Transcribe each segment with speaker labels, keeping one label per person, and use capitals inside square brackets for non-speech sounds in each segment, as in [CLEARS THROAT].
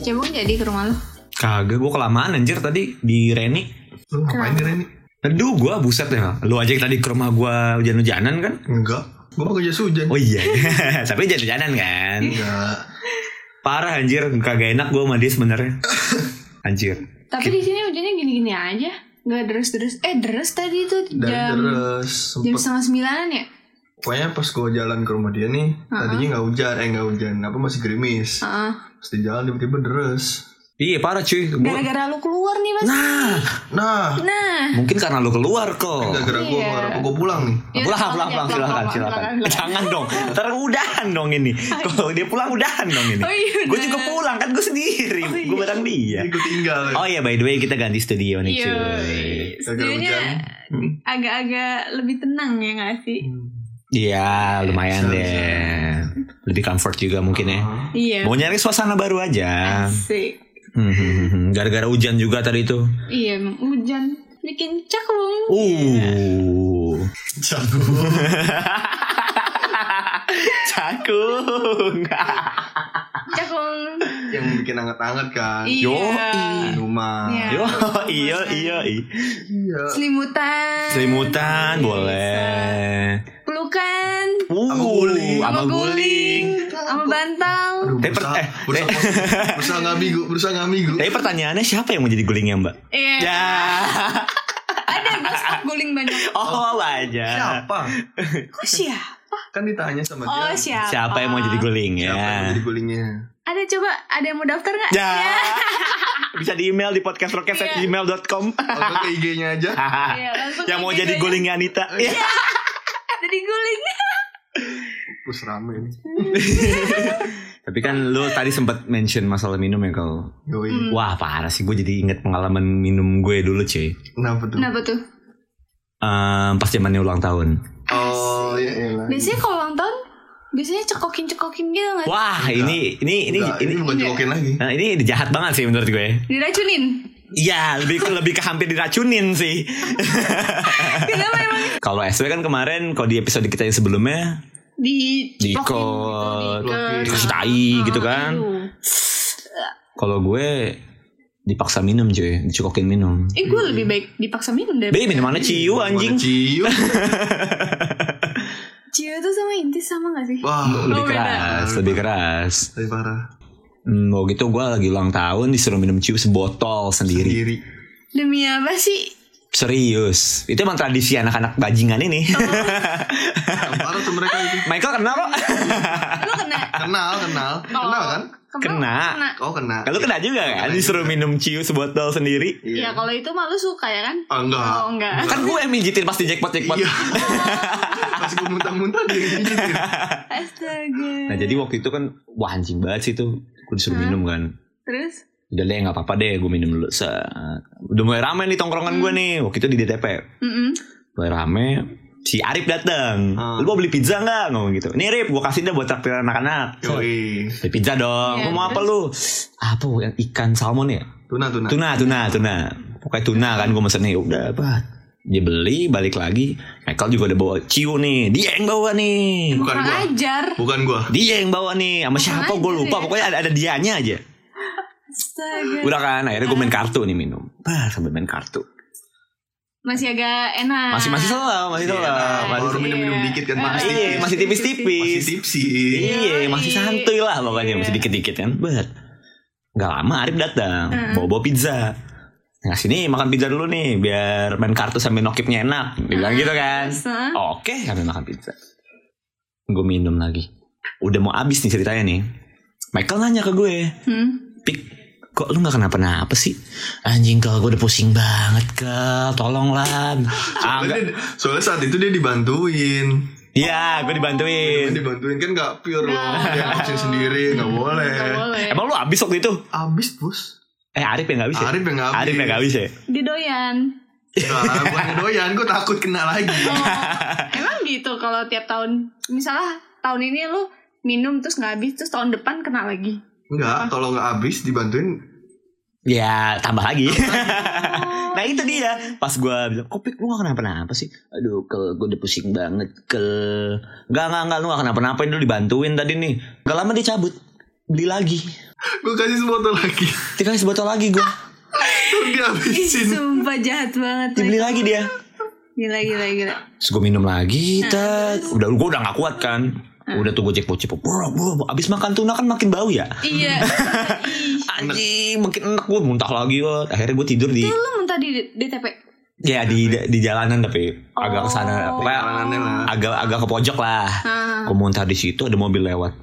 Speaker 1: Cebong jadi ke rumah lo?
Speaker 2: Kagak, gue kelamaan anjir tadi di Reni.
Speaker 3: Lu ngapain di Reni?
Speaker 2: Aduh, gue buset deh. Mel. Lu aja tadi ke rumah gue hujan-hujanan kan?
Speaker 3: Enggak. Gue pakai jas hujan.
Speaker 2: Oh iya, [LAUGHS] tapi hujan-hujanan kan?
Speaker 3: Enggak.
Speaker 2: Parah anjir, kagak enak gue sama dia sebenarnya. Anjir.
Speaker 1: Tapi di sini hujannya gini-gini aja. Gak deres-deres. Eh deres tadi itu
Speaker 3: Dan
Speaker 1: jam
Speaker 3: terus
Speaker 1: jam
Speaker 3: sempet
Speaker 1: setengah sembilanan ya?
Speaker 3: Pokoknya pas gue jalan ke rumah dia nih Tadinya nggak hujan Eh nggak hujan Apa masih gerimis
Speaker 1: Heeh.
Speaker 3: Pas di jalan tiba-tiba deres
Speaker 2: Iya parah cuy. Gua...
Speaker 1: Gara-gara lu keluar nih mas.
Speaker 2: Nah,
Speaker 3: Nah
Speaker 1: Nah.
Speaker 2: mungkin karena lu keluar kok. Ah,
Speaker 3: Gara-gara gue
Speaker 1: Iya.
Speaker 3: yeah. Gue pulang nih
Speaker 1: Yaudah,
Speaker 2: pulang, pulang,
Speaker 1: ya,
Speaker 2: pulang, silakan, silakan. Jangan dong, ntar udahan dong ini. Kalau dia pulang udahan dong
Speaker 1: iya.
Speaker 2: ini.
Speaker 1: Oh iya,
Speaker 2: gue juga
Speaker 1: bener.
Speaker 2: pulang kan gue sendiri,
Speaker 1: Oh iya.
Speaker 2: gue bareng dia.
Speaker 3: Jadi gue tinggal ya.
Speaker 2: Oh iya, by the way kita ganti studio nih
Speaker 1: Iya.
Speaker 2: cuy.
Speaker 3: Gara-gara
Speaker 1: Sebenarnya
Speaker 3: hujan Hmm.
Speaker 1: agak-agak lebih tenang ya nggak sih?
Speaker 2: Iya, lumayan
Speaker 3: Bisa,
Speaker 2: deh.
Speaker 3: bisa.
Speaker 2: Lebih comfort juga mungkin ya.
Speaker 1: Iya.
Speaker 2: Mau nyari suasana baru aja.
Speaker 1: Asik.
Speaker 2: Hmm, hmm, hmm, hmm. Gara-gara hujan juga tadi itu.
Speaker 1: Iya, emang hujan bikin cakung.
Speaker 2: Oh. Uh.
Speaker 3: Jago
Speaker 2: Cakung.
Speaker 1: Cakung.
Speaker 3: Yang bikin anget-anget kan
Speaker 1: Iya.
Speaker 2: Yoi.
Speaker 3: Rumah
Speaker 1: Iya.
Speaker 2: [LAUGHS] Yo, iyo, iyo, iyo.
Speaker 3: Iya
Speaker 1: Selimutan.
Speaker 2: Selimutan boleh.
Speaker 1: Pelukan.
Speaker 2: Uh,
Speaker 3: Sama guling.
Speaker 2: sama guling.
Speaker 1: Sama bantal.
Speaker 3: Aduh,
Speaker 2: Tapi per-
Speaker 3: berusaha,
Speaker 2: eh,
Speaker 3: berusaha, berusaha nggak minggu, berusaha nggak minggu.
Speaker 2: Tapi pertanyaannya siapa yang mau jadi gulingnya, Mbak?
Speaker 1: Iya.
Speaker 2: Ya.
Speaker 1: Ada gue stok guling banyak.
Speaker 2: [LAUGHS] Oh, banyak.
Speaker 3: Siapa?
Speaker 1: Oh, siapa?
Speaker 3: Kan ditanya sama dia.
Speaker 1: Oh siapa?
Speaker 2: Siapa yang mau jadi guling
Speaker 3: Siapa yang
Speaker 2: ya?
Speaker 3: jadi gulingnya?
Speaker 1: Ada coba ada yang mau daftar nggak?
Speaker 2: Ya. Bisa di email di podcastrokes@gmail.com.
Speaker 3: Kalau Oh, ke IG-nya aja.
Speaker 1: Iya, langsung
Speaker 2: yang mau
Speaker 1: aja
Speaker 2: jadi
Speaker 1: gua-
Speaker 2: gulingnya Anita.
Speaker 1: Iya.
Speaker 2: Ya.
Speaker 1: [LAUGHS] Jadi
Speaker 2: [LAUGHS]
Speaker 1: guling.
Speaker 3: Pus rame ini.
Speaker 2: Tapi kan lu tadi sempat mention masalah minum ya kalau.
Speaker 1: Hmm.
Speaker 3: Yoi.
Speaker 2: Wah, parah sih gue jadi inget pengalaman minum gue dulu, cuy.
Speaker 3: Kenapa tuh?
Speaker 1: Kenapa tuh?
Speaker 2: Ehm, pas zamannya ulang tahun.
Speaker 3: Oh iya iya.
Speaker 1: Biasanya kalau ulang tahun biasanya cekokin-cekokin gitu nggak?
Speaker 2: Wah, ini ini ini
Speaker 3: Enggak,
Speaker 2: ini
Speaker 3: ini bukan jokin lagi.
Speaker 2: Nah, ini jahat banget sih menurut gue.
Speaker 1: Diracunin.
Speaker 2: Iya, lebih ke lebih ke hampir diracunin sih.
Speaker 1: Kenapa emang
Speaker 2: Kalau SW kan kemarin kalau di episode kita yang sebelumnya
Speaker 1: di
Speaker 2: Di
Speaker 1: diplokin
Speaker 2: kot-
Speaker 1: gitu, di-
Speaker 3: Iya.
Speaker 2: kasih tai
Speaker 1: Ah,
Speaker 2: gitu kan.
Speaker 1: aduh.
Speaker 2: Kalau gue dipaksa minum cuy, dicukokin minum.
Speaker 1: Eh gue lebih baik dipaksa minum daripada
Speaker 2: Be, minumannya ciu anjing. [LAUGHS]
Speaker 3: Mana Ciu.
Speaker 1: Cio tuh sama intis sama gak sih?
Speaker 3: Wah,
Speaker 2: Lebih
Speaker 1: Oh, beda.
Speaker 2: keras, lebih keras.
Speaker 3: lebih parah.
Speaker 2: Hmm, mau gitu gue lagi ulang tahun disuruh minum ciu sebotol sendiri.
Speaker 3: Sendiri.
Speaker 1: Demi apa sih?
Speaker 2: Serius. Itu emang tradisi anak-anak bajingan ini.
Speaker 3: Yang Parah tuh mereka itu.
Speaker 2: [LAUGHS] Michael kenal kok.
Speaker 1: Lu kena
Speaker 2: [LAUGHS]
Speaker 3: Kenal, kenal.
Speaker 1: Oh.
Speaker 3: Kenal kan?
Speaker 2: Kena.
Speaker 3: Oh, kena.
Speaker 2: Kalau kena juga kan disuruh minum ciu sebotol sendiri.
Speaker 1: Ya kalau itu malu suka ya kan?
Speaker 3: Iya. Oh, enggak.
Speaker 1: Oh, enggak.
Speaker 2: Kan gue yang mijitin pasti jackpot-jackpot.
Speaker 3: Iya. Pas gue muntah-muntah dia yang pijitin.
Speaker 1: [LAUGHS] Astaga.
Speaker 2: Nah jadi waktu itu kan Wah anjing banget sih tuh Gue disuruh minum kan
Speaker 1: Terus
Speaker 2: Udah deh gak apa-apa deh Gue minum dulu Set. Udah mulai rame nih tongkrongan gue nih Waktu itu di DTP
Speaker 1: Mm-mm.
Speaker 2: Mulai rame Si Arif dateng
Speaker 3: Hmm.
Speaker 2: Lu mau beli pizza gak? Ngomong gitu Nih Arif gue kasih deh buat traktir anak-anak Set.
Speaker 3: Yoi.
Speaker 2: Beli pizza dong
Speaker 1: Iya,
Speaker 2: Lu mau apa lu? Apa yang ikan salmon ya?
Speaker 3: Tuna, tuna.
Speaker 2: Tuna, tuna, tuna Pokoknya tuna kan gue mesen nih Udah apa dia beli balik lagi Michael juga udah bawa ciu nih Dia yang bawa nih
Speaker 3: Bukan
Speaker 1: Kurang
Speaker 3: gua.
Speaker 1: ajar
Speaker 3: Bukan gua.
Speaker 2: Dia yang bawa nih Sama siapa gue
Speaker 1: Anjir.
Speaker 2: lupa Pokoknya ada, ada dianya aja
Speaker 1: Astaga
Speaker 2: Udah kan akhirnya gue main kartu nih minum Bah sambil main kartu
Speaker 1: Masih agak enak
Speaker 2: Masih masih salah Masih
Speaker 3: Iya,
Speaker 2: salah masih,
Speaker 3: Baru
Speaker 1: Iya.
Speaker 3: minum-minum dikit kan
Speaker 2: Iya,
Speaker 3: tipis
Speaker 2: Iya
Speaker 3: tipis.
Speaker 2: masih
Speaker 3: Masih
Speaker 2: tipis-tipis
Speaker 3: tipsi.
Speaker 2: Iya masih santuy lah pokoknya
Speaker 1: Iya.
Speaker 2: Masih dikit-dikit kan Bet Gak lama Arif datang Bawa-bawa pizza Nah sini makan pizza dulu nih Biar main kartu sambil nokipnya enak Dibilang gitu kan
Speaker 1: Terus, ah.
Speaker 2: Oke sambil makan pizza Gue minum lagi Udah mau habis nih ceritanya nih Michael nanya ke gue
Speaker 1: Hmm.
Speaker 2: Pik, kok lu gak kenapa-napa sih? Anjing kalau gue udah pusing banget ke, tolonglah. Ah,
Speaker 3: Soalnya,
Speaker 2: Angga,
Speaker 3: dia- soalnya saat itu dia dibantuin.
Speaker 2: iya, gue
Speaker 3: Dia
Speaker 2: dibantuin.
Speaker 3: dibantuin kan gak pure loh.
Speaker 1: Nah.
Speaker 3: Dia ngabisin sendiri, gak boleh.
Speaker 1: Gak boleh
Speaker 2: Emang lu abis waktu itu?
Speaker 3: Abis bos.
Speaker 2: Eh, Arif yang gak abis ya?
Speaker 3: Arif yang nggak abis.
Speaker 2: Arif yang nggak abis ya?
Speaker 1: Dia doyan
Speaker 3: Nah, gue doyan, gue takut kena lagi.
Speaker 1: Oh, emang gitu kalau tiap tahun misalnya tahun ini lu minum terus nggak habis terus tahun depan kena lagi
Speaker 3: Enggak, kalau nggak abis dibantuin.
Speaker 2: Ya, tambah lagi.
Speaker 3: Oh.
Speaker 2: [LAUGHS] nah itu dia. Pas gue bilang, kok Pik, lu gak kenapa-napa sih? Aduh, ke, gue udah pusing banget ke... Gak, gak, gak, lu gak kenapa-napa. Lu dibantuin tadi nih. Gak lama dia cabut. Beli lagi.
Speaker 3: gue kasih sebotol lagi
Speaker 2: Dikasih botol lagi gue
Speaker 3: terus
Speaker 1: Ih,
Speaker 3: dihabisin
Speaker 1: Sumpah jahat banget
Speaker 2: Dibeli lagi dia
Speaker 1: Gila gila gila
Speaker 2: Terus gue minum lagi tet. Udah gue udah gak kuat kan Udah tuh gue cek cipok Bro bro Abis makan tuna kan makin bau ya
Speaker 1: Iya Ih,
Speaker 2: Anjing Makin enak gue muntah lagi gue Akhirnya gue tidur di
Speaker 1: Lu minta di DTP
Speaker 2: Ya di di jalanan tapi Agak kesana Pokoknya
Speaker 3: Iya, Oh. Jalanannya lah
Speaker 2: agak agak ke pojok lah.
Speaker 1: Ah.
Speaker 2: Gue muntah di situ ada mobil lewat.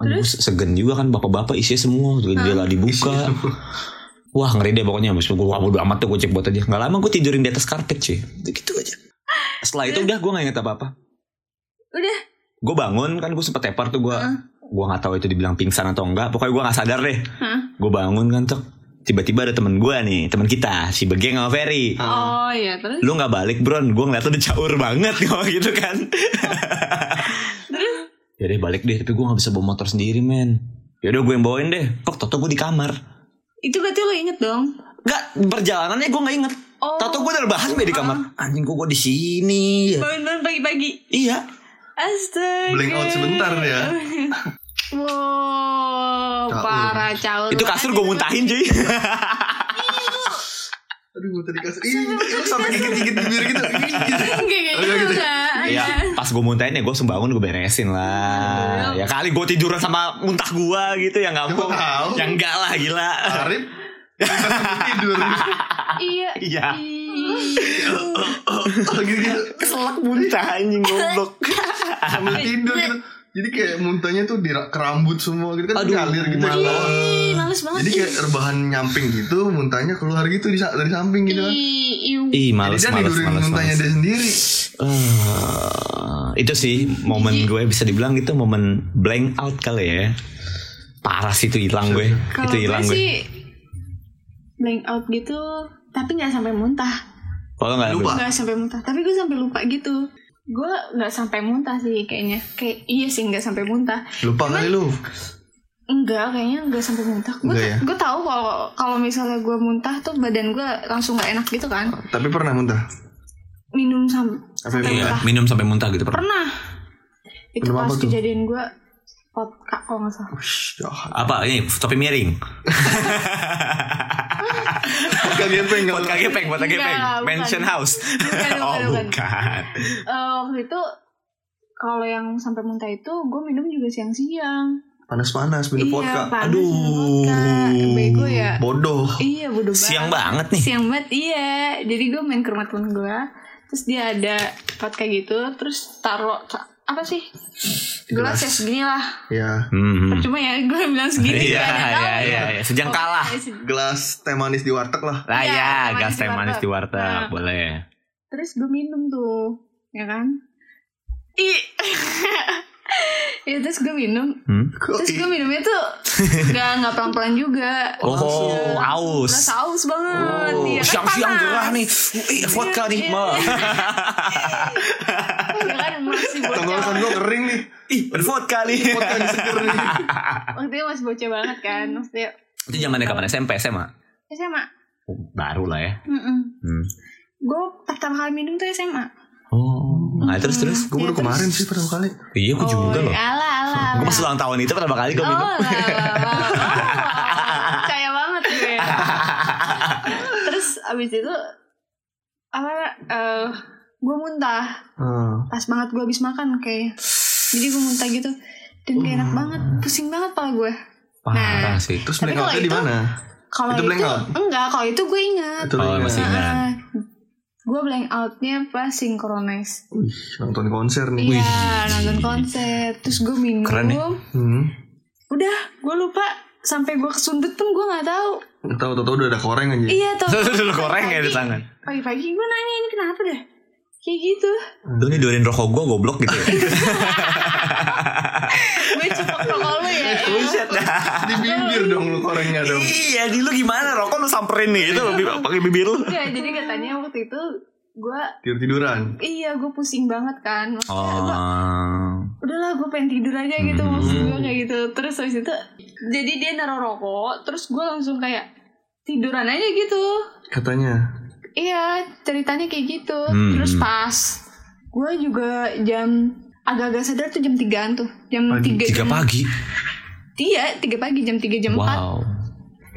Speaker 2: Aduh, segen juga kan bapak-bapak isinya semua tuh
Speaker 3: Ah.
Speaker 2: jendela dibuka. Wah ngeri deh pokoknya Mas gue wah bodo amat tuh gue cek buat aja Gak lama gue tidurin di atas karpet cuy Gitu aja Setelah itu udah gue gak inget apa-apa
Speaker 1: Udah
Speaker 2: Gue bangun kan gue sempet tepar tuh gue
Speaker 3: Ah.
Speaker 2: Gue gak tahu itu dibilang pingsan atau enggak Pokoknya gue gak sadar deh
Speaker 1: Hah?
Speaker 2: Gue bangun kan tuh Tiba-tiba ada temen gue nih Temen kita Si Begeng sama Ferry
Speaker 3: Ah.
Speaker 1: Oh iya terus
Speaker 2: Lu gak balik bron Gue ngeliat lu udah caur banget [LAUGHS] kok gitu kan
Speaker 1: Terus
Speaker 2: Yaudah balik deh Tapi gue gak bisa bawa motor sendiri men Yaudah gue yang bawain deh Kok Toto gue di kamar
Speaker 1: Itu berarti lu inget dong
Speaker 2: Gak perjalanannya gue gak inget
Speaker 1: Oh. Ah.
Speaker 2: Toto gue udah bahas be di kamar Anjing kok gue di sini ya?
Speaker 1: Bangun-bangun pagi-pagi
Speaker 2: Iya
Speaker 1: Astaga
Speaker 3: Blank out sebentar ya.
Speaker 1: Wow
Speaker 3: Caur.
Speaker 1: Parah caur
Speaker 2: Itu kasur gue muntahin cuy
Speaker 3: aduh gue tadi kasih ih lu sampai gigit-gigit di bibir gitu
Speaker 1: [LAUGHS] Enggak kayak
Speaker 3: Oh,
Speaker 1: gitu
Speaker 3: iya, gitu.
Speaker 1: enggak.
Speaker 2: Iya Pas gue muntahin ya gue sembangun gue beresin lah Ya kali gue tiduran sama muntah gue gitu Ya gak mau
Speaker 3: Emang tahu?
Speaker 2: Ya enggak lah
Speaker 3: [LAUGHS]
Speaker 2: gila
Speaker 3: Arif tidur
Speaker 1: Iya
Speaker 2: Iya
Speaker 3: lagi gitu
Speaker 2: Keselak muntah anjing
Speaker 1: [LAUGHS]
Speaker 2: goblok
Speaker 3: sambil tidur gitu jadi kayak muntahnya tuh di ra- ke rambut semua gitu kan
Speaker 2: Aduh,
Speaker 3: ngalir gitu ya, ke
Speaker 2: malah.
Speaker 3: bawah.
Speaker 1: Ih, males banget
Speaker 3: jadi kayak rebahan nyamping gitu muntahnya keluar gitu di sa- dari samping gitu kan
Speaker 1: Ih, um, iu.
Speaker 2: Ih males
Speaker 3: jadi dia
Speaker 2: males
Speaker 3: tidurin
Speaker 2: males
Speaker 3: muntahnya
Speaker 2: males
Speaker 3: dia sendiri
Speaker 2: Eh, itu sih momen gue bisa dibilang itu momen blank out kali ya. Parah sih itu hilang gue.
Speaker 1: Kalau
Speaker 2: Itu hilang
Speaker 1: gue
Speaker 2: gue.
Speaker 1: sih blank out gitu, tapi nggak sampai muntah.
Speaker 2: Kalau nggak
Speaker 3: Lupa.
Speaker 1: Nggak sampai muntah, tapi gue sampai lupa gitu. Gue nggak sampai muntah sih kayaknya. Kayak iya sih nggak sampai muntah.
Speaker 3: lupa kali lu
Speaker 1: Enggak, kayaknya nggak sampai muntah. Gue
Speaker 3: Nggak ya?
Speaker 1: gue tahu kalau kalau misalnya gue muntah tuh badan gue langsung nggak enak gitu kan.
Speaker 3: tapi pernah muntah
Speaker 1: Minum sam-
Speaker 3: Sampai
Speaker 1: sampai
Speaker 2: Iya,
Speaker 1: muntah.
Speaker 2: minum sampai muntah gitu pernah.
Speaker 1: Pernah. Itu
Speaker 3: Minum
Speaker 1: pas
Speaker 3: apa tuh?
Speaker 1: kejadian gue vodka kalau nggak salah.
Speaker 3: Ush, jahat.
Speaker 2: Apa ini topi miring?
Speaker 3: Vodka gepeng kalau-
Speaker 2: Buat kagepeng, buat
Speaker 1: Enggak,
Speaker 2: kagepeng.
Speaker 1: bukan.
Speaker 2: Mansion house. [LAUGHS]
Speaker 1: Bukan,
Speaker 2: oh
Speaker 1: bukan, bukan.
Speaker 2: bukan.
Speaker 1: Eh, waktu itu kalau yang sampai muntah itu gue minum juga siang-siang.
Speaker 3: panas-panas minum vodka
Speaker 1: Iya, panas
Speaker 3: aduh
Speaker 1: sama vodka. Bego ya.
Speaker 3: bodoh
Speaker 1: Iya bodoh banget.
Speaker 2: Siang banget nih.
Speaker 1: Siang banget iya. Jadi gue main ke rumah temen gue. Terus dia ada pot kayak gitu. Terus taruh apa sih? Gelas ya segini lah.
Speaker 3: ya
Speaker 2: Hmm.
Speaker 1: Percuma ya gue bilang segini.
Speaker 2: Iya,
Speaker 1: gak ada yang
Speaker 2: iya,
Speaker 1: tahu.
Speaker 2: iya, iya. Sejang kalah.
Speaker 1: Pokoknya se-
Speaker 3: gelas teh manis di warteg lah
Speaker 2: Lah
Speaker 1: Iya,
Speaker 2: ya,
Speaker 1: teh manis
Speaker 2: gas
Speaker 1: di
Speaker 2: teh manis
Speaker 1: warteg.
Speaker 2: di warteg,
Speaker 1: Nah.
Speaker 2: boleh.
Speaker 1: Terus gue minum tuh, ya kan? [LAUGHS] Ih. ya terus gue minum.
Speaker 2: Hmm?
Speaker 1: Terus gue minumnya tuh nggak nggak pelan-pelan juga.
Speaker 2: Oh,
Speaker 1: Langsung.
Speaker 2: aus.
Speaker 1: Terus aus banget.
Speaker 2: Oh,
Speaker 1: iya kan
Speaker 2: siang-siang
Speaker 1: panas.
Speaker 2: gerah nih. Wih, vodka nih.
Speaker 1: Iya.
Speaker 2: Ma.
Speaker 1: Iya kan masih
Speaker 3: tenggorokan
Speaker 1: bocah.
Speaker 3: gue kering nih
Speaker 2: Ih, vodka
Speaker 1: Iya,
Speaker 2: kali.
Speaker 3: vodka yang seger
Speaker 1: [LAUGHS]
Speaker 3: nih
Speaker 1: Waktu itu masih bocah banget kan.
Speaker 2: Hmm.
Speaker 1: Maksudnya
Speaker 2: Itu zamannya kapan SMP SMA?
Speaker 1: SMA.
Speaker 2: Baru lah ya.
Speaker 1: Mm
Speaker 2: Hmm.
Speaker 1: Gue pertama kali minum tuh SMA.
Speaker 2: Oh, nah terus terus.
Speaker 3: gue baru kemarin sih pertama kali
Speaker 2: Iya, gue juga
Speaker 1: Oh,
Speaker 2: loh.
Speaker 1: Ala ala.
Speaker 2: Gue pas ulang tahun itu pertama kali
Speaker 1: Oh,
Speaker 2: gue minum.
Speaker 1: lah, lah, lah, lah. Percaya banget gue. Terus abis itu apa? eh gue muntah.
Speaker 3: Ah.
Speaker 1: Pas banget gue abis makan kayak. Jadi gue muntah gitu. Dan gak enak banget, pusing banget pala gue.
Speaker 2: [LAUGHS] Oh. Parah
Speaker 1: Nah.
Speaker 2: sih.
Speaker 3: terus
Speaker 1: Tapi
Speaker 3: blackout
Speaker 1: kalau
Speaker 3: di
Speaker 1: itu-
Speaker 3: mana
Speaker 1: Kalau
Speaker 3: Itu
Speaker 1: itu,
Speaker 3: blank out?
Speaker 1: enggak, kalau itu gue ingat.
Speaker 3: itu
Speaker 2: Oh,
Speaker 3: lagi
Speaker 2: masih
Speaker 3: nggak-
Speaker 2: ingat.
Speaker 1: gue Ah, blank outnya pas synchronize.
Speaker 3: Wih, nonton konser nih
Speaker 1: Iya, nonton konser. Terus gue minum.
Speaker 2: Keren ya.
Speaker 3: hmm.
Speaker 1: Udah, gue lupa sampai gue kesundut pun gue nggak tahu.
Speaker 3: tahu tahu udah ada koreng aja
Speaker 1: Iya tau.
Speaker 2: Terus [LAUGHS] lu koreng ya di tangan.
Speaker 1: Pagi-pagi gue nanya ini kenapa deh? Kayak gitu.
Speaker 2: Lu nih doain rokok gue goblok gitu [LAUGHS] ya.
Speaker 1: Gue cepet rokok lu ya.
Speaker 2: Buset dah.
Speaker 3: di bibir dong lu korengnya dong
Speaker 2: Iya, di lu gimana? Rokok lu samperin nih gitu lu pakai bibir lu.
Speaker 1: Enggak, Iya, jadi katanya waktu itu gue
Speaker 3: tidur tiduran
Speaker 1: iya gue pusing banget kan maksudnya gua,
Speaker 2: Oh.
Speaker 1: udahlah gue pengen tidur aja gitu
Speaker 3: Hmm.
Speaker 1: maksud gue kayak gitu terus habis itu jadi dia naruh rokok terus gue langsung kayak tiduran aja gitu
Speaker 3: katanya
Speaker 1: iya ceritanya kayak gitu
Speaker 2: Hmm.
Speaker 1: terus pas gue juga jam agak-agak sadar tuh jam 3an tuh jam
Speaker 3: Pagi.
Speaker 1: tiga
Speaker 2: Tiga
Speaker 1: jam
Speaker 2: pagi.
Speaker 1: Iya, 3 pagi jam 3 jam 4.
Speaker 2: Wow.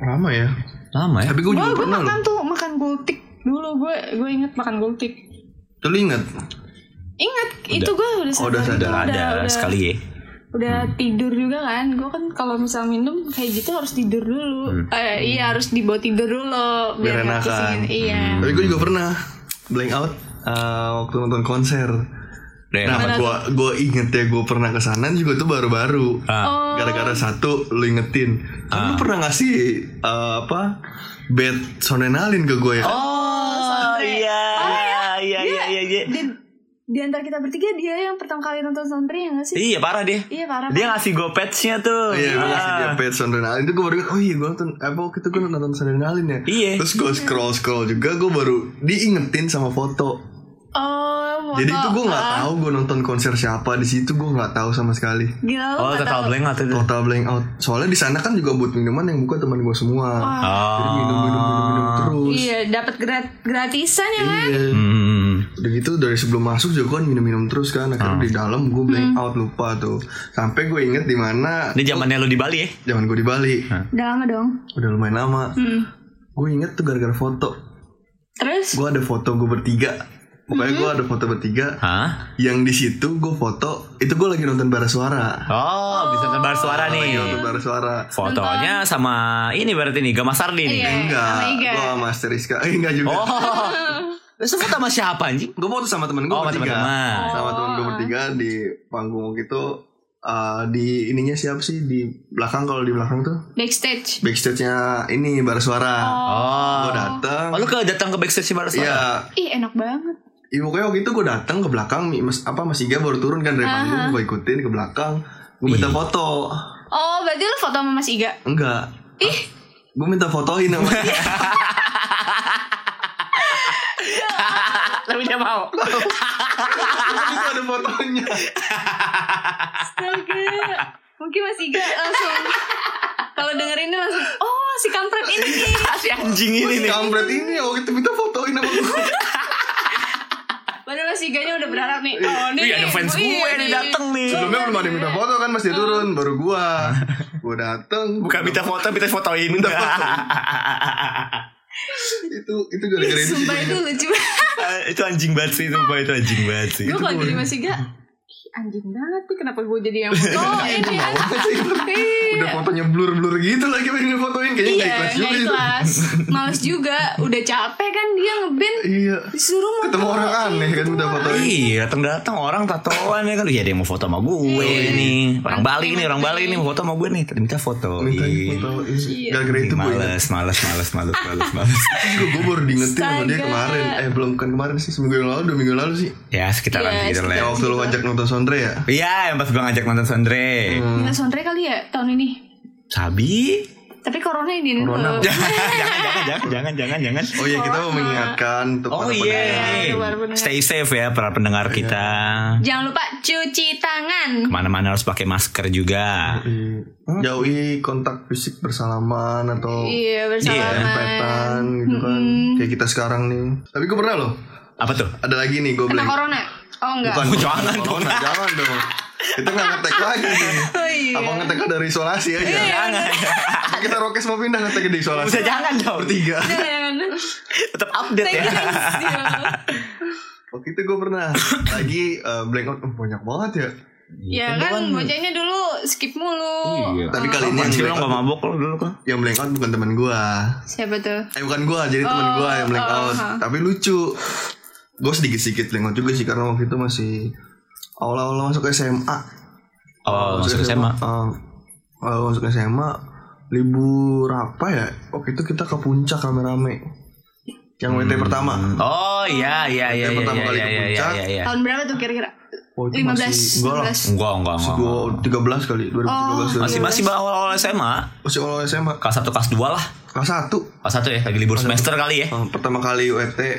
Speaker 3: Lama ya.
Speaker 2: Lama ya?
Speaker 3: Tapi gue
Speaker 1: Gue
Speaker 3: Oh,
Speaker 1: gue
Speaker 3: juga pernah
Speaker 1: makan
Speaker 3: loh.
Speaker 1: tuh makan gultik dulu gue gue inget makan gultik.
Speaker 3: Tuh lu inget?
Speaker 1: Ingat itu gue udah
Speaker 3: Oh, udah
Speaker 1: sadar
Speaker 3: sadar.
Speaker 1: itu,
Speaker 2: Ada sekali ya.
Speaker 1: udah tidur juga kan gue kan kalau misal minum kayak gitu harus tidur dulu eh, iya harus dibawa tidur dulu
Speaker 3: Hmm. Biar
Speaker 1: nggak
Speaker 3: Hmm. enakan.
Speaker 1: pusingin. iya
Speaker 3: Tapi gue juga pernah blank out eh, waktu nonton konser.
Speaker 2: Daerah
Speaker 3: Nah, gue gue inget ya gue pernah kesana juga tuh baru-baru.
Speaker 1: Oh.
Speaker 3: Gara-gara satu lu ingetin. Kan Lu pernah ngasih eh, apa? Bed sonenalin ke gue ya.
Speaker 2: Oh, iya. Iya, iya, iya, iya.
Speaker 1: di, di antara kita bertiga dia yang pertama kali nonton soundtrack ya nggak sih
Speaker 2: Iya, parah dia.
Speaker 1: iya parah
Speaker 2: Dia ngasih gue patch-nya tuh.
Speaker 3: Iya, gue ngasih dia
Speaker 2: Ah.
Speaker 3: pet sonenalin itu gue baru inget, oh iya gue nonton apa waktu itu gue nonton sonenalin ya.
Speaker 2: Iya.
Speaker 3: Terus gue scroll scroll juga gue baru diingetin sama foto.
Speaker 1: oh
Speaker 3: Jadi itu
Speaker 1: foto.
Speaker 3: gue nggak tahu gue nonton konser siapa di situ gue nggak tahu sama sekali.
Speaker 1: gila lu
Speaker 2: Oh,
Speaker 1: nggak
Speaker 2: total
Speaker 1: tahu.
Speaker 2: blank waktu itu.
Speaker 3: Total blank out. Soalnya di sana kan juga buat minuman yang buka teman gue semua.
Speaker 2: Ah.
Speaker 1: Wah,
Speaker 3: Jadi minum minum minum minum terus.
Speaker 1: iya dapat grat gratisan ya kan
Speaker 3: Iya.
Speaker 2: Hmm.
Speaker 3: Udah gitu dari sebelum masuk juga kan minum minum terus kan. Akhirnya
Speaker 2: Ah.
Speaker 3: di dalam gue blank out lupa tuh. Sampai gue inget di mana
Speaker 2: Ini zamannya lu di Bali ya?
Speaker 3: zaman gue di Bali.
Speaker 2: Ah.
Speaker 1: udah lama dong
Speaker 3: Udah lumayan lama.
Speaker 1: Mm.
Speaker 3: Gue inget tuh gara-gara foto.
Speaker 1: terus
Speaker 3: Gue ada foto gue bertiga. Pokoknya gue ada foto bertiga.
Speaker 2: Hah?
Speaker 3: Yang di situ gue foto. Itu gue lagi nonton bara suara.
Speaker 2: Oh, bisa tebar suara
Speaker 3: Lagi
Speaker 2: nih.
Speaker 3: nonton bara suara.
Speaker 2: Fotonya sama ini berarti nih, Gama Sardi nih.
Speaker 1: Iya.
Speaker 3: Enggak,
Speaker 1: sama Iga.
Speaker 3: gue sama Master Rizka Eh, Enggak
Speaker 1: [LAUGHS]
Speaker 3: juga
Speaker 2: Oh. Lu sebut sama siapa anjing?
Speaker 3: Gue mau tuh sama temen gue
Speaker 2: Oh, sama
Speaker 3: bertiga
Speaker 2: teman.
Speaker 3: Sama temen gue bertiga di panggung waktu itu eh, Di ininya siapa sih? Di belakang kalau di belakang tuh
Speaker 1: backstage
Speaker 3: Backstage-nya ini, bar suara
Speaker 2: Oh.
Speaker 3: Gue dateng
Speaker 2: Oh, lu ke datang ke backstage si Barat Suara?
Speaker 3: Iya,
Speaker 1: ih enak banget
Speaker 3: ya, pokoknya waktu itu gue dateng ke belakang Mi- mas, apa Mas Iga baru turun kan dari panggung Gue ikutin ke belakang Gue minta foto
Speaker 1: oh berarti lu foto sama Mas Iga
Speaker 3: Enggak
Speaker 1: ih
Speaker 3: Gue minta fotoin sama
Speaker 2: [LAUGHS]
Speaker 3: dia
Speaker 2: Tapi dia mau.
Speaker 3: Itu ada fotonya
Speaker 1: Astaga. Mungkin Mas Iga langsung kalau dengerin ini langsung oh si kampret ini nih.
Speaker 2: Si anjing ini nih.
Speaker 3: Kampret ini ya waktu itu minta fotoin sama gue
Speaker 1: Padahal Mas Iganya udah berharap nih.
Speaker 3: Iya,
Speaker 1: Oh, nih.
Speaker 2: Wih, ada fans
Speaker 1: oh,
Speaker 2: gue
Speaker 1: iya
Speaker 2: nih dateng nih.
Speaker 3: Sebelumnya belum ada yang minta foto kan Mas dia turun Baru gue Gue dateng
Speaker 2: Bukan minta foto, minta fotoin.
Speaker 3: itu itu gara-gara itu sih
Speaker 1: Sumpah itu lucu banget.
Speaker 2: [LAUGHS] itu anjing banget sih, sumpah itu anjing banget
Speaker 3: Gitu,
Speaker 2: sih.
Speaker 1: gue
Speaker 3: iya.
Speaker 1: kalau jadi Mas Iga ih, anjing banget nih kenapa gue jadi
Speaker 3: Iya,
Speaker 1: yang foto ini ya.
Speaker 3: udah fotonya blur-blur gitu lagi pengen fotoin kayaknya
Speaker 1: Iya,
Speaker 3: iya,
Speaker 1: nggak
Speaker 3: nggak ikhlas juga itu
Speaker 1: ikhlas. Males juga, udah capek kan dia ngeband
Speaker 3: iya
Speaker 1: disuruh mau
Speaker 3: ketemu orang aneh kan minta fotoin
Speaker 2: Iya, datang datang orang tatoan ya kan. Iya, ada yang mau foto sama gue nih. Orang Bali nih, orang Bali nih mau foto sama gue nih. Minta foto.
Speaker 3: minta
Speaker 2: Ih,
Speaker 3: fotoin
Speaker 1: Iya.
Speaker 3: gara-gara itu gue ingat
Speaker 2: Males, males, males, males, males, males. [LAUGHS]
Speaker 3: gue gue baru diingetin sama dia
Speaker 1: Astaga.
Speaker 3: kemarin eh belum kan kemarin sih seminggu yang lalu dua minggu lalu sih
Speaker 2: Ya, sekitaran
Speaker 1: Iya,
Speaker 2: segitu
Speaker 3: ya
Speaker 2: lah.
Speaker 3: waktu lu ngajak nonton Sondre ya
Speaker 2: Iya, yang pas gue ngajak nonton Sondre.
Speaker 1: Minta soundtrack kali ya tahun ini.
Speaker 2: Sabi?
Speaker 1: Tapi corona ini eh, corona.
Speaker 2: [LAUGHS] jangan, jangan, jangan, jangan, jangan, jangan.
Speaker 3: oh iya kita mau mengingatkan untuk
Speaker 2: Oh
Speaker 3: para pendengar.
Speaker 2: iya,
Speaker 1: pendengar. Iya,
Speaker 2: stay safe ya para pendengar kita.
Speaker 1: Jangan lupa cuci tangan.
Speaker 2: Kemana-mana harus pakai masker juga.
Speaker 3: Iya. jauhi kontak fisik bersalaman atau
Speaker 1: Iya bersalaman.
Speaker 3: empetan gitu kan kayak kita sekarang nih tapi gue pernah loh
Speaker 2: Apa tuh?
Speaker 3: ada lagi nih gue
Speaker 1: Kena
Speaker 3: blank
Speaker 1: corona? Oh enggak.
Speaker 3: Bukan,
Speaker 2: Oh, jangan
Speaker 3: corona, nah, jangan dong. Kita nggak ngetek lagi nih.
Speaker 1: Oh [LAUGHS] iya.
Speaker 3: Apa ngetek dari isolasi aja?
Speaker 2: Jangan.
Speaker 3: Apa kita rokes mau pindah ngetek di isolasi?
Speaker 2: Bisa jangan dong.
Speaker 3: Bertiga.
Speaker 1: Jangan.
Speaker 2: Tetap update
Speaker 1: Thank
Speaker 2: ya.
Speaker 1: you, guys. Yo.
Speaker 3: Waktu itu gue Oh, gitu pernah lagi eh, blank out Oh, banyak banget ya.
Speaker 1: Ya kan bocahnya dulu skip
Speaker 2: Iya.
Speaker 1: mulu.
Speaker 3: Tapi kali ini
Speaker 2: Apaan
Speaker 3: yang
Speaker 2: sih lo
Speaker 3: blank
Speaker 2: nggak
Speaker 3: out,
Speaker 2: mabok lo dulu kan?
Speaker 3: yang blank out bukan teman gue.
Speaker 1: Siapa tuh?
Speaker 3: Eh bukan gue, jadi teman gue yang blank
Speaker 1: oh,
Speaker 3: out.
Speaker 1: oh.
Speaker 3: Tapi lucu. Gue sedikit-sedikit blank out juga sih karena waktu itu masih awal-awal masuk SMA.
Speaker 2: Oh, masuk SMA.
Speaker 3: Eh, awal masuk SMA libur apa ya? Waktu itu kita ke puncak rame-rame. Yang WT pertama.
Speaker 2: Oh iya iya iya
Speaker 3: Yang
Speaker 2: iya
Speaker 3: pertama
Speaker 2: iya
Speaker 3: kali
Speaker 2: iya
Speaker 3: ke
Speaker 2: iya
Speaker 3: puncak.
Speaker 2: iya iya.
Speaker 1: Tahun berapa tuh kira-kira?
Speaker 3: Oh, itu
Speaker 1: 15.
Speaker 3: masih- enggak lah.
Speaker 1: 15.
Speaker 2: Enggak enggak enggak.
Speaker 3: Gua tiga belas kali, dua ribu tiga belas.
Speaker 2: Masih masih awal awal SMA.
Speaker 3: Masih awal SMA
Speaker 2: Kelas satu kelas dua lah.
Speaker 3: kelas satu.
Speaker 2: Kelas satu ya lagi libur semester kali ya.
Speaker 3: Eh, pertama kali UET eh,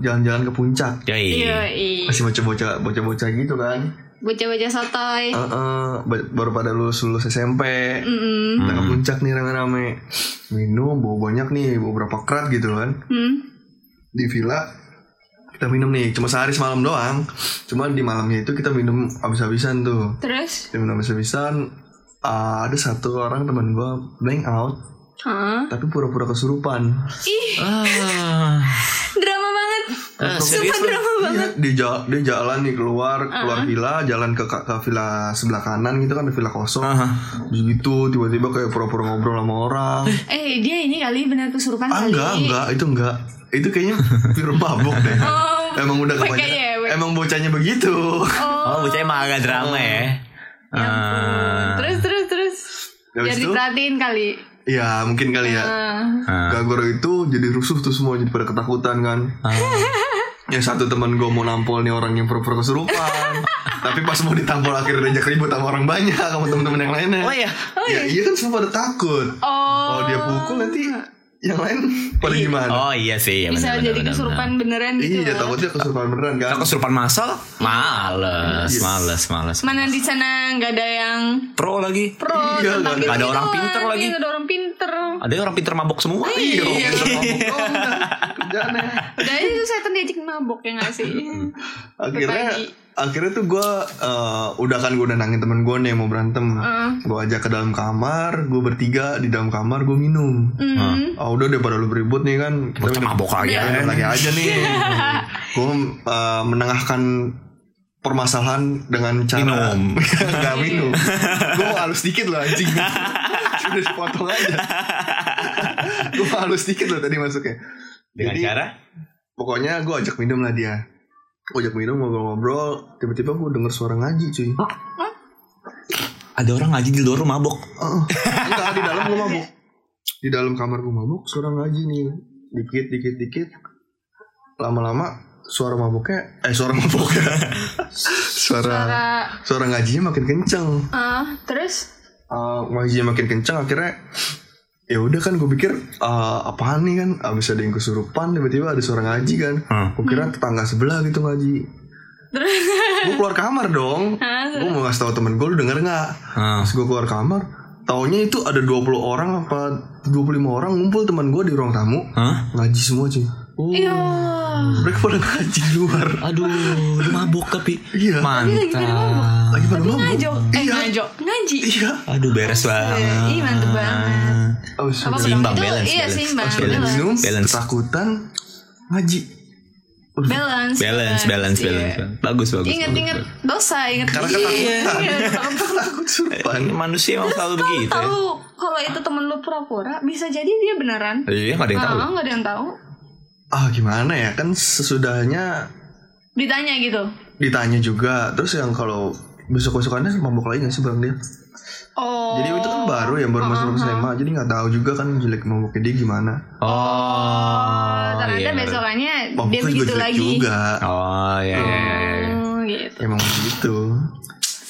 Speaker 3: jalan-jalan ke puncak.
Speaker 2: Yoi.
Speaker 1: Iya, iya.
Speaker 3: Masih bocah-bocah, bocah-bocah gitu kan.
Speaker 1: Bocah-bocah sotoy.
Speaker 3: Eh, eh, ba- baru pada lulus lulus SMP.
Speaker 1: Mm-mm.
Speaker 3: Kita ke puncak nih rame-rame. Minum bawa banyak nih, bawa berapa krat gitu kan.
Speaker 1: Hmm.
Speaker 3: Di villa kita minum nih, cuma sehari semalam doang. Cuman di malamnya itu kita minum habis-habisan tuh.
Speaker 1: Terus?
Speaker 3: Kita minum habis-habisan uh, ada satu orang teman gue blank out
Speaker 1: Hah?
Speaker 3: tapi pura-pura kesurupan
Speaker 1: Ih,
Speaker 2: Ah.
Speaker 1: drama banget.
Speaker 2: Ah,
Speaker 1: Sumpah
Speaker 2: serius lu?
Speaker 1: drama banget. Uh-huh.
Speaker 3: Iya, dia, ja- dia jalan nih keluar keluar villa jalan ke ke villa sebelah kanan gitu kan ada villa kosong
Speaker 2: Aha.
Speaker 3: Terus gitu tiba-tiba kayak pura-pura ngobrol sama
Speaker 1: [LAUGHS]
Speaker 3: orang
Speaker 1: Eh, dia ini kali benar kesurupan
Speaker 3: ah
Speaker 1: kali.
Speaker 3: enggak enggak itu enggak itu kayaknya pure mabuk deh
Speaker 1: Oh,
Speaker 3: emang
Speaker 1: [LAUGHS]
Speaker 3: udah
Speaker 1: wek
Speaker 3: kebanyakan
Speaker 1: kayaknya ya, wek.
Speaker 3: emang bocahnya begitu
Speaker 2: Oh,
Speaker 1: Oh,
Speaker 2: bocah emang agak drama ya.
Speaker 1: ya ampun.
Speaker 2: Ah.
Speaker 1: Terus terus terus.
Speaker 3: Habis
Speaker 1: Biar
Speaker 3: itu?
Speaker 1: diperhatiin kali.
Speaker 3: ya mungkin kali ya
Speaker 1: Ah.
Speaker 2: Ah.
Speaker 3: Gagor itu jadi rusuh tuh semua jadi pada ketakutan kan. Ya satu teman gue mau nampol nih orang yang pura-pura kesurupan. Tapi pas mau ditampol akhirnya diajak ribut sama orang banyak sama teman-teman yang lainnya.
Speaker 2: Oh iya.
Speaker 3: Ya iya kan semua pada takut.
Speaker 1: Oh,
Speaker 3: Kalau dia pukul nanti yang lain pada gimana?
Speaker 2: Oh iya sih. Ya,
Speaker 1: bisa
Speaker 2: benar,
Speaker 1: jadi
Speaker 2: benar,
Speaker 1: kesurupan beneran gitu.
Speaker 3: Iya
Speaker 1: loh.
Speaker 3: takutnya kesurupan beneran
Speaker 2: benar.
Speaker 3: kan.
Speaker 2: Kalau kesurupan masal, males,
Speaker 3: Yes.
Speaker 2: males, males.
Speaker 1: Mana di sana nggak ada yang
Speaker 2: Pro lagi.
Speaker 1: pro
Speaker 3: Iya,
Speaker 1: tentang
Speaker 2: ada
Speaker 3: nggak
Speaker 1: gitu-gituan.
Speaker 2: orang pinter
Speaker 1: Iya,
Speaker 2: lagi.
Speaker 1: nggak ada orang pinter.
Speaker 2: Ada orang pinter mabok semua.
Speaker 3: Iya.
Speaker 1: Iya.
Speaker 3: Kerjaannya.
Speaker 1: Jadi Nah, itu setan diajak mabok ya nggak sih?
Speaker 3: akhirnya
Speaker 1: Berbagi.
Speaker 3: akhirnya tuh gue udah kan gue udah nangin temen gue nih mau berantem gue ajak ke dalam kamar gue bertiga di dalam kamar gue minum
Speaker 1: Hmm.
Speaker 3: ah udah deh pada lu beribut nih kan kita
Speaker 2: Bocah mabok lagi ya.
Speaker 3: minum lagi aja
Speaker 2: [LAUGHS]
Speaker 3: nih gue menengahkan permasalahan dengan cara
Speaker 2: Minum.
Speaker 3: [LAUGHS] nggak minum gue mau halus dikit loh anjing [LAUGHS] udah sepotong aja gue halus dikit loh tadi masuknya
Speaker 2: Dengan
Speaker 3: Jadi,
Speaker 2: cara
Speaker 3: pokoknya gue ajak minum lah dia gue ajak minum ngobrol-ngobrol tiba-tiba gue denger suara ngaji cuy
Speaker 2: ada orang ngaji di luar rumah mabok.
Speaker 3: Heeh. enggak di dalam gue mabuk di dalam kamar gue mabuk suara ngaji nih dikit dikit dikit lama-lama suara mabuknya eh suara mabuknya [LAUGHS] suara
Speaker 1: Cara
Speaker 3: suara ngajinya makin kenceng
Speaker 1: ah, terus
Speaker 3: Eh, ngajinya makin kenceng akhirnya ya udah kan gue pikir eh, apaan nih kan abis ada yang kesurupan tiba-tiba ada suara ngaji kan
Speaker 2: Hmm.
Speaker 3: gue kira tetangga sebelah gitu ngaji
Speaker 1: terus
Speaker 3: gue keluar kamar dong
Speaker 1: Hah?
Speaker 3: gue mau ngasih tahu temen gue lu denger nggak
Speaker 2: Ah.
Speaker 3: pas gue keluar kamar taunya itu ada 20 orang apa 25 orang ngumpul teman gue di ruang tamu
Speaker 2: Hah?
Speaker 3: ngaji semua cuy
Speaker 2: Mm.
Speaker 1: iya.
Speaker 3: mereka pada ngaji di luar
Speaker 2: Aduh, lu mabok tapi
Speaker 3: Iya.
Speaker 1: Tapi lagi pada
Speaker 2: mantap.
Speaker 3: lagi pada mabuk
Speaker 1: Ngajo, eh
Speaker 3: iya
Speaker 1: ngajo, ngaji.
Speaker 3: iya
Speaker 2: Aduh, beres banget.
Speaker 1: Ih, mantep banget.
Speaker 3: abis
Speaker 1: Apa
Speaker 3: abis
Speaker 2: Seimbang,
Speaker 1: bilang
Speaker 2: balance,
Speaker 1: itu? Iya,
Speaker 2: balance.
Speaker 1: seimbang.
Speaker 2: Harus
Speaker 3: udah
Speaker 1: Balance.
Speaker 2: balance.
Speaker 3: minum
Speaker 2: Balance.
Speaker 3: ketakutan ngaji
Speaker 1: Balance,
Speaker 2: Balance, balance,
Speaker 1: iya.
Speaker 2: balance. Bagus, bagus.
Speaker 1: Ingat-ingat dosa, ingat Iya,
Speaker 3: Karena
Speaker 1: ketakutan.
Speaker 3: [LAUGHS] takut surupan
Speaker 2: bagus. Manusia emang selalu begitu. ya.
Speaker 1: Tahu kalau itu temen lu pura-pura, bisa jadi dia beneran.
Speaker 2: Iya, nggak ada yang tahu.
Speaker 1: Ah, nggak ada yang tahu.
Speaker 3: ah gimana ya kan sesudahnya
Speaker 1: Ditanya gitu.
Speaker 3: ditanya juga terus yang kalau besok besokannya mabuk lagi nggak sih bareng dia
Speaker 1: Oh.
Speaker 3: Jadi itu kan baru ya baru masuk masuk SMA jadi nggak tahu juga kan jelek mabuknya dia gimana.
Speaker 2: Oh,
Speaker 1: Ternyata
Speaker 2: iya.
Speaker 1: besokannya dia
Speaker 3: Mabuknya juga
Speaker 1: begitu
Speaker 3: jelek
Speaker 1: lagi.
Speaker 3: Oh, juga.
Speaker 2: Oh, iya, iya, iya. iya.
Speaker 1: Oh, gitu.
Speaker 3: Emang begitu.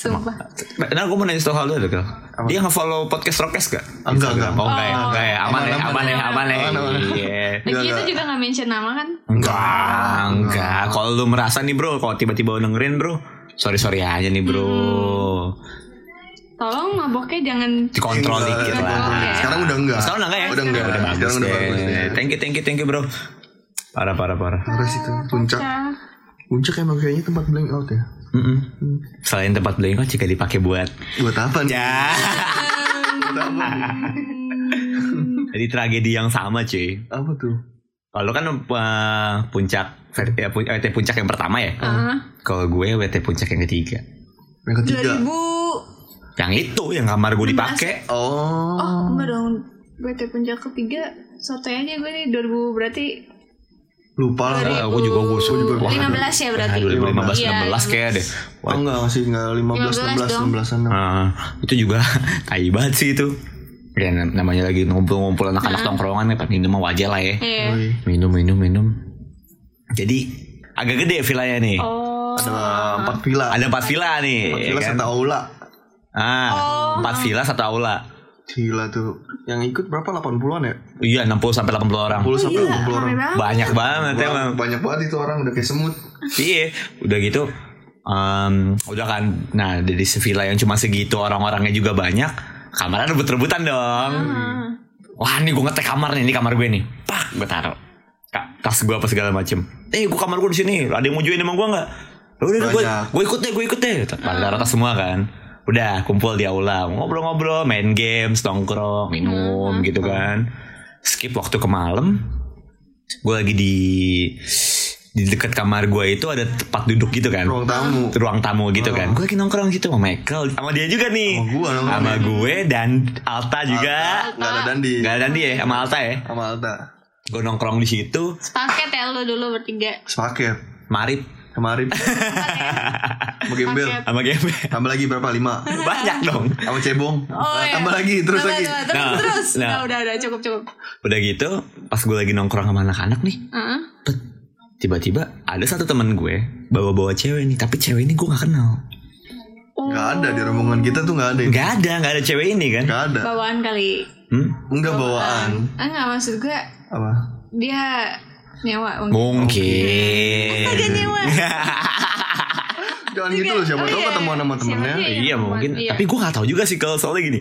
Speaker 1: Sumpah.
Speaker 2: Nah, gue mau nanya satu hal dulu, Kel. Dia nge-follow podcast Rokes gak?
Speaker 3: Enggak, enggak.
Speaker 2: Oh, enggak ya,
Speaker 1: Oh.
Speaker 2: enggak ya. Aman ya, aman ya, aman ya.
Speaker 3: Aman, aman.
Speaker 2: Iya.
Speaker 1: Lagi
Speaker 3: Enggak,
Speaker 1: itu juga nggak mention nama kan?
Speaker 2: Enggak, enggak. Kalau lu merasa nih, bro, kalau tiba-tiba lu dengerin, bro, sorry-sorry aja nih, bro.
Speaker 1: Tolong maboknya jangan
Speaker 2: Dikontrol
Speaker 3: Hmm. Enggak,
Speaker 2: dikit
Speaker 3: enggak, enggak.
Speaker 2: lah.
Speaker 3: Sekarang udah enggak.
Speaker 2: Sekarang udah enggak ya?
Speaker 3: Udah enggak.
Speaker 2: Udah bagus,
Speaker 3: Sekarang udah
Speaker 2: deh.
Speaker 3: bagus ya. deh.
Speaker 2: Thank you, thank you, thank you, bro. Parah, parah, parah.
Speaker 3: Terus itu puncak. [LAUGHS]
Speaker 1: Ya.
Speaker 3: Puncak emang kayaknya tempat blank out ya.
Speaker 2: Mm-mm. Selain tempat blank out jika dipakai buat
Speaker 3: Buat apa nih?
Speaker 2: ya.
Speaker 3: Buat apa nih?
Speaker 2: Jadi tragedi yang sama cuy.
Speaker 3: Apa tuh?
Speaker 2: Kalau lu kan eh, puncak ver- eh, pun- eh, WT puncak yang pertama ya.
Speaker 1: Ah.
Speaker 2: Kalau gue WT puncak yang ketiga.
Speaker 3: Yang ketiga.
Speaker 1: 2000
Speaker 2: Yang itu yang kamar gue dipakai.
Speaker 3: Oh.
Speaker 1: Oh, enggak dong. BT puncak ketiga sotoy aja gue nih 2000 berarti
Speaker 3: Lupa lah.
Speaker 2: Eh, gue juga gue juga
Speaker 1: 15 ya berarti.
Speaker 2: Aduh, 2015
Speaker 1: Iya,
Speaker 2: 16 kayak deh.
Speaker 3: Oh
Speaker 2: Wah,
Speaker 3: enggak masih enggak
Speaker 1: 15
Speaker 3: 15
Speaker 1: dong.
Speaker 3: 16 16 an.
Speaker 2: eh, itu juga [LAUGHS] tai banget sih itu. Ya nam- namanya lagi ngumpul-ngumpul anak-anak tongkrongan ya, Pak. minum mah wajar lah ya.
Speaker 1: Iya.
Speaker 3: Woi,
Speaker 2: Minum minum minum. Jadi agak gede villanya nih.
Speaker 1: Oh.
Speaker 3: Ada iya empat villa.
Speaker 2: Ada empat villa nih.
Speaker 3: Empat
Speaker 2: ya
Speaker 3: villa
Speaker 2: kan?
Speaker 3: satu aula.
Speaker 2: Ah,
Speaker 1: Oh.
Speaker 2: empat villa satu aula.
Speaker 3: Gila tuh. Yang ikut berapa 80-an ya?
Speaker 2: Iya, 60 sampai 80 orang.
Speaker 3: 10 sampai 80 orang.
Speaker 1: Oh, iya. Rame banget.
Speaker 2: Banyak banget emang.
Speaker 3: Wah, Banyak banget itu orang udah kayak semut.
Speaker 2: Iya, udah gitu em, udah kan. Nah, dari villa yang cuma segitu orang-orangnya juga banyak, kamarnya rebut-rebutan dong. Wah, nih gue ngetek kamar nih, ini kamar gue nih. Pak, gue taruh. Ka- Tas gue apa segala macem. Eh, gue kamar gue di sini. Ada yang mau join emang gue nggak? Ya Udah, udah, gue
Speaker 3: Banyak.
Speaker 2: gue ikut deh, gue ikut deh. Pada rata semua kan. Udah kumpul di aula ngobrol-ngobrol, main games, nongkrong, minum gitu kan. Skip waktu ke malam. Gue lagi di di dekat kamar gue itu ada tempat duduk gitu kan.
Speaker 3: ruang tamu Oh.
Speaker 2: Ruang tamu gitu kan. Gue lagi nongkrong gitu sama Michael, sama dia juga nih.
Speaker 3: Sama gua nongkrong.
Speaker 2: Sama gue dan Alta juga.
Speaker 3: nggak ada dandi
Speaker 2: Gak ada dia ya sama Alta ya.
Speaker 3: sama Alta
Speaker 2: Gue nongkrong di situ,
Speaker 1: Sepaket ya lu dulu bertiga.
Speaker 3: sepaket
Speaker 2: marip
Speaker 3: kemarin sama gembel
Speaker 1: Paket.
Speaker 2: sama Gembel.
Speaker 3: [LAUGHS] tambah lagi berapa lima
Speaker 2: Banyak dong.
Speaker 3: sama cebong Nah,
Speaker 1: iya.
Speaker 3: tambah lagi terus
Speaker 1: Tambah,
Speaker 3: lagi
Speaker 1: tambah,
Speaker 2: Nah,
Speaker 1: Terus, terus.
Speaker 2: nah.
Speaker 1: Nah, udah, udah, cukup, cukup.
Speaker 2: Udah gitu, pas gue lagi nongkrong sama anak-anak nih,
Speaker 1: Heeh.
Speaker 2: pet, tiba-tiba ada satu teman gue bawa-bawa cewek nih, tapi cewek ini gue gak kenal.
Speaker 3: nggak ada
Speaker 1: Oh.
Speaker 3: di rombongan kita tuh nggak ada
Speaker 2: Gak ada, gak ada cewek ini kan?
Speaker 3: nggak ada
Speaker 1: Bawaan kali.
Speaker 2: Hmm?
Speaker 3: nggak bawaan
Speaker 1: Ah, enggak, maksud gue
Speaker 3: apa
Speaker 1: dia nyewa. mungkin.
Speaker 2: Mungkin.
Speaker 1: Astaga, nyewa.
Speaker 2: [LAUGHS]
Speaker 3: jangan gitu loh siapa
Speaker 1: Oh,
Speaker 3: tahu
Speaker 1: iya.
Speaker 3: ketemu sama temennya
Speaker 1: Siapa
Speaker 2: iya mungkin.
Speaker 1: Iya.
Speaker 2: Tapi gue gak tahu juga sih kalau soalnya gini.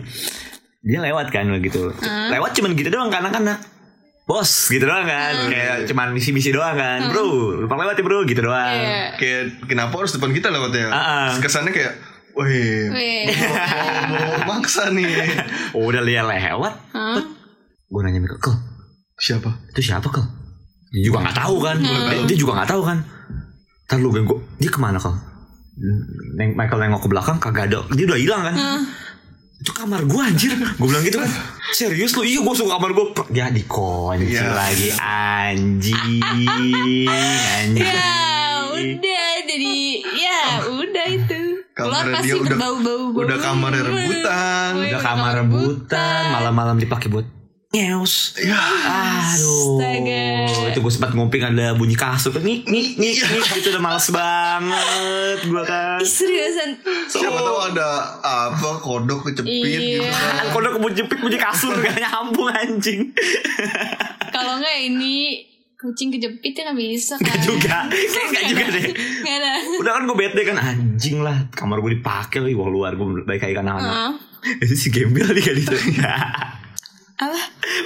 Speaker 2: Dia lewat kan gitu. Lewat cuman gitu doang kan anak-anak. Bos gitu doang kan. Kayak cuman misi-misi doang kan. Bro, lupa lewat ya bro gitu doang.
Speaker 1: Iya.
Speaker 3: kayak kenapa harus depan kita
Speaker 2: Ah,
Speaker 3: lewatnya
Speaker 2: ah.
Speaker 3: kesannya kayak wih
Speaker 1: Weh.
Speaker 3: oh, maksa nih
Speaker 2: Oh, Udah dia lewat.
Speaker 1: Hah?
Speaker 2: Gue nanya Miko, "Kel,
Speaker 3: siapa
Speaker 2: itu siapa kal? Dia juga nggak tahu kan? Dia, dia juga nggak tahu kan? Ntar lu ganggu, dia kemana kal? Neng Michael nengok ke belakang kagak ada, dia udah hilang kan? Itu kamar gua anjir, gua bilang gitu kan? Serius lu? Iya gua suka kamar gua. Prek, Ya dikunci
Speaker 3: Ya.
Speaker 2: lagi anjing, anjing.
Speaker 1: Ya udah jadi ya udah itu. Keluar
Speaker 3: Kamarnya
Speaker 1: pasti
Speaker 3: dia udah-
Speaker 1: berbau-bau bau.
Speaker 3: udah kamarnya rebutan.
Speaker 2: Udah kamar rebutan, malam-malam dipakai buat nyeus.
Speaker 3: Ya,
Speaker 2: Aduh.
Speaker 1: Astaga.
Speaker 2: Itu gue sempat nguping ada bunyi kasur. Nih, nih, nih, nih. Itu udah males banget gue kan.
Speaker 1: Iya. Ih, seriusan.
Speaker 3: siapa tahu ada apa kodok kecepit
Speaker 1: Oh.
Speaker 3: gitu
Speaker 1: Iya.
Speaker 3: kan.
Speaker 2: Kalau udah kebun jepit bunyi kasur gak nyambung anjing.
Speaker 1: Kalau enggak ini kucing kejepit ya nggak bisa kan.
Speaker 2: Gak juga. [LAUGHS] Kayaknya gak juga deh.
Speaker 1: Enggak ada.
Speaker 2: Udah kan gue bete kan anjing lah kamar gue dipakai lagi uang luar gue baik kayak anak-anak.
Speaker 1: Heeh.
Speaker 2: Itu si gembel nih kan itu.
Speaker 1: Apa?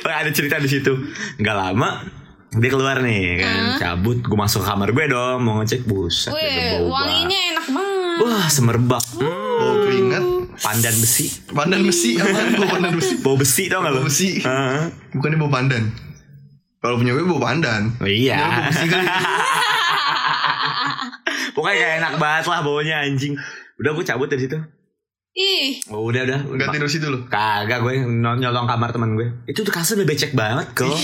Speaker 2: Pernah ada cerita di situ. Gak lama dia keluar nih kan cabut gue masuk ke kamar gue dong mau ngecek buset
Speaker 1: Wih,
Speaker 2: ada Kan bau
Speaker 1: wanginya Uh. enak banget.
Speaker 2: banget. wah semerbak Hmm,
Speaker 3: bau keringat
Speaker 2: pandan besi
Speaker 3: pandan besi apaan bau pandan besi
Speaker 2: bau besi tau gak lo
Speaker 3: Bau besi.
Speaker 2: Heeh.
Speaker 3: bukannya bau pandan kalau punya gue bau pandan
Speaker 2: Oh, iya [LAUGHS] pokoknya kayak enak banget lah baunya anjing udah gue cabut dari situ
Speaker 1: Ih,
Speaker 2: oh, udah udah
Speaker 3: nggak tidur situ loh
Speaker 2: Kagak gue no- nyolong kamar teman gue Itu tuh kasur udah becek banget kok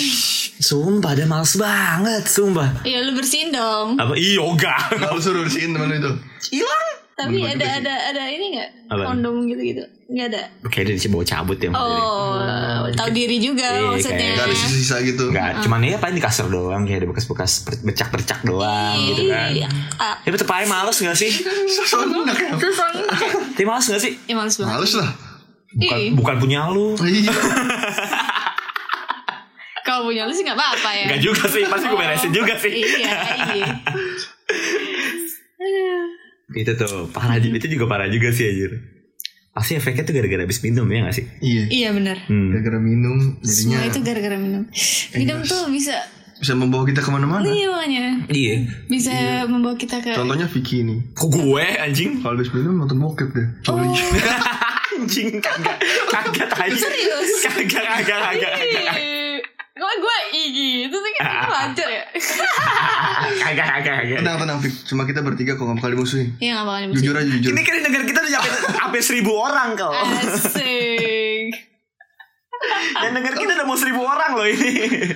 Speaker 2: Sumpah ada males banget Sumpah
Speaker 1: ya lu bersihin dong.
Speaker 2: Apa? Ih yoga
Speaker 3: Lalu suruh bersihin temen lu itu
Speaker 2: Hilang
Speaker 1: Tapi ada
Speaker 3: Menurut gue sih.
Speaker 1: ada ada ini enggak?
Speaker 2: Apa?
Speaker 1: Kondom gitu-gitu. Enggak ada.
Speaker 2: Kayaknya dia bawa cabut ya modelnya.
Speaker 1: Oh, tahu diri juga
Speaker 2: hmm, Iya,
Speaker 1: maksudnya.
Speaker 2: kayak-
Speaker 3: Gak ada sisa-sisa gitu
Speaker 2: Enggak, cuman ya paling di kasur doang Kayak ada bekas-bekas per- becak-becak doang gitu kan
Speaker 1: Iya. Ah,
Speaker 2: Tapi tetep aja males gak sih?
Speaker 3: Soalnya enak ya
Speaker 1: terus [LAUGHS] orang-
Speaker 2: Tapi males gak sih?
Speaker 1: Ya males banget.
Speaker 3: Males lah
Speaker 2: Bukan,
Speaker 1: Ih.
Speaker 2: bukan punya lu
Speaker 3: Iya
Speaker 1: Kalau punya lu sih nggak apa-apa ya.
Speaker 2: Enggak juga sih, pasti gue beresin juga sih
Speaker 1: iya,
Speaker 2: [LAUGHS]
Speaker 1: iya.
Speaker 2: Itu Gitu tuh, parah juga, itu juga parah juga sih anjir Pasti efeknya tuh gara-gara habis minum ya gak sih?
Speaker 3: Iya
Speaker 1: Iya benar.
Speaker 2: Hmm.
Speaker 3: Gara-gara minum
Speaker 1: Semua
Speaker 3: Jadinya
Speaker 1: itu gara-gara minum.
Speaker 2: Iya.
Speaker 1: Minum tuh bisa
Speaker 3: bisa membawa kita kemana-mana
Speaker 1: iya makanya.
Speaker 2: Iya
Speaker 1: Bisa membawa kita ke
Speaker 3: Contohnya Vicky nih
Speaker 2: Kok gue anjing? [LAUGHS]
Speaker 3: Kalau habis minum nonton bokep deh
Speaker 1: Oh.
Speaker 3: Coli
Speaker 1: Iya.
Speaker 2: anjing kagak kagak tadi
Speaker 1: Serius? Iya.
Speaker 2: kagak kagak kagak kagak
Speaker 1: Kalau gue igi itu sih kan
Speaker 2: [LAUGHS]
Speaker 1: itu lancar ya.
Speaker 2: kagak kagak kagak
Speaker 3: Tenang tenang Vic Cuma kita bertiga kok gak bakal dimusuhin
Speaker 1: Iya nggak bakal bisa.
Speaker 2: [LAUGHS]
Speaker 3: Jujur aja jujur
Speaker 2: ini kan di negara kita udah nyampe sampai seribu orang
Speaker 1: [LAUGHS]
Speaker 2: kau
Speaker 1: Asik.
Speaker 2: dan negara kita udah mau seribu orang loh ini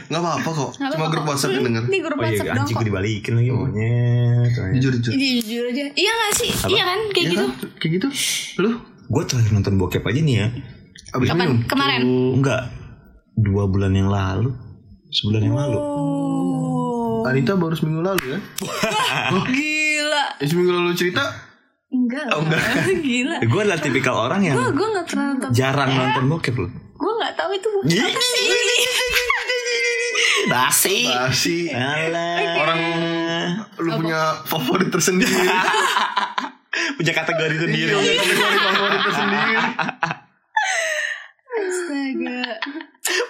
Speaker 3: Gak apa-apa kok
Speaker 1: Nggak
Speaker 3: Cuma
Speaker 1: apa-apa
Speaker 3: grup
Speaker 1: kok.
Speaker 3: WhatsApp yang denger
Speaker 1: Ini
Speaker 2: Oh,
Speaker 1: grup
Speaker 2: iya,
Speaker 1: WhatsApp doang kok.
Speaker 2: dibalikin lagi monyet
Speaker 3: Jujur jujur
Speaker 2: Gitu.
Speaker 1: Iya jujur aja. Iya gak sih? Iya kan? Kayak
Speaker 3: Iya
Speaker 1: gitu.
Speaker 3: kan? Kayak gitu Lu
Speaker 2: gue terakhir nonton bokep aja nih ya
Speaker 3: Abis
Speaker 1: Kapan?
Speaker 3: minum
Speaker 1: Kemarin.
Speaker 2: Tuh, enggak dua bulan yang lalu sebulan yang lalu
Speaker 1: Oh.
Speaker 3: Anita baru seminggu lalu ya
Speaker 1: Gila.
Speaker 3: Eh, Seminggu lalu cerita
Speaker 1: Enggak.
Speaker 3: Oh, enggak.
Speaker 1: [LAUGHS] Gila.
Speaker 2: gue adalah tipikal orang yang
Speaker 1: Gue gue nggak pernah nonton.
Speaker 2: jarang nonton bokep loh
Speaker 1: Gue nggak tahu itu bukan
Speaker 2: Ih.
Speaker 1: apa sih.
Speaker 2: basi
Speaker 1: Iya.
Speaker 3: Basi
Speaker 2: Alah.
Speaker 3: Orang Lu punya favorit tersendiri
Speaker 1: [LAUGHS]
Speaker 2: punya kategori sendiri
Speaker 3: Kategori favorit tersendiri
Speaker 1: Astaga.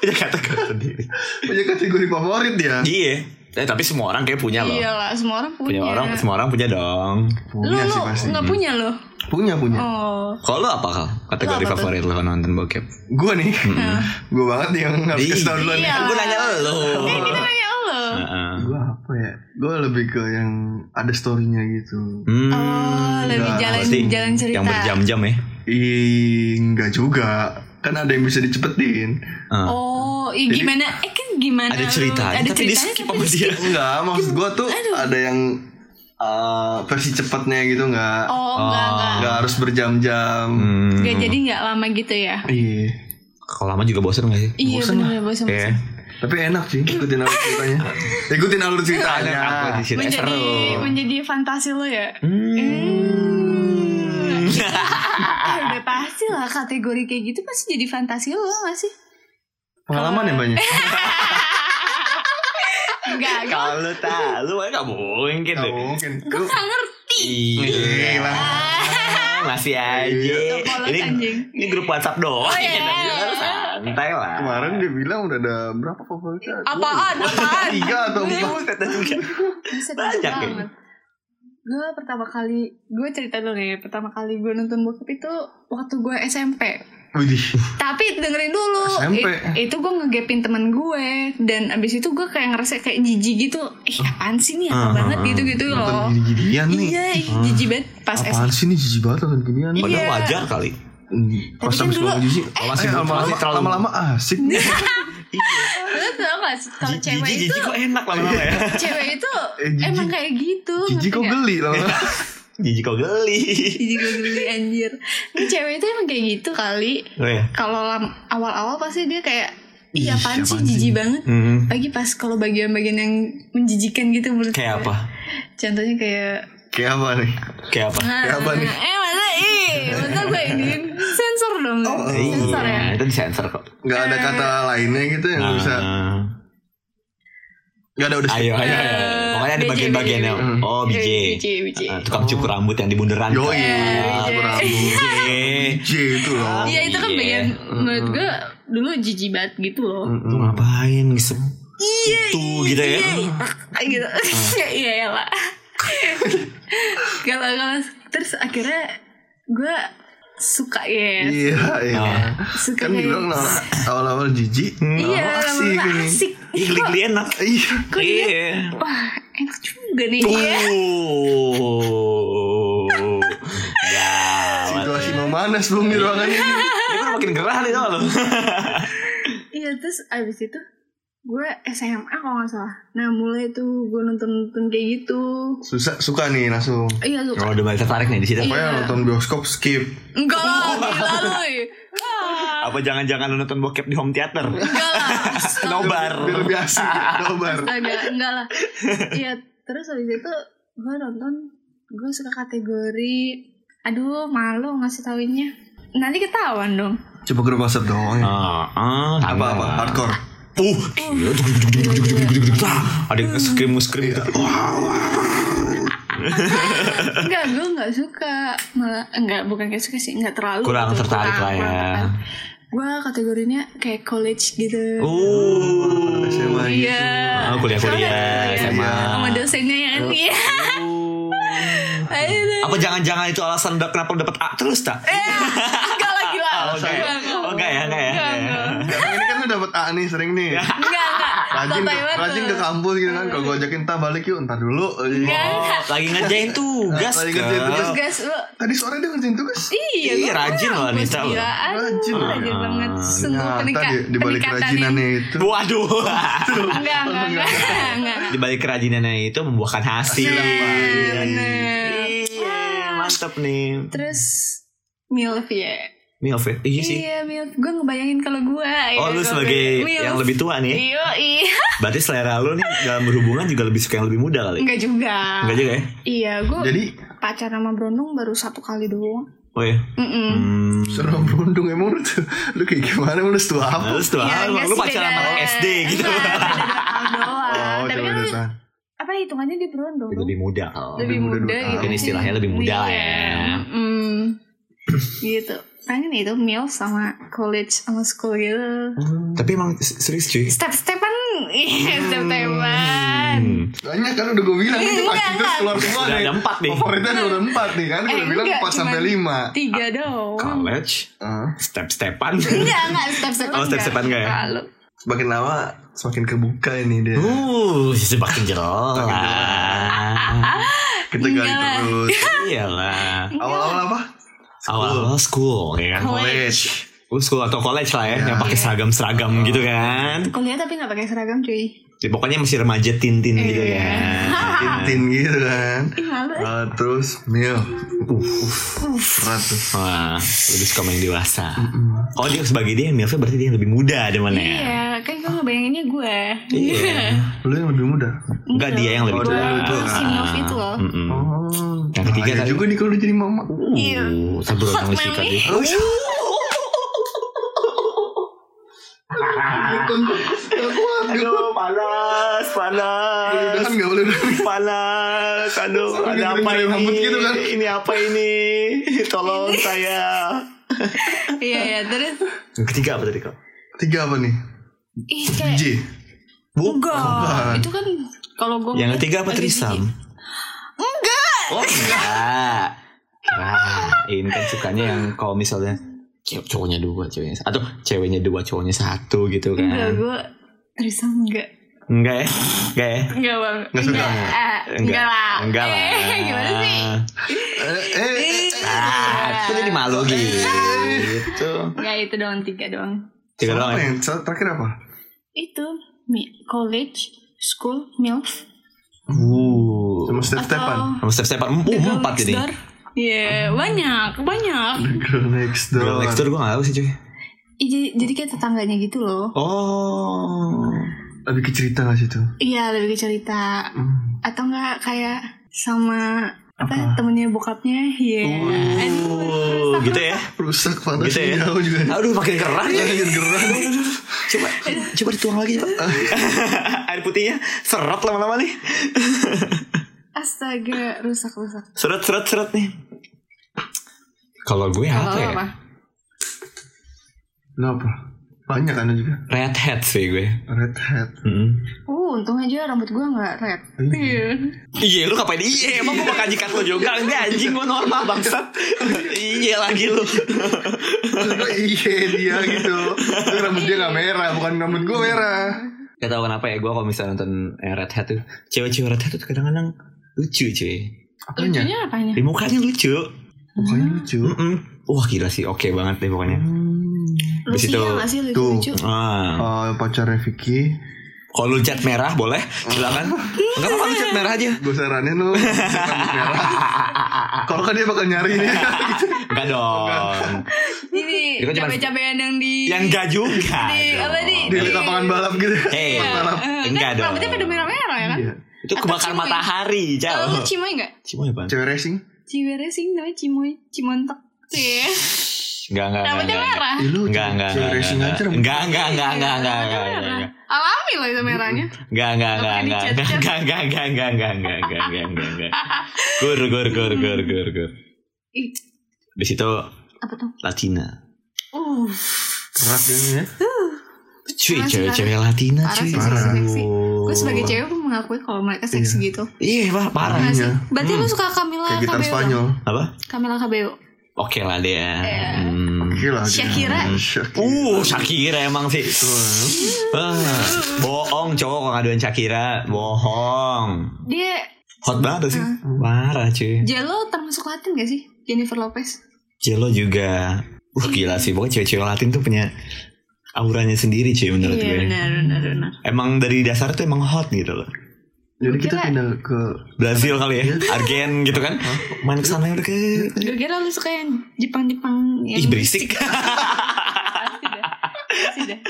Speaker 2: punya kategori sendiri
Speaker 3: Punya kategori favorit dia
Speaker 2: Iya. Eh tapi semua orang kayak punya loh.
Speaker 1: Iyalah, Iya semua orang punya.
Speaker 2: Punya orang, semua orang punya dong.
Speaker 1: Lu
Speaker 3: Punya
Speaker 1: lu
Speaker 3: sih pasti.
Speaker 1: nggak punya lo?
Speaker 2: Iya.
Speaker 3: Punya punya.
Speaker 1: Oh.
Speaker 2: Kalau lo apa kal?
Speaker 1: Lo
Speaker 2: Kategori
Speaker 1: apa tuh?
Speaker 2: favorit lo nonton bokep?
Speaker 3: Gue nih. [LAUGHS] Gue banget nih yang harus kasih tau dulu
Speaker 1: Hmm.
Speaker 3: nih.
Speaker 1: Iya.
Speaker 2: Gue nanya lo.
Speaker 1: Eh, kita nanya lo.
Speaker 2: Heeh.
Speaker 3: Gue apa ya? Gue lebih ke yang ada storynya gitu.
Speaker 2: Hmm,
Speaker 1: Oh, lebih
Speaker 3: Enggak,
Speaker 1: jalan
Speaker 2: Nah, pasti
Speaker 1: jalan cerita.
Speaker 2: Yang berjam-jam ya.
Speaker 3: Ih, enggak juga. Kan ada yang bisa dicepetin.
Speaker 2: Heeh.
Speaker 1: Oh, iya gimana? Eh kan gimana?
Speaker 2: Ada
Speaker 1: lu-
Speaker 2: ceritanya,
Speaker 1: Ada
Speaker 2: tapi di
Speaker 1: ceritanya
Speaker 2: skip
Speaker 1: tapi
Speaker 2: sama
Speaker 1: di-
Speaker 2: dia.
Speaker 3: Enggak, maksud gue tuh ada yang eh, versi cepatnya gitu enggak.
Speaker 1: Oh, enggak enggak.
Speaker 3: Enggak harus berjam-jam.
Speaker 2: Hmm.
Speaker 1: Enggak jadi enggak lama gitu ya.
Speaker 3: Iya.
Speaker 2: Kalau lama juga bosan gak sih?
Speaker 1: Iya benar ya bosan.
Speaker 2: Iya.
Speaker 3: Tapi enak sih ikutin alur
Speaker 1: [LAUGHS]
Speaker 3: ceritanya. ikutin alur ceritanya.
Speaker 2: Aku di sini
Speaker 1: Menjadi
Speaker 2: seru.
Speaker 1: menjadi fantasi lo ya.
Speaker 2: Hmm.
Speaker 1: Eh, [LAUGHS] udah pasti lah kategori kayak gitu pasti jadi fantasi lo gak sih?
Speaker 3: Pengalaman ya, yang banyak.
Speaker 1: Enggak, enggak.
Speaker 2: [LAUGHS] Kalau tak, lu kan gak mungkin
Speaker 3: Nggak
Speaker 2: deh.
Speaker 3: mungkin.
Speaker 1: Gue
Speaker 3: Lu-
Speaker 1: gak ngerti.
Speaker 2: Iya. Masih
Speaker 3: Iya.
Speaker 2: aja.
Speaker 1: polos,
Speaker 2: Eh, Ini
Speaker 1: anjing.
Speaker 2: ini grup WhatsApp doang.
Speaker 1: Oh, iya.
Speaker 2: Lu Santai lah.
Speaker 3: Kemarin dia bilang udah ada berapa favoritnya?
Speaker 1: Apaan? Apaan?
Speaker 3: Tiga atau
Speaker 2: Iya,
Speaker 3: empat.
Speaker 2: kata juga.
Speaker 1: Bisa
Speaker 2: Banyak
Speaker 1: banyak
Speaker 2: ya.
Speaker 1: banget. Gue pertama kali, gue cerita dulu nih, pertama kali gue nonton bokep itu waktu gue SMP.
Speaker 3: Widih.
Speaker 1: Tapi dengerin dulu,
Speaker 3: SMP.
Speaker 1: I- itu gue ngegepin temen gue, dan abis itu gue kayak ngerasa kayak jijik gitu, eh apaan sih nih, apa
Speaker 2: Ah,
Speaker 1: banget
Speaker 2: ah, ah.
Speaker 1: gitu-gitu loh.
Speaker 3: Nonton gini-ginian nih.
Speaker 1: Iya, ih, jijik banget pas
Speaker 3: Apaan
Speaker 1: SMP.
Speaker 3: sih nih jijik banget nonton ginian?
Speaker 2: Padahal
Speaker 1: Iya.
Speaker 2: wajar kali.
Speaker 3: Pas
Speaker 1: kan
Speaker 3: habis
Speaker 1: dulu-
Speaker 3: ngomong jijik,
Speaker 2: eh,
Speaker 3: masih
Speaker 2: eh,
Speaker 3: lama-lama
Speaker 2: masih terlalu-
Speaker 3: lama-lama asik
Speaker 1: Iya.
Speaker 3: nih.
Speaker 1: Lo tau gak sih, kalau cewek
Speaker 2: Jijik,
Speaker 1: itu,
Speaker 2: jijik kok enak lama-lama ya.
Speaker 3: [LAUGHS]
Speaker 1: cewek itu
Speaker 3: Eh, jijik.
Speaker 1: emang kayak gitu. ngerti
Speaker 3: Jijik kok
Speaker 1: nggak?
Speaker 3: geli lama-lama.
Speaker 2: Jijik kok geli.
Speaker 1: Jijik gue geli anjir. Ini cewek itu emang kayak gitu kali.
Speaker 2: Oh ya.
Speaker 1: kalau lam- awal-awal pasti dia kayak
Speaker 3: Ih,
Speaker 1: iya apaan sih
Speaker 3: apaan sih?"
Speaker 1: jijik banget
Speaker 2: Hmm.
Speaker 1: lagi pas kalau bagian-bagian yang menjijikan gitu menurut
Speaker 2: Kayak
Speaker 1: gue.
Speaker 2: apa?
Speaker 1: contohnya kayak
Speaker 3: Kayak apa nih?
Speaker 2: Kayak apa?
Speaker 3: Kayak Ya, apa nih?
Speaker 1: eh masa ih masa gue ini sensor dong
Speaker 3: Oh,
Speaker 1: sensor ya
Speaker 2: Iya, itu disensor kok.
Speaker 3: Gak ada kata
Speaker 1: Eh.
Speaker 3: lainnya gitu yang bisa.
Speaker 2: Ah.
Speaker 3: Gak ada udah.
Speaker 2: Ayo, ayo, ayo. Pokoknya ada
Speaker 1: BJ,
Speaker 2: bagian-bagian
Speaker 1: BJ.
Speaker 2: yang oh BJ.
Speaker 1: BJ, BJ.
Speaker 2: Ah, tukang cukur rambut yang di bundaran.
Speaker 3: Yo
Speaker 2: kan?
Speaker 1: iya.
Speaker 3: iya.
Speaker 2: BJ.
Speaker 3: J itu loh.
Speaker 1: Iya itu kan
Speaker 2: Iya.
Speaker 1: bagian menurut gue dulu jijik banget gitu loh
Speaker 2: Lu ngapain ngisep?
Speaker 1: Iya
Speaker 2: Itu gitu ya. Ah.
Speaker 1: iya, [LAUGHS] gitu iya ya lah kalau kalau terus akhirnya gue suka ya
Speaker 3: Iya, iya.
Speaker 1: Suka
Speaker 3: Kan
Speaker 1: kayak-
Speaker 3: bilang awal- awal-awal jijik,
Speaker 1: Iya,
Speaker 3: lama-lama asik
Speaker 1: lama-lama
Speaker 3: nih.
Speaker 1: asik.
Speaker 2: Ih, geli enak.
Speaker 3: Iya.
Speaker 1: Kok dia-
Speaker 2: Iya.
Speaker 1: Wah, enak juga nih. Iya.
Speaker 2: Tuh. Gawat.
Speaker 3: Situasi memanas belum di ruangan ini.
Speaker 2: Ya, Ini gue makin gerah nih sama lo.
Speaker 1: Iya, terus abis itu gue SMA kalau nggak salah. Nah, mulai tuh gue nonton-nonton kayak gitu.
Speaker 3: Susah suka nih langsung.
Speaker 1: Iya, suka.
Speaker 2: Kalau Oh, udah mulai tertarik nih di situ.
Speaker 1: Iya.
Speaker 3: Pokoknya nonton bioskop skip.
Speaker 1: Enggak lah,
Speaker 2: Oh.
Speaker 1: gila lu. ih. Wah,
Speaker 2: Apa jangan-jangan lo nonton bokep di home theater?
Speaker 1: Enggak lah. Astaga.
Speaker 2: Nobar.
Speaker 3: Biar lebih
Speaker 1: [LAUGHS]
Speaker 3: asik. Nobar.
Speaker 1: Ada, enggak lah. Iya, terus abis itu gue nonton, gue suka kategori Aduh, malu ngasih tauinnya. Nanti ketahuan dong.
Speaker 3: Coba grup WhatsApp dong. ya.
Speaker 2: Ah, ah,
Speaker 3: Apa apa?
Speaker 2: sangat.
Speaker 3: Hardcore.
Speaker 2: Uh, gila. Tuk, tuk, tuk, tuk, tuk, tuk, tuk, tuk. Ah, ada yang nge-scream nge-scream gitu.
Speaker 1: Enggak, gue enggak suka. Malah enggak bukan kayak suka sih, enggak terlalu
Speaker 2: Kurang
Speaker 1: gitu.
Speaker 2: tertarik lah ya.
Speaker 1: Gue kategorinya kayak college gitu.
Speaker 2: Uh,
Speaker 3: SMA gitu.
Speaker 1: Iya.
Speaker 2: Ah, kuliah-kuliah
Speaker 1: Soalnya
Speaker 2: SMA.
Speaker 1: Sama dosennya ya kan. Iya.
Speaker 2: Oh.
Speaker 1: [LAUGHS] Aduh.
Speaker 2: Apa jangan-jangan itu alasan udah kenapa lo dapet A terus tak?
Speaker 1: Eh, Enggak lah gila.
Speaker 2: Oh, enggak ya?
Speaker 1: enggak.
Speaker 2: Oh, enggak ya, enggak ya.
Speaker 1: Enggak, enggak.
Speaker 3: Emang ini kan lu dapet A nih sering nih.
Speaker 1: Enggak, enggak.
Speaker 3: Rajin
Speaker 1: Sotoy
Speaker 3: ke,
Speaker 1: banget
Speaker 3: rajin ke
Speaker 1: tuh.
Speaker 3: kampus gitu kan. Kalau gue ajakin entah balik yuk, entar dulu.
Speaker 1: Iya.
Speaker 2: Oh, lagi ngerjain tugas
Speaker 3: Lagi
Speaker 2: ke.
Speaker 3: ngerjain tugas.
Speaker 1: Terus gas lu.
Speaker 3: Tadi sore dia ngerjain tugas.
Speaker 1: Iya,
Speaker 2: Iya,
Speaker 1: gua
Speaker 2: rajin loh,
Speaker 1: kampus,
Speaker 2: Anita, loh.
Speaker 1: Gila, aduh,
Speaker 3: Rajin loh.
Speaker 1: rajin banget. Sungguh
Speaker 3: Nyata
Speaker 1: peningkat.
Speaker 3: di, di balik Oh, kerajinannya itu.
Speaker 2: Waduh. [LAUGHS]
Speaker 1: Enggak, enggak, enggak. Enggak.
Speaker 2: Di balik kerajinannya itu membuahkan hasil.
Speaker 1: Iya,
Speaker 2: Iya.
Speaker 1: bener.
Speaker 2: Iya, mantep nih.
Speaker 1: Terus MILF ya.
Speaker 2: Milf ya? Iya sih.
Speaker 1: Iya, MILF. Gue ngebayangin kalau gue.
Speaker 2: Oh, lu sebagai yang lebih tua nih.
Speaker 1: Iya, iya.
Speaker 2: Berarti selera lu nih dalam berhubungan juga lebih suka yang lebih muda kali.
Speaker 1: Enggak juga.
Speaker 2: Enggak juga ya?
Speaker 1: Iya, gue
Speaker 3: Jadi
Speaker 1: pacar sama Brondong baru satu kali doang.
Speaker 2: Oh ya.
Speaker 1: Mm-mm.
Speaker 2: Hmm. Nah.
Speaker 3: suruh berundung emang lu tuh lu kayak gimana lu setua apa?
Speaker 2: Terus tuh, ah,
Speaker 1: Ya, enggak
Speaker 2: lu
Speaker 1: sih, beda- Iya,
Speaker 2: pacaran sama orang SD gitu. Oh,
Speaker 1: Enggak, beda dua tahun doang. iya, Tapi
Speaker 3: Oh,
Speaker 1: kan
Speaker 3: coba
Speaker 1: lu-
Speaker 3: datang.
Speaker 1: apa hitungannya dia Brondong? dong?
Speaker 2: Lebih muda kalau.
Speaker 1: Lebih
Speaker 3: muda
Speaker 1: muda
Speaker 3: dua
Speaker 1: gitu.
Speaker 2: Mungkin istilahnya lebih muda lah ya.
Speaker 1: Mm-mm. gitu. Pengen itu MILF sama college sama school gitu.
Speaker 2: Hmm. Tapi emang serius
Speaker 1: [LAUGHS]
Speaker 2: cuy. Hmm.
Speaker 1: Step-stepan. Iya, step-stepan. bukan.
Speaker 3: Banyak kan udah gue bilang itu
Speaker 1: Enggak,
Speaker 3: pasti terus
Speaker 1: enggak.
Speaker 3: keluar semua
Speaker 2: Udah
Speaker 3: nih.
Speaker 2: ada empat nih.
Speaker 3: Favoritnya ada udah empat nih kan gue
Speaker 1: Eh,
Speaker 3: bilang
Speaker 1: enggak,
Speaker 3: empat sampai
Speaker 1: cuman-
Speaker 3: lima.
Speaker 1: Tiga dong.
Speaker 2: College,
Speaker 3: Ah,
Speaker 2: step-stepan.
Speaker 1: Enggak, enggak step-stepan.
Speaker 2: Oh, step-stepan enggak ya?
Speaker 1: Lalu.
Speaker 3: Semakin lama semakin kebuka ini dia.
Speaker 2: Uh, semakin
Speaker 1: [LAUGHS]
Speaker 2: jelas.
Speaker 3: Kita gali
Speaker 1: enggak.
Speaker 3: terus.
Speaker 1: [LAUGHS]
Speaker 2: Iyalah.
Speaker 3: Awal-awal apa?
Speaker 2: Awal-awal school, ya kan?
Speaker 3: College.
Speaker 2: Lu school atau college lah ya,
Speaker 3: Ya.
Speaker 2: yang pakai seragam-seragam gitu kan.
Speaker 1: Kuliah tapi enggak pakai seragam, cuy.
Speaker 2: Ya, pokoknya masih remaja tin-tin gitu
Speaker 1: Iya. [LAUGHS]
Speaker 2: kan.
Speaker 3: Tintin gitu kan.
Speaker 1: Ih, malu.
Speaker 3: Ah, terus mil. Uff, berat tuh.
Speaker 2: Wah, lebih suka main dewasa. Oh dia sebagai dia yang milfnya berarti dia yang lebih muda ada mana ya?
Speaker 1: Iya, kan kamu bayanginnya gue. Gitu.
Speaker 2: Iya.
Speaker 3: Lu yang lebih muda.
Speaker 2: Enggak dia yang lebih
Speaker 3: Oh,
Speaker 2: tua.
Speaker 3: dia yang lebih tua.
Speaker 1: Si Nov itu loh.
Speaker 2: Mm-mm.
Speaker 3: Oh.
Speaker 2: Yang ketiga
Speaker 3: bahaya
Speaker 2: tadi.
Speaker 3: juga nih kalau lu jadi mama.
Speaker 1: Iya.
Speaker 2: Uh, sabar
Speaker 1: Hot
Speaker 2: orang sikat
Speaker 1: mommy.
Speaker 2: dia.
Speaker 1: [LAUGHS]
Speaker 3: Oh, iya. Bukan, gak kuat, gak kuat.
Speaker 2: Aduh, panas, panas.
Speaker 3: Mudah-mudahan gak kan, boleh
Speaker 2: panas aduh
Speaker 3: Sampai ada apa gede-gede ini? rambut gitu kan.
Speaker 2: ini apa ini tolong saya
Speaker 1: Iya, iya, terus
Speaker 2: yang ketiga apa tadi kau
Speaker 3: Tiga apa nih? Eh,
Speaker 1: ih kayak
Speaker 3: DJ
Speaker 1: Enggak. Itu kan kalau gue
Speaker 2: yang ketiga apa trisam
Speaker 1: Enggak.
Speaker 2: oh enggak Wah, ini kan sukanya yang kalau misalnya cewek cowoknya dua ceweknya satu. atau ceweknya dua cowoknya satu gitu
Speaker 1: Enggak,
Speaker 2: kan
Speaker 1: gue Trisam enggak.
Speaker 2: enggak ya enggak ya
Speaker 1: Enggak, Bang.
Speaker 3: Enggak suka.
Speaker 1: Enggak, eh, enggak lah.
Speaker 2: enggak lah
Speaker 1: Eh, [LAUGHS] gimana sih?
Speaker 3: Eh, eh, eh,
Speaker 2: ah, aku jadi malu gitu
Speaker 1: Ya itu doang tiga doang.
Speaker 2: tiga
Speaker 3: Apa
Speaker 2: doang ya?
Speaker 3: yang satu terakhir apa?
Speaker 1: Itu mi- college, school, milf,
Speaker 2: uh
Speaker 3: Sama Step Stepan
Speaker 1: atau
Speaker 2: sama step stepan uh,
Speaker 1: the girl
Speaker 2: empat
Speaker 1: next
Speaker 2: jadi Hmm.
Speaker 1: door. Iya, banyak, banyak.
Speaker 3: The Girl Next Door
Speaker 2: Girl next door gue gak tau sih cuy
Speaker 1: Ih, Jadi, jadi kayak tetangganya gitu loh.
Speaker 2: Oh
Speaker 3: Lebih ke cerita gak sih tuh?
Speaker 1: Iya, lebih ke cerita.
Speaker 3: Hmm.
Speaker 1: Atau enggak kayak sama apa,
Speaker 3: Apa?
Speaker 1: temennya bokapnya iya
Speaker 2: Uh, gitu ya
Speaker 3: Rusak pada
Speaker 2: Gitu ya
Speaker 3: jauh juga
Speaker 2: Aduh makin keras
Speaker 3: Makin keras.
Speaker 2: Coba coba dituang lagi coba [LAUGHS] Air putihnya Seret lama-lama nih [LAUGHS]
Speaker 1: astaga rusak rusak
Speaker 2: Seret seret seret nih Kalau gue apa ya
Speaker 3: Kenapa? Banyak kan juga
Speaker 2: Red hat sih gue
Speaker 3: Red Hat
Speaker 1: uh untung aja rambut gue nggak red iya
Speaker 2: Iya lu ngapain Iya emang gue bakal nyikat lo juga Enggak anjing gue normal bangsat [LAUGHS] Iya lagi lu [LAUGHS]
Speaker 3: Terus Iya dia gitu Terus Rambut dia gak merah Bukan rambut gue merah
Speaker 2: Gak tau kenapa ya gue kalau misalnya nonton eh, Red Hat tuh Cewek-cewek Red Hat tuh kadang-kadang lucu cuy
Speaker 3: Apanya?
Speaker 1: lucunya apanya
Speaker 2: Di mukanya lucu
Speaker 3: Bukannya lucu
Speaker 2: Mm-mm. Wah gila sih, oke banget deh pokoknya. Di
Speaker 1: lucunya
Speaker 2: situ.
Speaker 1: nggak sih lucu
Speaker 3: Tuh.
Speaker 1: lucu
Speaker 2: Ah.
Speaker 3: Eh, Pacarnya Vicky
Speaker 2: Kalau lu cat merah boleh, silakan. Enggak apa-apa lu cat merah aja.
Speaker 3: Gue saranin lu rambut merah. Kalau kan dia bakal nyari ini gitu.
Speaker 2: Enggak dong.
Speaker 1: ini
Speaker 2: Itu kan cuma-
Speaker 1: cabai-cabean yang di
Speaker 2: Yang enggak juga.
Speaker 1: Di, apa nih?
Speaker 3: Di lapangan balap gitu
Speaker 2: Eh,
Speaker 1: Iya.
Speaker 3: Balap.
Speaker 1: Eh,
Speaker 2: enggak
Speaker 1: kan
Speaker 2: dong.
Speaker 1: rambutnya pada merah-merah ya kan
Speaker 3: Iya
Speaker 2: Itu
Speaker 1: Atau Oh,
Speaker 2: kebakar
Speaker 1: cimoy.
Speaker 2: matahari,
Speaker 1: kalau lu
Speaker 2: jauh.
Speaker 1: cimoy nggak
Speaker 2: Cimoy apaan?
Speaker 3: Cewek racing
Speaker 1: ciwere sih namanya cimoy cimontok sih
Speaker 2: Enggak, enggak, Iya. enggak.
Speaker 1: rambutnya
Speaker 2: enggak.
Speaker 1: merah
Speaker 3: Ih, lu
Speaker 2: Enggak,
Speaker 3: cewek-
Speaker 2: enggak,
Speaker 3: Cewek racing
Speaker 2: enggak,
Speaker 3: aja rambut.
Speaker 2: enggak, enggak, enggak, enggak, enggak, enggak,
Speaker 1: Rambutnya
Speaker 2: enggak,
Speaker 1: merah. alami loh itu merahnya
Speaker 2: enggak,
Speaker 1: Nggak
Speaker 2: enggak, enggak, enggak,
Speaker 1: pakai
Speaker 2: enggak,
Speaker 1: dicat-cat.
Speaker 2: enggak, enggak, enggak, enggak, enggak, enggak, enggak, enggak, enggak. Gur, gur, gur, gur, gur, gur.
Speaker 1: Ih,
Speaker 2: Di situ
Speaker 1: apa tuh
Speaker 2: Latina.
Speaker 1: uh
Speaker 3: Berat dia nih ya
Speaker 2: Cuy,
Speaker 1: Parah sih,
Speaker 2: cewek-cewek Latina,
Speaker 1: parah
Speaker 2: cuy.
Speaker 1: sih seksi seksi
Speaker 2: Aduh.
Speaker 1: gue sebagai cewek gue mengakui kalau mereka seksi gitu
Speaker 2: Iya, Pak, parah.
Speaker 1: Nggak sih?
Speaker 3: Iya.
Speaker 1: berarti lu suka Camila
Speaker 3: Kayak gitar
Speaker 1: Cabello
Speaker 3: Spanyol
Speaker 2: Apa?
Speaker 1: Camila Cabello
Speaker 2: Oke lah dia.
Speaker 1: Iya.
Speaker 2: Hmm.
Speaker 3: Gila dia.
Speaker 1: Shakira.
Speaker 3: Shakira
Speaker 2: Uh, Shakira emang sih. Ah, bohong cowok kalau ngaduin Shakira, bohong.
Speaker 1: dia
Speaker 2: Hot banget sih.
Speaker 1: Ah.
Speaker 2: Parah cuy.
Speaker 1: Jelo termasuk Latin gak sih Jennifer Lopez
Speaker 2: Jelo juga. Uh, gila sih. Pokoknya cewek-cewek Latin tuh punya auranya sendiri cuy menurut gue.
Speaker 1: Iya, benar benar benar
Speaker 2: Emang dari dasar tuh emang hot gitu loh.
Speaker 3: Jadi kita
Speaker 1: Kira-
Speaker 3: pindah ke
Speaker 2: Brazil kali ya, Argen gitu kan. Main kesana udah ke.
Speaker 1: gue kira lu suka yang Jepang Jepang yang
Speaker 2: Ih Iya, [LAUGHS] berisik.
Speaker 1: Pasti dah. Pasti dah.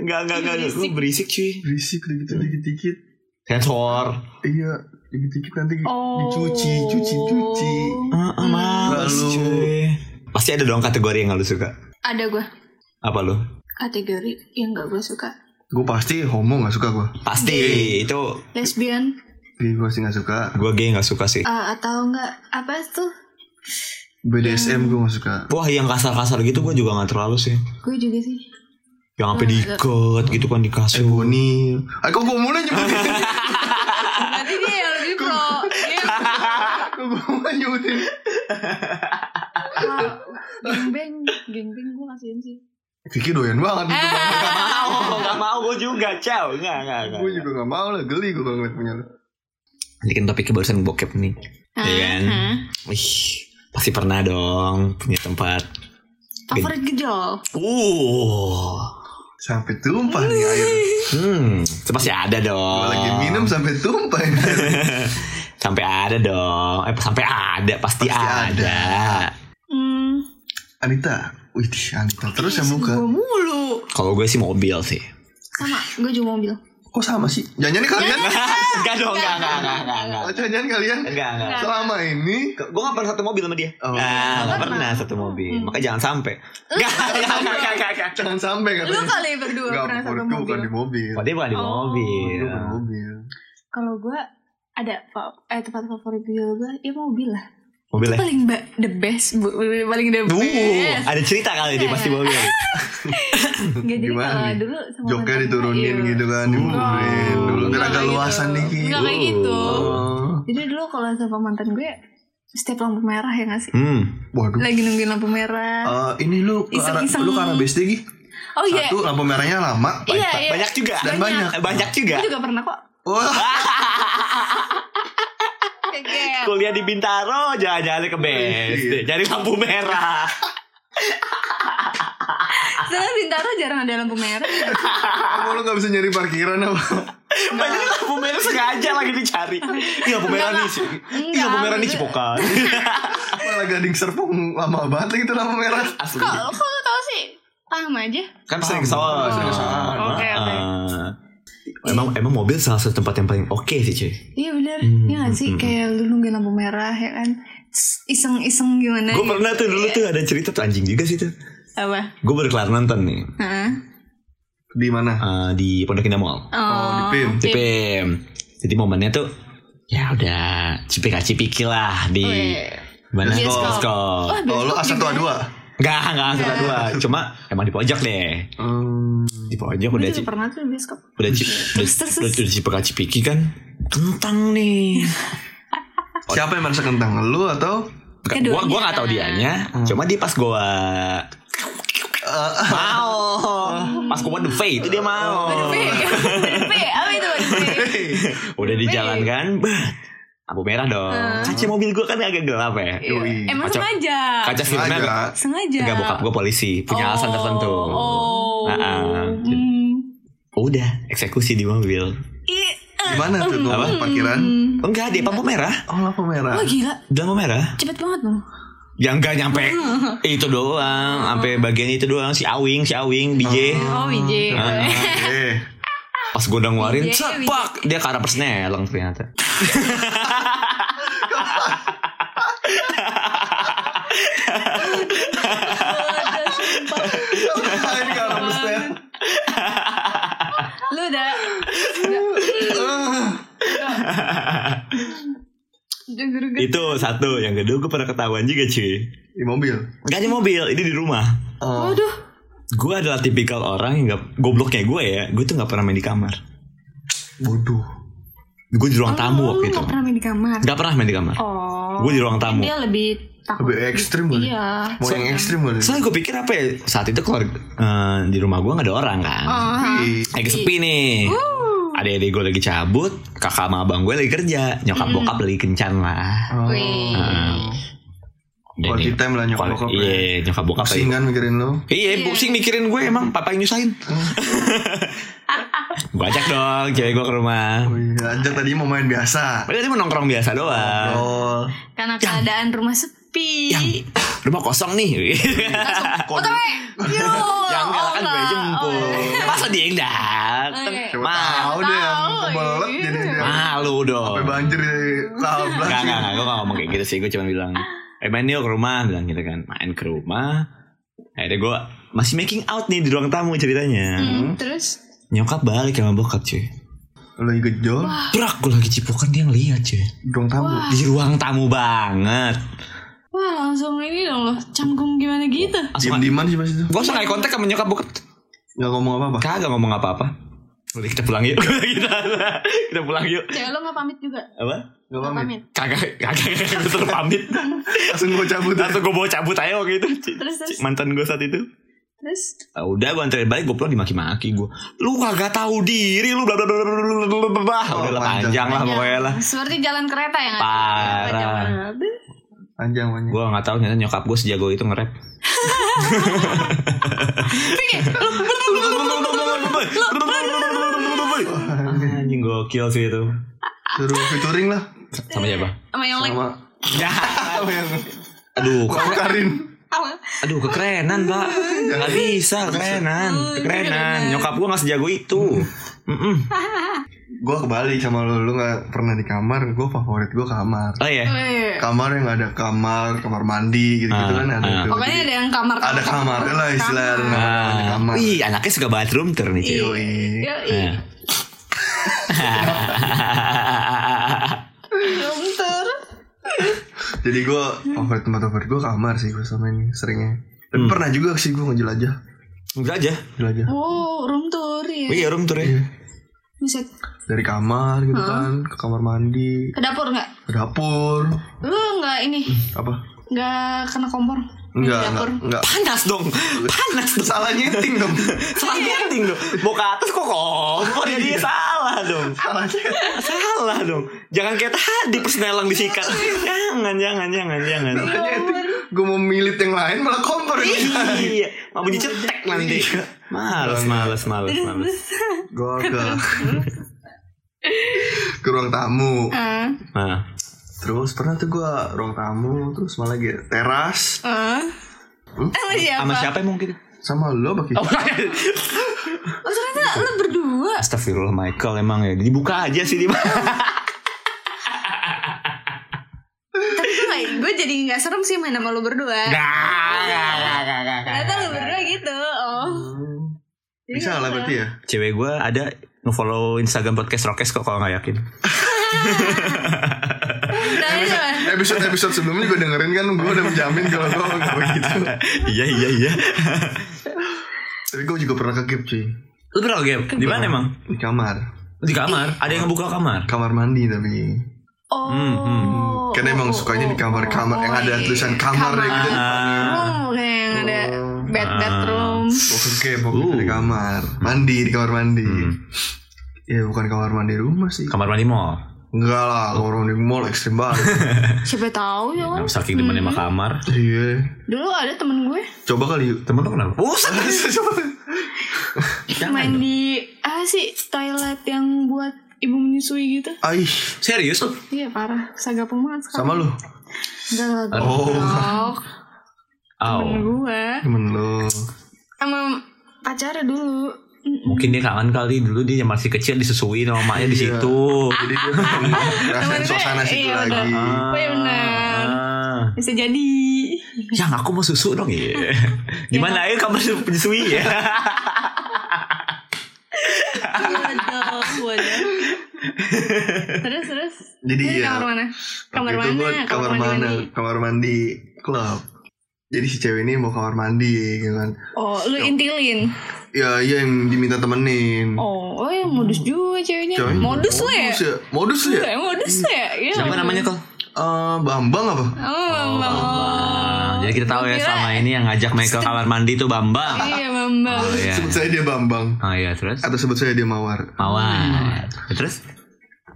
Speaker 2: Enggak enggak enggak. Lu berisik cuy.
Speaker 3: Berisik dikit dikit-dikit
Speaker 2: Sensor.
Speaker 3: Iya Dikit-dikit nanti
Speaker 1: oh
Speaker 3: dicuci Cuci-cuci
Speaker 2: Ah, ah, males,
Speaker 3: Lalu-
Speaker 2: cuy. Pasti ada dong kategori yang gak lu suka.
Speaker 1: ada gue
Speaker 2: Apa lu?
Speaker 1: kategori yang gak gue suka
Speaker 3: Gue pasti homo gak suka gue
Speaker 2: Pasti itu
Speaker 1: lesbian
Speaker 3: Gue pasti gak suka
Speaker 2: gue gay nggak suka sih.
Speaker 1: eh, atau enggak apa tuh
Speaker 3: BDSM gue gak suka
Speaker 2: Wah yang kasar-kasar gitu gue juga nggak terlalu sih.
Speaker 1: gue juga sih
Speaker 2: Yang sampai diikat gitu kan di kasur.
Speaker 3: Ebony. Ah kok gue mulai nyebutin? [LAUGHS]
Speaker 1: Berarti dia yang lebih pro. Dia yang
Speaker 3: kok gue mulai nyebutin?
Speaker 1: pro. Gengbeng, gengbeng gue kasihan sih.
Speaker 3: Vicky doyan banget
Speaker 1: Eh.
Speaker 3: gitu.
Speaker 2: Gak mau, gak Oh, mau gue juga, Ciao. Enggak, enggak, enggak.
Speaker 3: Gue juga gak mau lah, geli gue kalau ngeliat punya lu.
Speaker 2: Ini kan topiknya barusan bokep nih.
Speaker 1: Ah,
Speaker 2: Iya kan?
Speaker 1: Hah?
Speaker 2: Ih, pasti pernah dong punya tempat.
Speaker 1: [LAUGHS] Favorit gejol.
Speaker 2: Uh.
Speaker 3: Sampai tumpah nih air.
Speaker 2: Hmm, itu pasti ada dong.
Speaker 3: Gue lagi minum sampai tumpah.
Speaker 2: Sampai ada dong. Eh, sampai ada, pasti,
Speaker 3: Pasti
Speaker 2: ada.
Speaker 1: Hmm.
Speaker 3: Anita, wih Anita. Terus yang
Speaker 1: Gue
Speaker 3: muka.
Speaker 1: mulu.
Speaker 2: Kalau gue sih mobil sih.
Speaker 1: Sama, gue juga mobil.
Speaker 3: Kok sama sih? Jangan-jangan kalian?
Speaker 2: [LAUGHS]
Speaker 1: Iya.
Speaker 2: enggak dong, enggak, enggak, enggak, enggak, enggak.
Speaker 3: Oh, Jangan-jangan kalian?
Speaker 2: Enggak, enggak.
Speaker 3: Selama ini
Speaker 2: Gue gak pernah satu mobil sama dia.
Speaker 3: Oh.
Speaker 2: Nah, gak
Speaker 1: Pernah. Hmm.
Speaker 2: pernah satu mobil. Maka jangan sampai. Enggak, enggak, enggak, enggak, enggak.
Speaker 3: jangan sampai
Speaker 1: Lu
Speaker 3: katanya.
Speaker 1: kali berdua
Speaker 3: Enggak,
Speaker 1: pernah satu
Speaker 3: menurutku
Speaker 1: mobil.
Speaker 3: bukan di mobil.
Speaker 2: Oh, dia bukan di
Speaker 1: Oh.
Speaker 2: mobil.
Speaker 3: Bukan di mobil.
Speaker 1: Kalau gue ada fa- eh tempat favorit gejol gue, ya mobil lah.
Speaker 2: Mobil ya?
Speaker 1: Paling ba- the best, bu- paling the
Speaker 2: Uh,
Speaker 1: best.
Speaker 2: ada cerita kali dia pasti mobil.
Speaker 1: Nggak, jadi
Speaker 3: Gimana
Speaker 1: kalau
Speaker 3: nih?
Speaker 1: dulu sama
Speaker 3: Joknya
Speaker 1: mantan gue,
Speaker 3: diturunin
Speaker 1: iya.
Speaker 3: gitu kan, dimukulin.
Speaker 2: Oh.
Speaker 3: Dulu biar
Speaker 1: Nggak
Speaker 3: agak
Speaker 1: kayak
Speaker 3: luasan
Speaker 1: gitu.
Speaker 3: dikit.
Speaker 1: Nggak kayak gitu.
Speaker 3: Oh.
Speaker 1: Jadi dulu kalau sama mantan gue setiap lampu merah ya nggak sih?
Speaker 2: Hmm.
Speaker 3: Waduh.
Speaker 1: Lagi nungguin lampu merah.
Speaker 3: Eh, ini lu ke arah,
Speaker 1: ya. Iseng-iseng.
Speaker 3: lu ke arah BSD Gi?
Speaker 1: Oh iya.
Speaker 3: Satu lampu merahnya lama.
Speaker 1: Iya,
Speaker 2: Ba-
Speaker 1: iya.
Speaker 2: Banyak juga.
Speaker 3: Dan banyak.
Speaker 2: Banyak juga.
Speaker 1: Gue juga pernah kok.
Speaker 3: Wah,
Speaker 1: Kayak
Speaker 2: Kuliah di Bintaro, jalan-jalan ke BSD, nyari lampu merah.
Speaker 1: Sekarang Bintaro jarang ada lampu merah.
Speaker 3: kamu lu gak bisa nyari parkiran apa?
Speaker 2: Banyak lampu merah sengaja lagi dicari. Iya, lampu merah nih. sih. Iya, lampu merah nih cipokan.
Speaker 3: Malah gading serpong lama banget lagi tuh lampu merah.
Speaker 2: [LAUGHS] Asli.
Speaker 1: Kok kok lu tau sih? Paham aja.
Speaker 2: Kan
Speaker 3: Paham,
Speaker 2: sering kesalahan.
Speaker 3: sering
Speaker 2: Oh,
Speaker 3: kesalahan.
Speaker 1: Oke, oke.
Speaker 2: Ah. Emang emang mobil salah satu tempat yang paling oke sih, cuy.
Speaker 1: Iya bener.
Speaker 2: Hmm,
Speaker 1: Iya nggak sih?
Speaker 2: hmm, hmm.
Speaker 1: Kayak lu nungguin lampu merah ya kan? Tss, Iseng-iseng gimana?
Speaker 2: Gue
Speaker 1: gitu.
Speaker 2: pernah tuh dulu tuh ada cerita tuh anjing juga sih tuh.
Speaker 1: Apa?
Speaker 2: Gue baru kelar nonton nih
Speaker 1: Heeh.
Speaker 3: Di mana?
Speaker 2: eh, di Pondok Indah Mall.
Speaker 3: Oh, di PIM.
Speaker 2: Di PM. Jadi momennya tuh ya udah cipika cipiki lah di mana
Speaker 1: Bioskop.
Speaker 2: bioskop.
Speaker 1: Oh, iya, Wah,
Speaker 3: Oh, lu
Speaker 1: besok
Speaker 3: A1
Speaker 1: juga.
Speaker 3: A2?
Speaker 2: Enggak, enggak satu dua. Cuma emang di pojok deh.
Speaker 3: Hmm.
Speaker 2: Di pojok
Speaker 1: Gue
Speaker 2: udah
Speaker 1: juga
Speaker 2: ci-
Speaker 1: pernah tuh di bioskop.
Speaker 2: udah ci- udah,
Speaker 1: Terus, terus,
Speaker 2: udah, udah cipika cipiki kan. Kentang nih.
Speaker 3: Siapa yang merasa kentang? Lu atau?
Speaker 2: Bukan,
Speaker 1: Keduanya.
Speaker 2: gua gua gak tahu dianya. Cuma dia pas gua
Speaker 3: Eh,
Speaker 2: mau. Pas gua the fate itu dia mau.
Speaker 1: Waduh, P. Waduh, P. Apa itu? Waduh, P.
Speaker 2: Udah di jalan kan. bah, Lampu merah dong. Kaca mobil gua kan agak gelap ya.
Speaker 1: Iya.
Speaker 3: Yoi.
Speaker 1: Emang
Speaker 2: Kacau.
Speaker 1: sengaja.
Speaker 2: Kaca
Speaker 1: Iya,
Speaker 2: sebenarnya agak-
Speaker 3: Sengaja.
Speaker 1: Sengaja.
Speaker 2: Enggak bokap gue polisi punya alasan
Speaker 1: Oh,
Speaker 2: tertentu.
Speaker 1: Iya. Oh.
Speaker 2: Ah, ah.
Speaker 1: Hmm.
Speaker 2: Udah eksekusi di mobil.
Speaker 1: Ih, eh.
Speaker 3: Gimana tuh? Lu
Speaker 2: Apa?
Speaker 3: parkiran?
Speaker 1: Hmm.
Speaker 2: Enggak di lampu merah.
Speaker 3: Oh, lampu merah.
Speaker 1: Wah gila,
Speaker 2: Di lampu merah.
Speaker 1: cepet banget loh.
Speaker 2: Yang enggak nyampe
Speaker 1: Hmm.
Speaker 2: itu doang, sampai bagian itu doang si Awing, si Awing, BJ.
Speaker 1: Oh, Wijay. [LAUGHS]
Speaker 3: Eh,
Speaker 2: Pas gue udah ngeluarin,
Speaker 1: BJ.
Speaker 2: cepak dia ke arah persneleng ternyata.
Speaker 1: Waduh, sumpah.
Speaker 3: ini kan lampu stel.
Speaker 1: Lu udah
Speaker 3: Eh,
Speaker 1: udah gerget.
Speaker 2: itu satu, yang kedua gue pernah ketahuan juga cuy.
Speaker 3: Di mobil.
Speaker 2: Enggak di mobil, ini di rumah.
Speaker 3: Oh.
Speaker 1: Waduh.
Speaker 2: Gue adalah tipikal orang yang gak, gobloknya gue ya, gue tuh gak pernah main di kamar.
Speaker 3: Bodoh.
Speaker 2: Gue di ruang
Speaker 1: Oh,
Speaker 2: tamu
Speaker 1: lu
Speaker 2: waktu itu.
Speaker 1: nggak pernah main di kamar.
Speaker 2: Gak pernah main di kamar.
Speaker 1: Oh.
Speaker 2: Gue di ruang tamu.
Speaker 1: Dia lebih takut.
Speaker 3: Lebih ekstrim kali.
Speaker 1: Iya.
Speaker 3: Mau yang ekstrim kali.
Speaker 2: Soalnya gue pikir apa ya Saat itu keluar eh, Di rumah gue gak ada orang kan
Speaker 1: Oh.
Speaker 3: Ih,
Speaker 2: Lagi sepi nih Adik-adik gue lagi cabut Kakak sama abang gue lagi kerja Nyokap bokap lagi kencan lah Eh,
Speaker 3: oh.
Speaker 1: Wih.
Speaker 2: Dan
Speaker 3: Quality
Speaker 2: ini-
Speaker 3: time lah nyokap
Speaker 2: quali-
Speaker 3: bokap ya.
Speaker 2: Iya nyokap bokap lagi
Speaker 3: Pusing kan mikirin lo.
Speaker 2: Iya
Speaker 1: Iya.
Speaker 2: pusing mikirin gue emang Papa yang nyusahin Gue ajak dong cewek gue ke rumah
Speaker 3: Oh iya, ajak tadi mau main biasa.
Speaker 2: Padahal dia mau nongkrong biasa doang
Speaker 3: Oh,
Speaker 1: Karena keadaan rumah sepi.
Speaker 2: Rumah kosong nih
Speaker 1: Langsung,
Speaker 2: [LAUGHS]
Speaker 1: otw. Yo.
Speaker 2: Yang enggak kan gue
Speaker 1: enggak.
Speaker 2: jemput
Speaker 1: Iya. Oh,
Speaker 2: Masa dia yang dateng
Speaker 1: Oke.
Speaker 3: coba
Speaker 2: Mal
Speaker 3: tahu deh yang
Speaker 1: Tahu,
Speaker 3: kebelet
Speaker 1: iya.
Speaker 3: jadi dia.
Speaker 2: Malu dong
Speaker 3: Sampai banjir di tablas.
Speaker 2: Enggak, enggak, enggak. Gue gak ngomong kayak gitu sih. Gue cuma bilang, eh main yuk ke rumah. Bilang gitu kan. Main ke rumah. Akhirnya gue masih making out nih di ruang tamu ceritanya.
Speaker 1: Hmm, Terus
Speaker 2: Nyokap balik sama bokap cuy.
Speaker 3: Lo yang gejol,
Speaker 2: Brak, gue lagi cipokan dia ngeliat cuy.
Speaker 3: dong tamu.
Speaker 2: Di ruang tamu banget.
Speaker 1: Wah langsung ini dong loh Canggung gimana gitu
Speaker 2: Langsung
Speaker 3: Diam diman sih pas itu.
Speaker 2: Gue langsung eye contact sama nyokap bokap.
Speaker 3: nggak ngomong apa apa
Speaker 2: Kagak ngomong apa-apa. Udah kita pulang yuk. [LAUGHS] kita, kita pulang yuk.
Speaker 1: Cewek lo nggak pamit juga?
Speaker 2: Apa?
Speaker 3: nggak
Speaker 1: Nggak
Speaker 3: pamit
Speaker 1: pamit.
Speaker 2: Kagak, kagak, kagak gue suruh pamit.
Speaker 3: langsung gue cabut
Speaker 2: Langsung gue bawa cabut aja waktu itu. C-
Speaker 1: Terus terus
Speaker 2: c- Mantan gue saat itu.
Speaker 1: terus.
Speaker 2: Ah, udah gue anterin balik gue pulang dimaki-maki gue. Lu kagak tahu diri lu bla bla bla bla bla bla bla bla bla.
Speaker 3: Oh,
Speaker 2: Udah lah,
Speaker 3: panjang.
Speaker 2: panjang lah pokoknya lah.
Speaker 1: Iya, Seperti jalan kereta ya nggak?
Speaker 2: Parah.
Speaker 3: panjang panjang
Speaker 2: Gue gak tahu ternyata nyokap gue sejago itu nge-rap. Anjing gokil sih itu.
Speaker 3: suruh featuring lah
Speaker 2: Sama siapa?
Speaker 1: [LAUGHS]
Speaker 3: [LAUGHS]
Speaker 1: Sama yang lain.
Speaker 3: sama
Speaker 2: Ya.
Speaker 3: sama yang
Speaker 2: Aduh,
Speaker 3: sama Karin
Speaker 1: Apa?
Speaker 2: aduh kekerenan, Pak. Gak bisa kekerenan, kekerenan. Nyokap gue gak sejago itu. Mm-mm.
Speaker 3: gue kebalik sama lu lu nggak pernah di kamar gue favorit gue kamar
Speaker 2: Oh iya.
Speaker 1: Weh.
Speaker 3: kamar yang ada kamar kamar mandi gitu gitu
Speaker 2: Ah,
Speaker 3: kan ada
Speaker 2: ah.
Speaker 3: tuh.
Speaker 1: Pokoknya ada yang kamar.
Speaker 3: ada kamar lah istilahnya ada
Speaker 2: Ah,
Speaker 3: kamar
Speaker 1: Iya.
Speaker 2: Wih, anaknya suka banget room tour nih, cuy.
Speaker 3: Yoi.
Speaker 2: Iya.
Speaker 1: Yoi.
Speaker 2: Nah. [LAUGHS]
Speaker 1: Dokter.
Speaker 3: jadi gue favorit tempat favorit gue kamar sih gue sama ini seringnya
Speaker 2: Hmm.
Speaker 3: tapi pernah juga sih gue ngejelajah
Speaker 2: Enggak aja.
Speaker 3: jelajah
Speaker 1: Oh, room tour ya.
Speaker 2: Iya, room tour ya.
Speaker 1: Bisa
Speaker 3: dari kamar gitu kan ke kamar mandi
Speaker 1: ke dapur nggak?
Speaker 3: ke dapur
Speaker 1: Lu nggak ini?
Speaker 3: apa
Speaker 1: Nggak kena kompor?
Speaker 3: enggak
Speaker 1: Di
Speaker 3: enggak
Speaker 1: dapur.
Speaker 3: enggak
Speaker 2: Panas dong. Panas dong.
Speaker 3: salah nyeting
Speaker 1: [LAUGHS]
Speaker 3: dong
Speaker 2: Salah nyeting dong. Mau ke atas kok kompor jadi salah dong.
Speaker 3: salah nyeting
Speaker 2: Salah dong. Jangan kayak tadi persenelang disikat. Jangan, jangan, jangan, jangan.
Speaker 3: gue mau milit yang lain malah kompor
Speaker 2: Iya, mau bunyi cetek nanti. Males, males, males, males.
Speaker 3: gue ke [LAUGHS] ke ruang tamu
Speaker 1: Eh,
Speaker 2: Nah,
Speaker 3: terus pernah tuh gue ruang tamu terus malah lagi teras
Speaker 1: eh. Sama siapa?
Speaker 2: sama siapa emang gitu?
Speaker 3: sama lo bagi
Speaker 2: Oh,
Speaker 1: Oh, ternyata lu berdua.
Speaker 2: Astagfirullah Michael emang ya dibuka aja sih di
Speaker 1: Tapi gue nggak- gue jadi nggak serem sih main sama lu berdua. Ternyata lu berdua gitu. Oh. Jadi
Speaker 3: Kan? bisa
Speaker 1: nggak
Speaker 3: lah
Speaker 1: serem.
Speaker 3: berarti ya
Speaker 2: Cewek gue ada ngefollow Instagram podcast Rokes kok kalau nggak yakin.
Speaker 1: Udah aja lah.
Speaker 3: episode episode sebelumnya gue dengerin kan gue udah menjamin kalau gue nggak gitu. begitu
Speaker 2: iya iya iya.
Speaker 3: tapi gue juga pernah kegip cuy
Speaker 2: Lu pernah game?
Speaker 1: Kan
Speaker 2: Di mana emang?
Speaker 3: di kamar
Speaker 2: Di
Speaker 1: Iya.
Speaker 2: kamar. Ada yang ngebuka kamar.
Speaker 3: kamar mandi tapi
Speaker 1: Oh.
Speaker 3: Hmm,
Speaker 1: iya.
Speaker 3: Karena emang sukanya di kamar-kamar yang ada tulisan kamar ya gitu.
Speaker 1: Oh,
Speaker 3: Hmm.
Speaker 1: kayak yang ada bed bedroom.
Speaker 3: gue kegip waktu itu di kamar mandi di kamar mandi ya bukan kamar mandi rumah sih
Speaker 2: Kamar mandi
Speaker 1: Oh.
Speaker 2: mall.
Speaker 3: enggak lah kamar mandi mall ekstrim banget
Speaker 1: Siapa tahu ya kan.
Speaker 2: Nah, saking demennya sama kamar.
Speaker 3: iya
Speaker 1: Dulu ada temen gue
Speaker 3: coba kali yuk
Speaker 2: Temen lu kenapa?
Speaker 1: Oh,
Speaker 2: Buset.
Speaker 1: main di ah sih toilet yang buat ibu menyusui gitu.
Speaker 3: Aih,
Speaker 2: [LAUGHS] Serius lu?
Speaker 1: Iya parah, kagak banget sekarang.
Speaker 3: sama lu
Speaker 1: Enggak lah,
Speaker 3: Oh.
Speaker 1: goblok. Temen
Speaker 2: Oh.
Speaker 1: gue
Speaker 3: temen lu
Speaker 1: sama pacarnya dulu. Mm-mm.
Speaker 2: Mungkin dia kangen kali dulu dia masih kecil disusuin sama maknya di
Speaker 3: Iya.
Speaker 2: situ.
Speaker 1: [LAUGHS]
Speaker 3: jadi dia pengen ngerasain
Speaker 1: Temen
Speaker 3: suasana
Speaker 1: gue,
Speaker 3: situ
Speaker 1: iya,
Speaker 3: lagi
Speaker 2: Ah,
Speaker 1: Oh, iya benar.
Speaker 2: ah.
Speaker 1: Bisa jadi.
Speaker 2: Yang aku mau susu dong ya.
Speaker 1: [LAUGHS]
Speaker 2: [LAUGHS] Gimana ya kamu [LAUGHS] menyusui ya?
Speaker 1: Waduh, waduh. terus terus.
Speaker 3: jadi
Speaker 1: Ini
Speaker 3: ya
Speaker 2: iya.
Speaker 1: kamar mana? Kamar
Speaker 3: waktu itu
Speaker 1: mana?
Speaker 3: gua kamar mana
Speaker 1: mandi.
Speaker 3: kamar mandi klub jadi si cewek ini mau kamar mandi gitu kan
Speaker 1: Oh, lu intilin.
Speaker 3: ya iya yang diminta temenin
Speaker 1: Oh, oh ya modus juga ceweknya.
Speaker 3: Cewek-
Speaker 1: modus lu ya.
Speaker 3: modus ya modus lu ya
Speaker 1: Iya, modus lu ya. Iya.
Speaker 2: Siapa namanya kok?
Speaker 3: Eh, bambang apa
Speaker 1: Oh, Bambang.
Speaker 2: Jadi kita tahu ya
Speaker 1: Gila.
Speaker 2: selama ini yang ngajak Michael kamar mandi itu Bambang.
Speaker 1: Iya, Bambang.
Speaker 2: Oh iya.
Speaker 3: sebut saya dia bambang
Speaker 2: Oh iya terus?
Speaker 3: atau sebut saya dia mawar
Speaker 2: Mawar. Terus?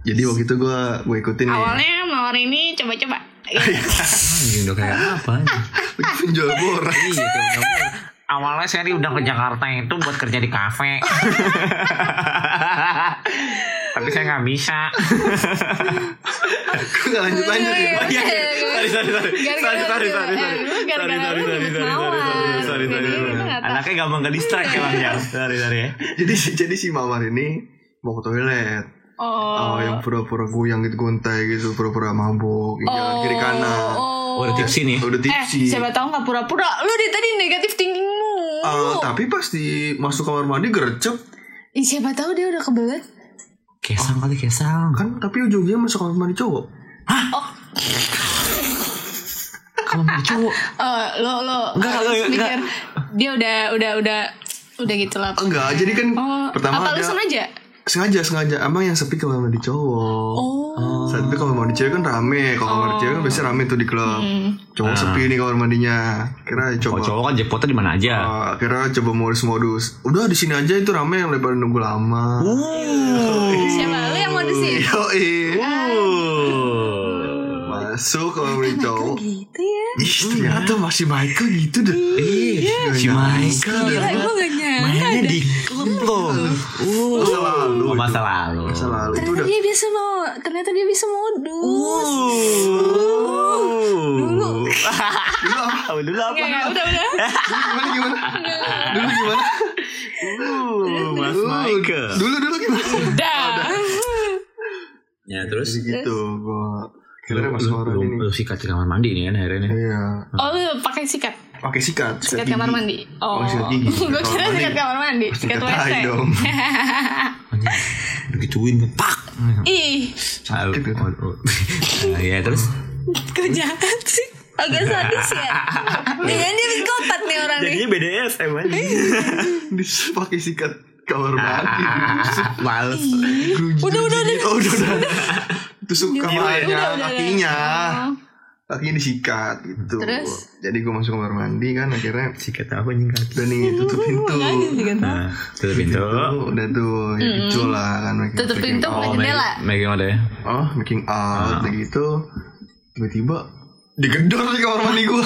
Speaker 3: jadi waktu itu gue gue ikutin nih
Speaker 1: Awalnya mawar ini
Speaker 2: [LAUGHS]
Speaker 1: coba-coba. Iya.
Speaker 2: Anjing Ah, udah kayak apa? nih?
Speaker 3: penjual borak [LAUGHS]
Speaker 2: Iya, kayak bener-bener. Awalnya saya diundang ke Jakarta itu buat kerja di
Speaker 1: [LAUGHS]
Speaker 2: kafe. Tapi saya nggak
Speaker 1: [LAUGHS]
Speaker 2: bisa.
Speaker 3: gue gak lanjut lanjut ya
Speaker 2: Oh, iya, iya. Sorry, sorry, sorry.
Speaker 1: Gara-gara
Speaker 2: Sorry, sorry,
Speaker 1: lu-
Speaker 2: sorry, sorry.
Speaker 1: eh, lu gara-gara
Speaker 2: Sorry, sorry,
Speaker 1: lu
Speaker 2: sorry,
Speaker 1: nyebut
Speaker 2: sorry, sorry,
Speaker 1: mawar.
Speaker 2: sorry, sorry, sorry,
Speaker 1: Jadi
Speaker 2: sorry.
Speaker 1: lu nggak tahu. Iya.
Speaker 2: Anaknya gampang ke distract emang ya. Sorry, sorry ya.
Speaker 3: jadi si jadi si mawar ini mau ke toilet
Speaker 1: Oh.
Speaker 3: Oh, yang pura-pura goyang gitu gontai gitu, pura-pura mabuk, yang jalan kiri kanan.
Speaker 1: Oh.
Speaker 2: udah tips ini.
Speaker 3: Udah
Speaker 1: Eh,
Speaker 3: tipsi.
Speaker 1: siapa tahu nggak pura-pura. Lu dari tadi negatif thinking mulu.
Speaker 3: Eh, tapi pas di masuk kamar mandi gercep
Speaker 1: Ih, siapa tahu dia udah kebelet.
Speaker 2: Kesang kali kesang.
Speaker 3: kan tapi ujungnya masuk kamar mandi cowok
Speaker 2: Kamar mandi cowok.
Speaker 1: Eh, lo lo
Speaker 2: Enggak,
Speaker 1: harus eh,
Speaker 2: enggak, enggak.
Speaker 1: mikir, dia udah udah udah Udah gitu lah.
Speaker 3: Enggak, jadi kan
Speaker 1: Oh,
Speaker 3: pertama
Speaker 1: apa lu
Speaker 3: ada-
Speaker 1: sengaja?
Speaker 3: sengaja sengaja emang yang sepi kalau mau di cowok.
Speaker 1: Oh.
Speaker 3: Saat itu kalau mau di cewek kan rame, kalau mau di cewek kan biasanya rame tuh di klub.
Speaker 1: Hmm.
Speaker 3: Cowok sepi nih kamar mandinya. Kira
Speaker 2: Kalau
Speaker 3: coba
Speaker 2: cowok kan jackpotnya di mana aja.
Speaker 3: Ah, kira coba modus-modus. Udah di sini aja itu rame yang lebar nunggu lama.
Speaker 2: Uh.
Speaker 1: Siapa lu yang mau di sini?
Speaker 3: Iya. Yoi.
Speaker 2: Uh.
Speaker 3: Masuk kalau mau di cowok.
Speaker 1: Gitu ya.
Speaker 3: Ih, ternyata masih Michael gitu deh.
Speaker 2: Ih, si Michael.
Speaker 1: Gila, gue gak nyangka.
Speaker 2: Mainnya di klub loh. Uh. Oh,
Speaker 3: Masa lalu.
Speaker 2: Masa lalu.
Speaker 3: Masa lalu itu
Speaker 1: Ternyata
Speaker 3: udah. Oh.
Speaker 1: dia bisa mau, ternyata dia bisa modus. Dulu. Iya,
Speaker 3: Dulu apa?
Speaker 2: Tahu dulu
Speaker 1: Enggak, enggak, udah,
Speaker 3: [LAUGHS]
Speaker 1: udah.
Speaker 3: Dulu gimana gimana? Dulu gimana?
Speaker 2: Uh, Mas
Speaker 3: Dulu-
Speaker 2: Michael.
Speaker 3: Dulu dulu gimana?
Speaker 1: Udah.
Speaker 2: Ya terus
Speaker 3: Jadi gitu gua. Kira
Speaker 2: Lu-
Speaker 3: pas
Speaker 2: lu-
Speaker 3: suara
Speaker 2: lu-
Speaker 3: ini.
Speaker 2: Lu sikat di kamar mandi nih kan akhirnya nih.
Speaker 3: Iya.
Speaker 1: Oh, lu pakai sikat.
Speaker 3: Pakai sikat,
Speaker 1: Sikat
Speaker 3: gigi.
Speaker 1: kamar mandi. Oh.
Speaker 3: Oh, sikat
Speaker 1: [LAUGHS]
Speaker 3: gigi.
Speaker 1: Gue kira
Speaker 3: Kamar
Speaker 1: sikat
Speaker 3: mandi.
Speaker 1: kamar mandi, sikat
Speaker 3: Sikat
Speaker 1: WC.
Speaker 3: tai dong.
Speaker 2: Digituin pak.
Speaker 1: Ih,
Speaker 2: Sakit [LAUGHS] Ya Oh, terus
Speaker 1: kok jahat sih? Agak sadis
Speaker 3: [LAUGHS]
Speaker 1: ya. Jangan dia bikotat nih orang nih.
Speaker 2: bedanya SMA
Speaker 1: Iya.
Speaker 3: Dis- Pakai sikat kamar mandi.
Speaker 2: Ah, [LAUGHS] Males.
Speaker 3: Gerunji-
Speaker 1: Udah, udah,
Speaker 3: gerunji.
Speaker 1: udah.
Speaker 3: Oh, udah, udah. Tusuk
Speaker 1: ya. Udah,
Speaker 3: kamarnya,
Speaker 1: udah, udah.
Speaker 3: kakinya.
Speaker 1: Oh.
Speaker 3: Kakinya disikat gitu.
Speaker 1: Terus?
Speaker 3: Jadi gue masuk kamar mandi kan akhirnya
Speaker 2: Sikat apa nih kaki?
Speaker 1: [LAUGHS]
Speaker 3: udah nih tutup pintu.
Speaker 1: Nangis juga.
Speaker 2: Nah, tutup pintu.
Speaker 3: Oh, udah tuh, ya gitu lah kan. making-
Speaker 1: Tutup
Speaker 3: making
Speaker 1: pintu,
Speaker 2: Oh,
Speaker 3: out.
Speaker 1: pakai jendela.
Speaker 2: Megang ada ya?
Speaker 3: Oh, making out udah gitu. Tiba-tiba digedor di kamar mandi gue.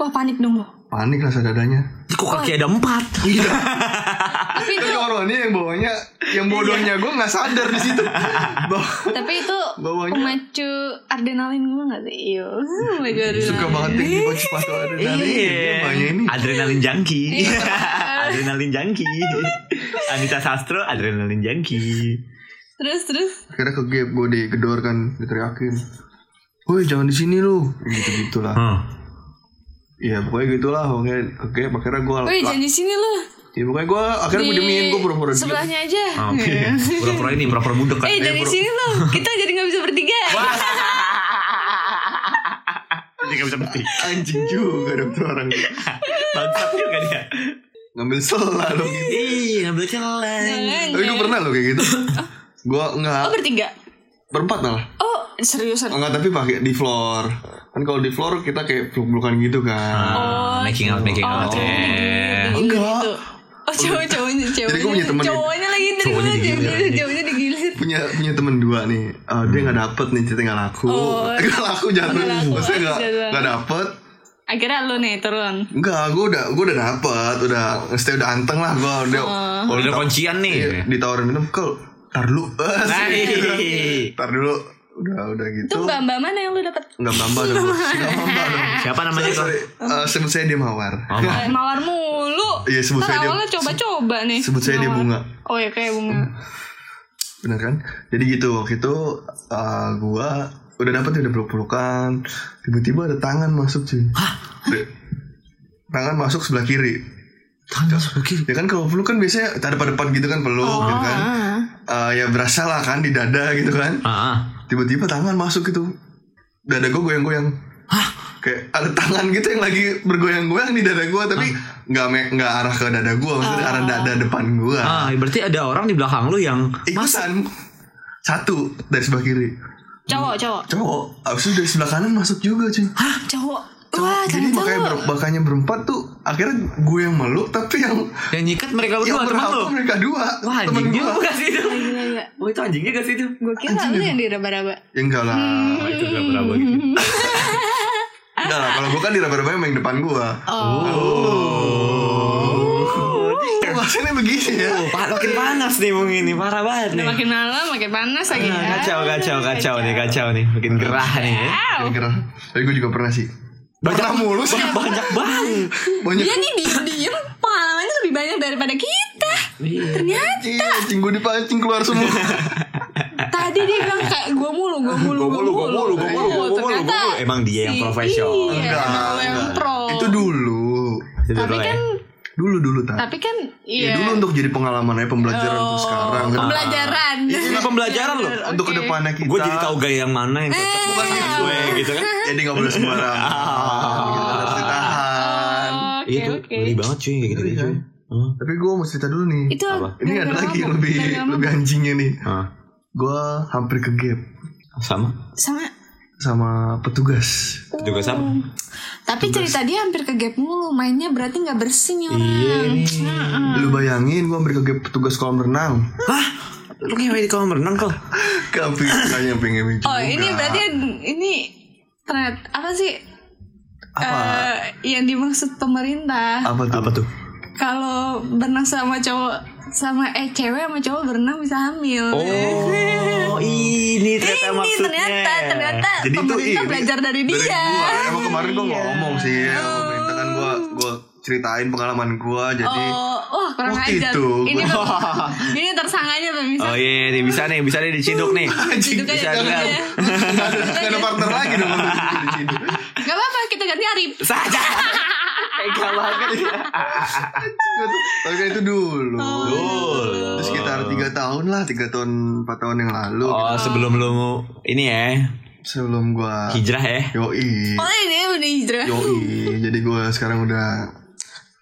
Speaker 1: Wah, Oh, panik dong lo.
Speaker 3: [LAUGHS] Panik lah sadadanya.
Speaker 2: Kok kaki ada empat?
Speaker 1: Iya. Tapi
Speaker 3: Tapi
Speaker 1: itu,
Speaker 3: orang ini yang bawanya yang bodohnya gue nggak sadar di
Speaker 1: [LAUGHS]
Speaker 3: situ. Bahwa
Speaker 1: tapi itu
Speaker 3: Bawanya.
Speaker 1: pemacu adrenalin gue gak sih? Iya, pemacu adrenalin.
Speaker 3: suka banget
Speaker 1: Iya.
Speaker 3: tinggi pacu pacu ada
Speaker 2: Iya,
Speaker 3: bawahnya ini.
Speaker 2: Adrenalin junkie.
Speaker 1: Iya.
Speaker 2: [LAUGHS] adrenalin junkie.
Speaker 1: [LAUGHS]
Speaker 2: Anita Sastro adrenalin junkie.
Speaker 1: Terus, terus.
Speaker 3: Akhirnya ke gap gue digedor kan diteriakin. Woi jangan di sini lu gitu gitulah.
Speaker 2: Hmm.
Speaker 3: Iya pokoknya gitulah pokoknya ke gap akhirnya gue.
Speaker 1: Wih, jangan di sini lo.
Speaker 3: Ya pokoknya gue akhirnya gue diemin gue pura-pura diem. Ah,
Speaker 1: Sebelahnya aja.
Speaker 2: Oh, Pura-pura ini, pura-pura budek kan.
Speaker 1: Iya. Eh, dari sini lo. Kita jadi gak bisa bertiga.
Speaker 2: Dia gak bisa berhenti. [LAUGHS]
Speaker 3: Anjing juga dong tuh orang
Speaker 2: Bangsat juga dia.
Speaker 3: ngambil selah lu.
Speaker 1: Iya.
Speaker 2: Ih, ngambil celah.
Speaker 1: Jangan.
Speaker 3: Tapi gue pernah lo kayak gitu. gue
Speaker 1: Oh,
Speaker 3: nggak
Speaker 1: bertiga.
Speaker 3: berempat malah.
Speaker 1: Oh, seriusan.
Speaker 3: Enggak tapi pakai di floor. Kan kalau di floor kita kayak peluk-pelukan gitu kan.
Speaker 2: Ah, making out, making
Speaker 1: Oh,
Speaker 2: out.
Speaker 1: cowoknya digilir, digilir
Speaker 2: Eh,
Speaker 3: Enggak.
Speaker 1: gitu. Oh, cowok-cowoknya, ceweknya.
Speaker 3: gue punya temen gitu. nih.
Speaker 1: Cowoknya lagi dari
Speaker 2: Cowoknya
Speaker 1: gue,
Speaker 2: digilir.
Speaker 1: ceweknya cowoknya digilir.
Speaker 3: punya punya temen dua nih Eh, dia nggak dapet nih cerita nggak laku
Speaker 1: Oh.
Speaker 3: Eh, [LAUGHS] nggak laku jatuh
Speaker 1: Nggak laku,
Speaker 3: maksudnya nggak
Speaker 1: jatuh.
Speaker 3: nggak dapet
Speaker 1: Akhirnya lo nih turun.
Speaker 3: nggak gue udah gue udah dapet udah stay udah anteng lah gue udah
Speaker 2: Oh, udah kuncian nih. Nah,
Speaker 3: ditawarin minum kel tar dulu [LAUGHS]
Speaker 2: iya. Hai.
Speaker 3: tar dulu udah udah gitu
Speaker 1: Itu mbak-mbak mana yang lo dapet?
Speaker 3: nggak bamba dong Bos. nggak bamba dong
Speaker 2: Siapa namanya
Speaker 3: sorry, sorry. Eh, sebut saya dia mawar
Speaker 2: Oh, maaf.
Speaker 1: Eh, Mawar mulu.
Speaker 3: Iya, sebut
Speaker 1: Ntar
Speaker 3: saya dia-
Speaker 1: awalnya coba-coba nih.
Speaker 3: [LAUGHS] sebut saya dia
Speaker 1: Mawar.
Speaker 3: bunga
Speaker 1: Oh ya kayak bunga.
Speaker 3: bener kan jadi gitu waktu itu eh, gua udah dapet udah peluk pelukan tiba-tiba ada tangan masuk cuy Ada- tangan masuk sebelah kiri
Speaker 2: Tangan sebelah kiri.
Speaker 3: ya kan kalau peluk kan biasanya ada pada depan gitu kan peluk gitu kan
Speaker 1: Ah, Oh.
Speaker 3: Eh, ya berasa lah kan di dada gitu kan
Speaker 2: Ah, ah.
Speaker 3: tiba-tiba tangan masuk gitu dada gua goyang-goyang kayak ada tangan gitu yang lagi bergoyang-goyang di dada gua tapi
Speaker 2: Hmm.
Speaker 3: nggak me- nggak arah ke dada gua maksudnya arah dada depan gua
Speaker 2: Ah, berarti ada orang di belakang lu yang
Speaker 3: ikutan satu dari sebelah kiri
Speaker 1: Cowok, cowok.
Speaker 3: cowok abis itu dari sebelah kanan masuk juga cuy
Speaker 1: Hah, cowok.
Speaker 2: ah,
Speaker 1: Wah,
Speaker 3: jadi
Speaker 1: jangan
Speaker 3: makanya
Speaker 1: cowok.
Speaker 3: ber- makanya berempat tuh akhirnya gue yang meluk tapi yang
Speaker 2: yang nyikat mereka
Speaker 3: yang
Speaker 2: berdua teman
Speaker 3: berhak
Speaker 2: lu.
Speaker 3: tuh mereka dua
Speaker 2: Wah,
Speaker 3: temen
Speaker 2: anjingnya
Speaker 3: gue
Speaker 2: gak sih itu?
Speaker 1: Gila ya.
Speaker 2: Wah, itu anjingnya gak sih itu?
Speaker 1: Gue kira lu yang diraba-raba.
Speaker 3: ya enggak lah
Speaker 2: Wah, itu udah berapa gitu?
Speaker 1: [LAUGHS]
Speaker 3: enggak lah kalau gue kan di raba-rabanya main depan gue
Speaker 2: Oh.
Speaker 3: oh maksudnya begini ya
Speaker 2: Oh, pa- makin panas nih mung ini parah banget
Speaker 1: Udah
Speaker 2: nih.
Speaker 1: makin malam, makin panas lagi.
Speaker 2: Ah,
Speaker 1: ya.
Speaker 2: kacau, kacau, kacau nih, kacau nih, makin gerah nih. ya.
Speaker 1: Wow.
Speaker 3: kira-kira tapi gue juga pernah sih pernah mulu sih
Speaker 2: Banyak banget.
Speaker 3: banyak
Speaker 1: Dia Iya nih diem-diem pengalamannya lebih banyak daripada kita. Ternyata
Speaker 3: Iya, anjing gue dipancing keluar semua
Speaker 1: tadi dia bilang kayak gue mulu, gue mulu,
Speaker 2: Gua mulu, gua mulu, gua mulu, gua mulu, gua
Speaker 1: Ternyata
Speaker 2: mulu. Eh, Emang dia yang profesional.
Speaker 1: Iya,
Speaker 3: Enggak,
Speaker 1: emang lo yang
Speaker 3: enggak.
Speaker 1: pro.
Speaker 3: itu dulu
Speaker 1: Tapi
Speaker 2: ya.
Speaker 1: kan,
Speaker 3: dulu dulu tak
Speaker 1: tapi kan,
Speaker 3: ya
Speaker 1: iya. Oh,
Speaker 3: dulu untuk jadi pengalaman aja pembelajaran untuk sekarang kan.
Speaker 1: Pembelajaran.
Speaker 2: ini pembelajaran loh.
Speaker 3: untuk kedepannya kita
Speaker 2: Gue jadi tahu gaya yang mana yang cocok
Speaker 1: Eh.
Speaker 2: buat sama gue gitu kan.
Speaker 3: jadi nggak boleh sembarangan Gitu, harus ditahan
Speaker 1: Oke,
Speaker 2: Iya tuh,
Speaker 1: oke.
Speaker 2: ngeri banget cuy kayak gitu-gitu.
Speaker 3: Ngeri, kan?
Speaker 2: Hmm.
Speaker 3: Tapi gue mau cerita dulu nih.
Speaker 1: Itu
Speaker 2: Apa?
Speaker 3: Ini
Speaker 1: gara-gara
Speaker 3: ada lagi
Speaker 1: mabok,
Speaker 3: lebih
Speaker 1: gara-gara mabok.
Speaker 3: lebih anjingnya nih.
Speaker 2: Ah,
Speaker 3: Gue hampir ke gap
Speaker 2: sama.
Speaker 1: sama
Speaker 3: sama petugas.
Speaker 2: Juga sama.
Speaker 1: Hmm. Tapi cerita dia hampir ke gap mulu, mainnya berarti nggak bersih nih orang. Nah.
Speaker 2: Iya nih.
Speaker 1: Hmm.
Speaker 3: Lu bayangin gue hampir ke gap petugas kolam renang. [LAUGHS]
Speaker 2: Hah? Lu ngewe di kolam renang kok?
Speaker 3: Kamping kayaknya pengen juga.
Speaker 1: Oh ini berarti ini ternyata apa sih?
Speaker 3: apa?
Speaker 1: Eh, yang dimaksud pemerintah
Speaker 3: apa tuh? Apa tuh?
Speaker 1: kalau berenang sama cowok sama eh cewek sama cowok berenang bisa [LAUGHS] hamil. [LAUGHS]
Speaker 2: Oh, ini ternyata
Speaker 1: ini
Speaker 2: maksudnya.
Speaker 1: ternyata ternyata
Speaker 3: Jadi itu
Speaker 1: pemerintah
Speaker 3: ini
Speaker 1: belajar dari dia.
Speaker 3: gua. Emang kemarin gue ngomong sih, ya, sama pemerintah kan gue gue ceritain pengalaman gue. Jadi
Speaker 1: Oh, wah kurang
Speaker 3: Waktu
Speaker 1: ajar.
Speaker 3: itu
Speaker 1: Ini
Speaker 2: [LAUGHS]
Speaker 3: gua-
Speaker 1: tuh- ini tersangkanya tuh bisa.
Speaker 2: Oh iya, nih bisa nih, bisa nih diciduk nih. [LAUGHS]
Speaker 3: anjing
Speaker 1: Gitu kan,
Speaker 2: Oh, bisa
Speaker 1: gitu [LAUGHS] kan.
Speaker 2: bilang.
Speaker 3: Gak ada, gak [LAUGHS] ada partner lagi dong kalau gitu di sini.
Speaker 1: Gak apa-apa kita ganti Arif.
Speaker 2: Saja.
Speaker 1: [LAUGHS]
Speaker 2: Tega banget ya.
Speaker 3: Gua tuh- Tapi kan itu dulu.
Speaker 2: Oh. Dulu.
Speaker 3: Terus sekitar 3 tahun lah, 3 tahun 4 tahun yang lalu
Speaker 2: Oh, sebelum lu ini ya,
Speaker 3: sebelum gua
Speaker 2: hijrah ya.
Speaker 3: yoi.
Speaker 1: Oh ini udah hijrah.
Speaker 3: Yoi, jadi gua sekarang udah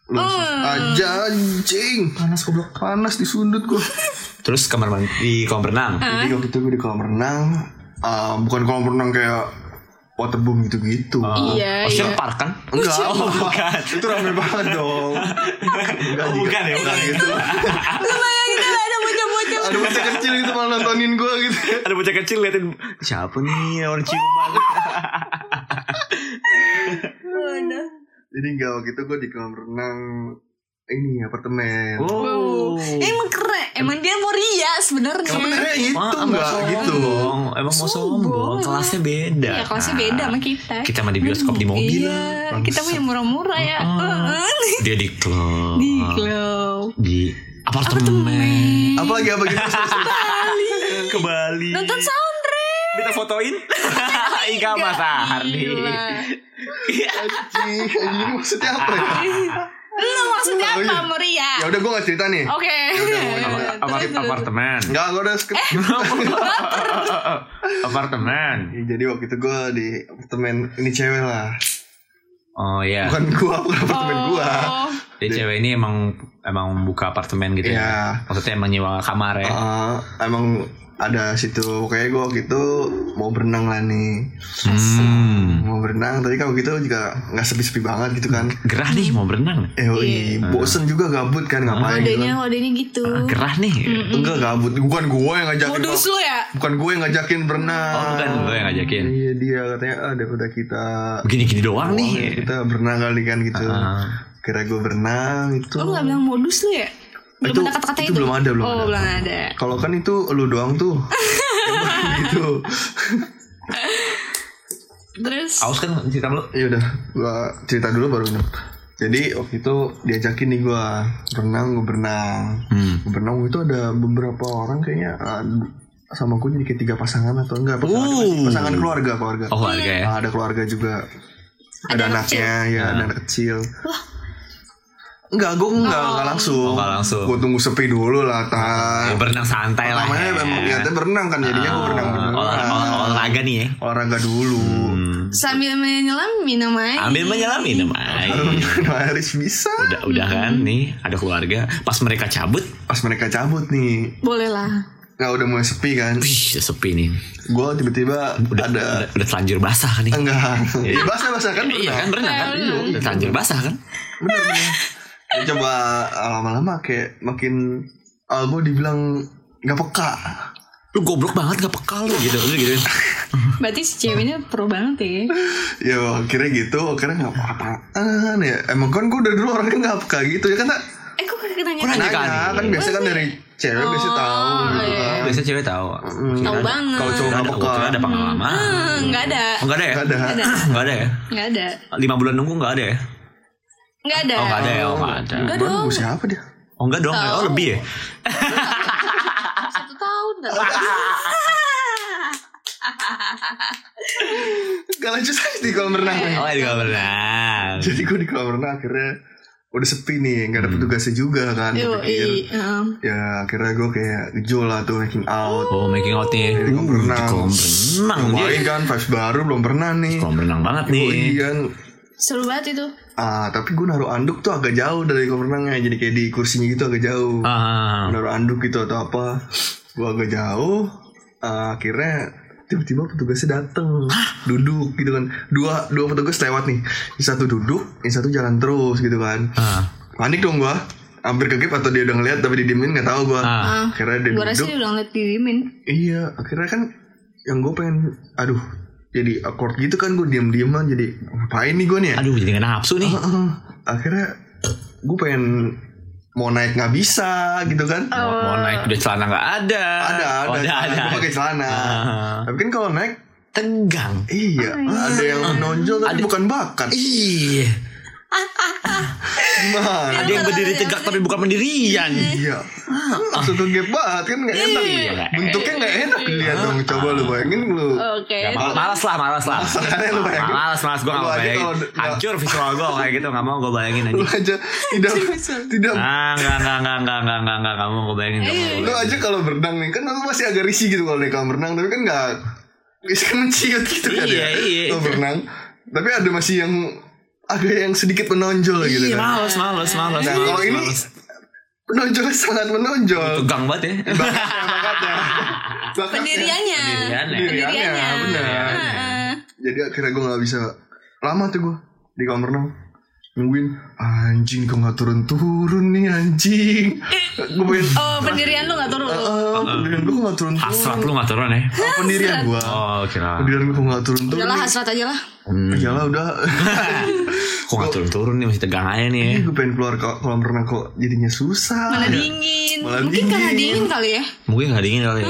Speaker 3: lulus aja anjing. Panas goblok. Panas disundut gua.
Speaker 2: Terus kamar mandi di kolam renang.
Speaker 3: jadi waktu itu gua di kolam renang, ah, bukan kolam renang kayak waterboom gitu-gitu.
Speaker 1: Iya, iya.
Speaker 2: Ocean Park kan?
Speaker 3: Enggak, [LAUGHS]
Speaker 2: Oh, bukan.
Speaker 3: Itu rame banget
Speaker 2: [LAUGHS]
Speaker 3: dong. Enggak,
Speaker 2: Oh, bukan ya,
Speaker 3: enggak
Speaker 2: bukan.
Speaker 3: gitu.
Speaker 1: Lu bayangin udah ada bocah-bocah.
Speaker 3: Ada bocah kecil gitu malah nontonin gua gitu.
Speaker 2: Ada bocah kecil liatin siapa nih orang ciuman.
Speaker 1: Waduh.
Speaker 3: Jadi enggak waktu itu gua di kolam renang ini apartemen.
Speaker 2: Oh.
Speaker 1: Wow. Emang keren. Emang dia mau ria sebenarnya.
Speaker 3: Sebenarnya
Speaker 2: Wah,
Speaker 3: itu
Speaker 2: emang
Speaker 3: enggak
Speaker 2: sombong.
Speaker 3: gitu.
Speaker 2: Emang mau
Speaker 1: Sombong.
Speaker 2: sombong, kelasnya beda.
Speaker 1: Ya kelasnya beda sama kita.
Speaker 2: Iya. Ah. Kita mah di bioskop di mobil. Ah.
Speaker 1: Iya, kita mah yang murah-murah ya. Heeh.
Speaker 2: Dia di klub.
Speaker 1: Di glow.
Speaker 2: Di apartemen.
Speaker 3: Apalagi apa gitu.
Speaker 2: Ke Bali.
Speaker 1: Nonton soundtrack.
Speaker 2: Kita
Speaker 1: [LAUGHS]
Speaker 2: fotoin. Ika Mas Ardi.
Speaker 1: Iya. Gila.
Speaker 3: Anjing, anjing maksudnya apa
Speaker 2: [LAUGHS]
Speaker 3: ya?
Speaker 1: Lu maksudnya
Speaker 3: Oh, iya.
Speaker 1: apa mau ria?
Speaker 3: Ya udah gua enggak cerita
Speaker 2: Oh.
Speaker 3: nih. [LAUGHS]
Speaker 1: Oke.
Speaker 2: Apart-
Speaker 1: Iya, Terus, terus.
Speaker 2: apartemen.
Speaker 3: Enggak, gua udah skip.
Speaker 2: Eh. apartemen.
Speaker 3: Ya, jadi waktu itu gua di apartemen ini cewek lah.
Speaker 2: Oh iya.
Speaker 3: Bukan gua, bukan apartemen gua.
Speaker 1: Oh.
Speaker 2: Jadi cewek ini emang emang buka apartemen gitu ya.
Speaker 3: Iya.
Speaker 2: Maksudnya emang nyewa kamar ya.
Speaker 3: Eh, emang ada situ kayak gua waktu itu mau berenang lah nih
Speaker 2: Hmm.
Speaker 3: mau berenang tadi kan waktu itu juga nggak sepi-sepi banget gitu kan
Speaker 2: Gerah nih mau
Speaker 1: Iya.
Speaker 2: berenang.
Speaker 3: eh oi, bosen juga gabut kan ngapain gitu
Speaker 1: Kodenya
Speaker 3: kan
Speaker 1: kodenya gitu.
Speaker 2: Ah, Gerah nih.
Speaker 3: enggak gabut bukan gua yang ngajakin
Speaker 1: Modus lu ya.
Speaker 3: bukan gue yang ngajakin berenang
Speaker 2: Oh bukan lo yang ngajakin.
Speaker 3: iya dia katanya ah daripada kita
Speaker 2: Begini-gini doang
Speaker 3: doang,
Speaker 2: nih.
Speaker 3: kita berenang kali kan gitu
Speaker 2: Iya. Ah.
Speaker 3: kira gue berenang itu
Speaker 1: Lu gak bilang modus lu ya? Belum
Speaker 3: Itu-
Speaker 1: ada kata-kata
Speaker 3: itu
Speaker 1: itu?
Speaker 3: belum ada, belum
Speaker 1: oh,
Speaker 3: ada.
Speaker 1: belum ada.
Speaker 3: kalau kan itu lu doang
Speaker 1: [LAUGHS]
Speaker 3: tuh gitu
Speaker 1: Terus
Speaker 2: Aus kan cerita lu.
Speaker 3: ya udah gua cerita dulu baru minum jadi waktu itu diajakin nih gua berenang gue berenang
Speaker 2: Hmm.
Speaker 3: Gua berenang waktu itu ada beberapa orang kayaknya ah, sama gue jadi kayak tiga pasangan atau enggak pasangan,
Speaker 2: Uh.
Speaker 3: pasangan keluarga keluarga
Speaker 1: Iya.
Speaker 2: Oh harga ya.
Speaker 3: Ah, ada keluarga juga ada,
Speaker 1: Ada anak
Speaker 3: anaknya ya
Speaker 2: Ah.
Speaker 3: ada anak kecil Enggak, gue enggak, enggak langsung.
Speaker 2: Oh, enggak langsung.
Speaker 3: Gue tunggu sepi dulu lah,
Speaker 2: Mau
Speaker 3: Tan.
Speaker 2: berenang santai lah.
Speaker 3: Namanya
Speaker 2: ya.
Speaker 3: memang niatnya berenang kan, jadinya gue berenang
Speaker 2: Olah-
Speaker 3: dulu.
Speaker 2: olah- Ah. Olahraga Hmm. nih ya.
Speaker 3: Olahraga dulu.
Speaker 1: sambil menyelam minum air.
Speaker 2: Ambil menyelam minum
Speaker 3: [LAUGHS]
Speaker 2: air.
Speaker 3: Harus bisa.
Speaker 2: Udah, udah
Speaker 1: Hmm.
Speaker 2: kan nih ada keluarga. Pas mereka cabut,
Speaker 3: Pas mereka cabut nih,
Speaker 1: Boleh lah.
Speaker 3: nggak udah mulai sepi kan.
Speaker 2: wih udah sepi nih.
Speaker 3: Gue tiba-tiba
Speaker 2: Udah,
Speaker 3: ada
Speaker 2: udah, udah telanjur basah nih.
Speaker 3: enggak. [LAUGHS] Ya basah-basah kan
Speaker 2: Iya kan
Speaker 3: berenang.
Speaker 2: berenang kan?
Speaker 1: Iya,
Speaker 2: Udah telanjur basah kan?
Speaker 3: Bener bener. Ya, Coba lama-lama kayak makin ah, gue dibilang nggak peka.
Speaker 2: Lu goblok banget gak peka lu gitu. Lu gitu.
Speaker 1: Berarti si cewek ini pro banget ya.
Speaker 3: Ya akhirnya gitu, akhirnya nggak apa-apaan ya. Emang kan gue dari dulu orangnya nggak peka gitu ya kan tak-
Speaker 1: Eh kok kagak nanya?
Speaker 2: Kurang Nanya
Speaker 3: nanya kan,
Speaker 2: kan?
Speaker 3: biasa kan dari cewek biasa tahu gitu
Speaker 1: iya.
Speaker 3: kan.
Speaker 2: Biasanya cewek tahu. Iya kan?
Speaker 1: Tahu banget.
Speaker 3: Hmm. Kalau cowok nggak
Speaker 2: Ada,
Speaker 3: peka
Speaker 2: ada pengalaman.
Speaker 1: Hmm, Nggak ada.
Speaker 2: Oh, enggak ada ya?
Speaker 3: nggak
Speaker 2: [CLEARS THROAT]
Speaker 3: ada.
Speaker 1: Nggak ada.
Speaker 2: Enggak ada ya?
Speaker 1: Nggak ada.
Speaker 2: Lima bulan nunggu enggak ada ya?
Speaker 1: Nggak ada.
Speaker 2: Oh, enggak ada ya? Oh, enggak ada.
Speaker 1: Nggak
Speaker 3: Baru
Speaker 1: dong.
Speaker 3: siapa dia?
Speaker 2: Oh, enggak dong.
Speaker 1: Tahu.
Speaker 2: Oh, lebih ya?
Speaker 1: Satu tahun nggak
Speaker 3: Gak lanjut aja di kolam renang.
Speaker 1: Eh,
Speaker 2: Oh, enggak pernah.
Speaker 3: [LAUGHS] Jadi gue di kolam renang akhirnya udah sepi nih,
Speaker 2: Hmm.
Speaker 3: nggak ada petugasnya juga kan.
Speaker 1: Yo,
Speaker 3: Gue pikir.
Speaker 1: i, um,
Speaker 3: Ya akhirnya gue kayak gejol lah tuh making out. Nah,
Speaker 2: Oh, making out nih. Di
Speaker 3: kolam renang.
Speaker 2: kolam renang.
Speaker 3: Yang
Speaker 2: dia.
Speaker 3: lain kan vibes baru belum pernah nih.
Speaker 2: Kolam renang banget
Speaker 3: Oh
Speaker 2: nih.
Speaker 3: iya. iya kan
Speaker 1: Seru banget itu.
Speaker 3: Ah, tapi gue naruh anduk tuh agak jauh dari kolam renangnya. Jadi kayak di kursinya gitu agak jauh.
Speaker 2: Ah,
Speaker 3: Naruh anduk gitu atau apa. Gue agak jauh. Ah, akhirnya tiba-tiba petugasnya dateng duduk gitu kan dua dua petugas lewat nih yang satu duduk yang satu jalan terus gitu kan
Speaker 2: ah,
Speaker 3: panik dong gua hampir kegep atau dia udah ngeliat tapi didiemin nggak tahu gua
Speaker 2: ah.
Speaker 1: Ah,
Speaker 3: akhirnya dia
Speaker 1: gue
Speaker 3: duduk
Speaker 1: rasa dia udah ngeliat dirimin.
Speaker 3: Iya, akhirnya kan yang gue pengen, aduh, jadi akord gitu kan gue diem-dieman jadi ngapain nih gue nih ya?
Speaker 2: Aduh, jadi nggak nafsu
Speaker 3: [LAUGHS]
Speaker 2: nih.
Speaker 3: Heeh, heeh. akhirnya gue pengen mau naik nggak bisa gitu kan?
Speaker 2: Mau, mau naik udah celana nggak ada.
Speaker 3: Ada,
Speaker 2: Oh,
Speaker 3: ada,
Speaker 2: ada, ada.
Speaker 3: Gua pakai celana.
Speaker 2: Ah.
Speaker 3: Tapi kan kalau naik,
Speaker 2: Tegang.
Speaker 3: iya, ada yang menonjol tapi bukan bakat.
Speaker 2: Iya.
Speaker 3: Gimana?
Speaker 2: Ada yang berdiri tegak tapi bukan pendirian.
Speaker 3: ya, Iya, Ah, langsung ke gap banget kan nggak enak.
Speaker 2: Iya, nggak
Speaker 3: Bentuknya nggak enak dilihat dong. Coba lu bayangin lu.
Speaker 1: Oke.
Speaker 2: Ya, mal- malas lah, malas lah. Ah,
Speaker 3: Makanya lu bayangin.
Speaker 2: Malas, malas gue gak
Speaker 3: Lu
Speaker 2: mau
Speaker 3: aja
Speaker 2: bayangin.
Speaker 3: kalau d-
Speaker 2: Hancur visual gue kayak gitu, gak mau gue bayangin aja.
Speaker 3: [LAUGHS] lu aja tidak tidak
Speaker 2: Ah, enggak, enggak, enggak, enggak, enggak, enggak, enggak, enggak mau gue bayangin. nggak mau.
Speaker 3: lu aja kalau berenang nih kan lu masih agak risih gitu kalau di kolam renang tapi kan nggak bisa [LAUGHS] kan menciut gitu kan
Speaker 2: Iya,
Speaker 3: ya
Speaker 2: iya.
Speaker 3: lu berenang tapi ada masih yang agak yang sedikit menonjol gitu
Speaker 2: Iya,
Speaker 3: kan
Speaker 2: malas, malas, malas.
Speaker 3: nah kalau
Speaker 2: malas,
Speaker 3: ini
Speaker 2: malas.
Speaker 3: menonjol sangat menonjol
Speaker 2: tegang banget ya.
Speaker 3: bakatnya
Speaker 2: [LAUGHS]
Speaker 3: bakatnya Bakatnya.
Speaker 1: Pendiriannya. Ah,
Speaker 2: Pendiriannya.
Speaker 3: Pendiriannya, benar.
Speaker 2: Iya.
Speaker 1: Heeh.
Speaker 3: jadi akhirnya gue nggak bisa lama tuh gue di kolam renang nungguin anjing kok nggak turun turun nih anjing gue pengen
Speaker 1: Oh,
Speaker 3: "Ah,
Speaker 1: pendirian lu gak turun.
Speaker 3: "Eh, eh, pendirian gue nggak turun turun
Speaker 2: Hasrat lu gak turun ya?
Speaker 3: pendirian gue
Speaker 2: Oh, kira.
Speaker 3: pendirian gue nggak turun turun
Speaker 1: Udah lah hasrat aja lah.
Speaker 2: Hmm.
Speaker 3: Ya lah udah [LAUGHS]
Speaker 2: Kok gak turun-turun nih masih tegang aja nih. ya.
Speaker 3: Gue pengen keluar ke kolam renang kok jadinya susah
Speaker 1: Mana
Speaker 3: Ya,
Speaker 1: dingin.
Speaker 3: Malah
Speaker 1: Mungkin karena
Speaker 3: dingin.
Speaker 1: dingin kali ya.
Speaker 2: Mungkin gak dingin kali ya.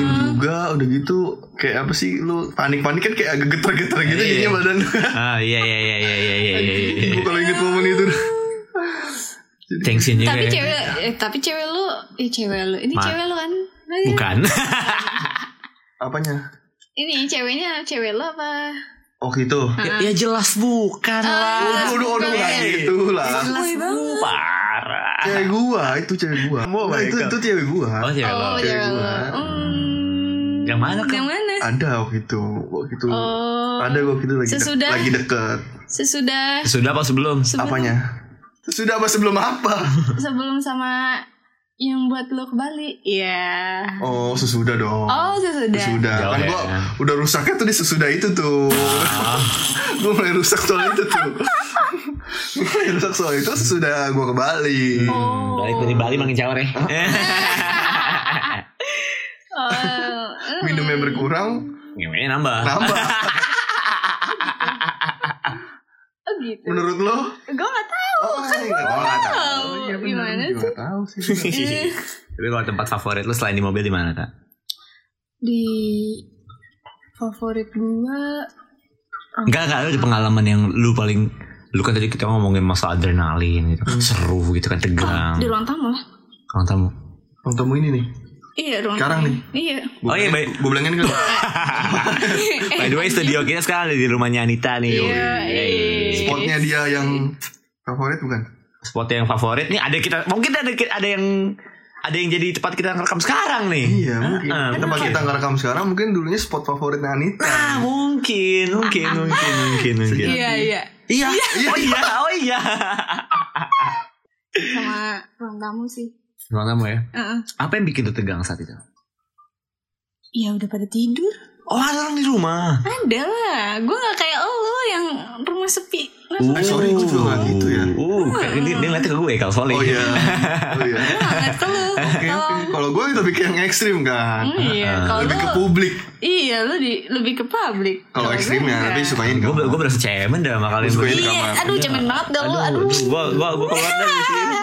Speaker 3: Dingin juga udah gitu Kayak apa sih lu panik-panik kan kayak agak getar-getar gitu
Speaker 2: Iya.
Speaker 3: jadinya badan [LAUGHS]
Speaker 2: Ah, iya iya iya iya iya iya iya. iya.
Speaker 3: Gue kalau inget momen itu
Speaker 2: Tensinya
Speaker 1: Tapi
Speaker 2: kayak-
Speaker 1: cewek eh, tapi cewek lu, eh cewek lu. Ini
Speaker 2: Iya, Ma.
Speaker 1: cewek lu kan.
Speaker 2: bukan.
Speaker 3: Apanya?
Speaker 1: Ini ceweknya cewek lu apa?
Speaker 3: Oke itu
Speaker 1: Nah,
Speaker 2: ya, ya jelas
Speaker 1: Ah,
Speaker 2: bukan lah.
Speaker 3: Aduh, aduh, aduh,
Speaker 1: bukan.
Speaker 3: nah gitu lah.
Speaker 2: Jelas bu- parah.
Speaker 3: Cewek gua, itu cewek gua. Nah, itu, itu cewek gua.
Speaker 2: Oh, cewek lo.
Speaker 1: Oh,
Speaker 3: cewek
Speaker 1: cewek lu.
Speaker 3: gua.
Speaker 1: Hmm.
Speaker 2: Yang mana, Kak?
Speaker 1: Yang mana?
Speaker 3: Ada waktu itu, waktu itu.
Speaker 1: Oh.
Speaker 3: Ada waktu itu lagi de-
Speaker 1: Sesudah?
Speaker 3: lagi deket.
Speaker 1: Sesudah
Speaker 2: Sudah apa sebelum?
Speaker 1: sebelum,
Speaker 3: Apanya? Sudah apa sebelum apa?
Speaker 1: sebelum sama yang buat lu ke Bali. Iya.
Speaker 3: Oh, sesudah dong.
Speaker 1: Oh, sesudah.
Speaker 3: sesudah
Speaker 2: Jauh
Speaker 3: kan
Speaker 2: ya. Ah.
Speaker 3: gua udah rusaknya tuh di sesudah itu tuh [LAUGHS] gua mulai rusak soal itu
Speaker 2: [LAUGHS]
Speaker 3: tuh mulai rusak soal itu sesudah gua ke Bali
Speaker 1: Oh.
Speaker 2: Hmm, Balik dari Bali makin jauh ya.
Speaker 1: Oh. mm.
Speaker 3: minumnya berkurang
Speaker 2: Gimana nambah?
Speaker 3: nambah
Speaker 1: [LAUGHS] Oh, gitu.
Speaker 3: menurut lo
Speaker 1: Gue gak tahu.
Speaker 3: oh, enggak
Speaker 1: Kan tahu.
Speaker 3: Iya,
Speaker 1: Gimana sih?
Speaker 3: tahu sih
Speaker 1: [LAUGHS]
Speaker 2: Tapi kalau tempat favorit lu selain di mobil di mana, Kak?
Speaker 1: Di favorit gua
Speaker 2: Enggak, enggak ada pengalaman yang lu paling lu kan tadi kita ngomongin masalah adrenalin gitu. Seru gitu kan
Speaker 3: Ah.
Speaker 2: tegang.
Speaker 1: Hmm. di ruang tamu lah.
Speaker 2: Kalau tamu.
Speaker 3: Ruang tamu ini nih
Speaker 1: Iya, ruang
Speaker 3: Sekarang
Speaker 1: tamu.
Speaker 3: nih?
Speaker 1: Iya.
Speaker 2: Oh iya, baik.
Speaker 3: gue bilangin kan
Speaker 2: By the way, studio kita sekarang ada di rumahnya Anita nih.
Speaker 1: Eh, Iya,
Speaker 2: Yoi.
Speaker 1: iya.
Speaker 3: spotnya dia yang favorit bukan
Speaker 2: Spot yang favorit nih ada kita mungkin ada ada yang ada yang jadi tempat kita rekam sekarang nih.
Speaker 3: iya mungkin
Speaker 2: Ah,
Speaker 3: tempat kita ngerekam sekarang mungkin dulunya spot favoritnya Anita
Speaker 2: Ah, mungkin,
Speaker 3: [LAUGHS]
Speaker 2: mungkin, mungkin, mungkin, mungkin.
Speaker 1: Iya, iya.
Speaker 2: Iya, oh iya, oh iya.
Speaker 1: Sama ruang tamu sih.
Speaker 2: Ruang tamu ya.
Speaker 1: Heeh.
Speaker 2: Apa yang bikin lu tegang saat itu?
Speaker 1: Iya udah pada tidur.
Speaker 2: Oh, ada orang di rumah.
Speaker 1: Ada lah. Gue gak kayak lo yang rumah sepi.
Speaker 2: Uh,
Speaker 3: Eh, sorry, gua juga nggak gitu ya.
Speaker 2: Uh, kayak dia, dia ngeliatnya ke gue kalau soalnya.
Speaker 3: oh iya [LAUGHS] oh iya
Speaker 1: Gue gak ngeliat ke lo.
Speaker 3: [LAUGHS] Oke, oke. Kalau gue itu bikin yang ekstrim kan,
Speaker 1: Hmm, Iya, kalau
Speaker 3: lebih ke
Speaker 1: lo
Speaker 3: publik.
Speaker 1: iya lo di lebih ke publik.
Speaker 3: Kalau
Speaker 1: gua
Speaker 3: ekstrimnya,
Speaker 1: enggak.
Speaker 3: tapi sukanya di
Speaker 2: Gue
Speaker 3: kamar.
Speaker 2: gue berasa cemen dah makalin
Speaker 3: Gua sukain di
Speaker 1: Iya,
Speaker 3: kamar.
Speaker 1: aduh cemen banget dah lo. Aduh,
Speaker 2: Gue gue gue keluar dari sini.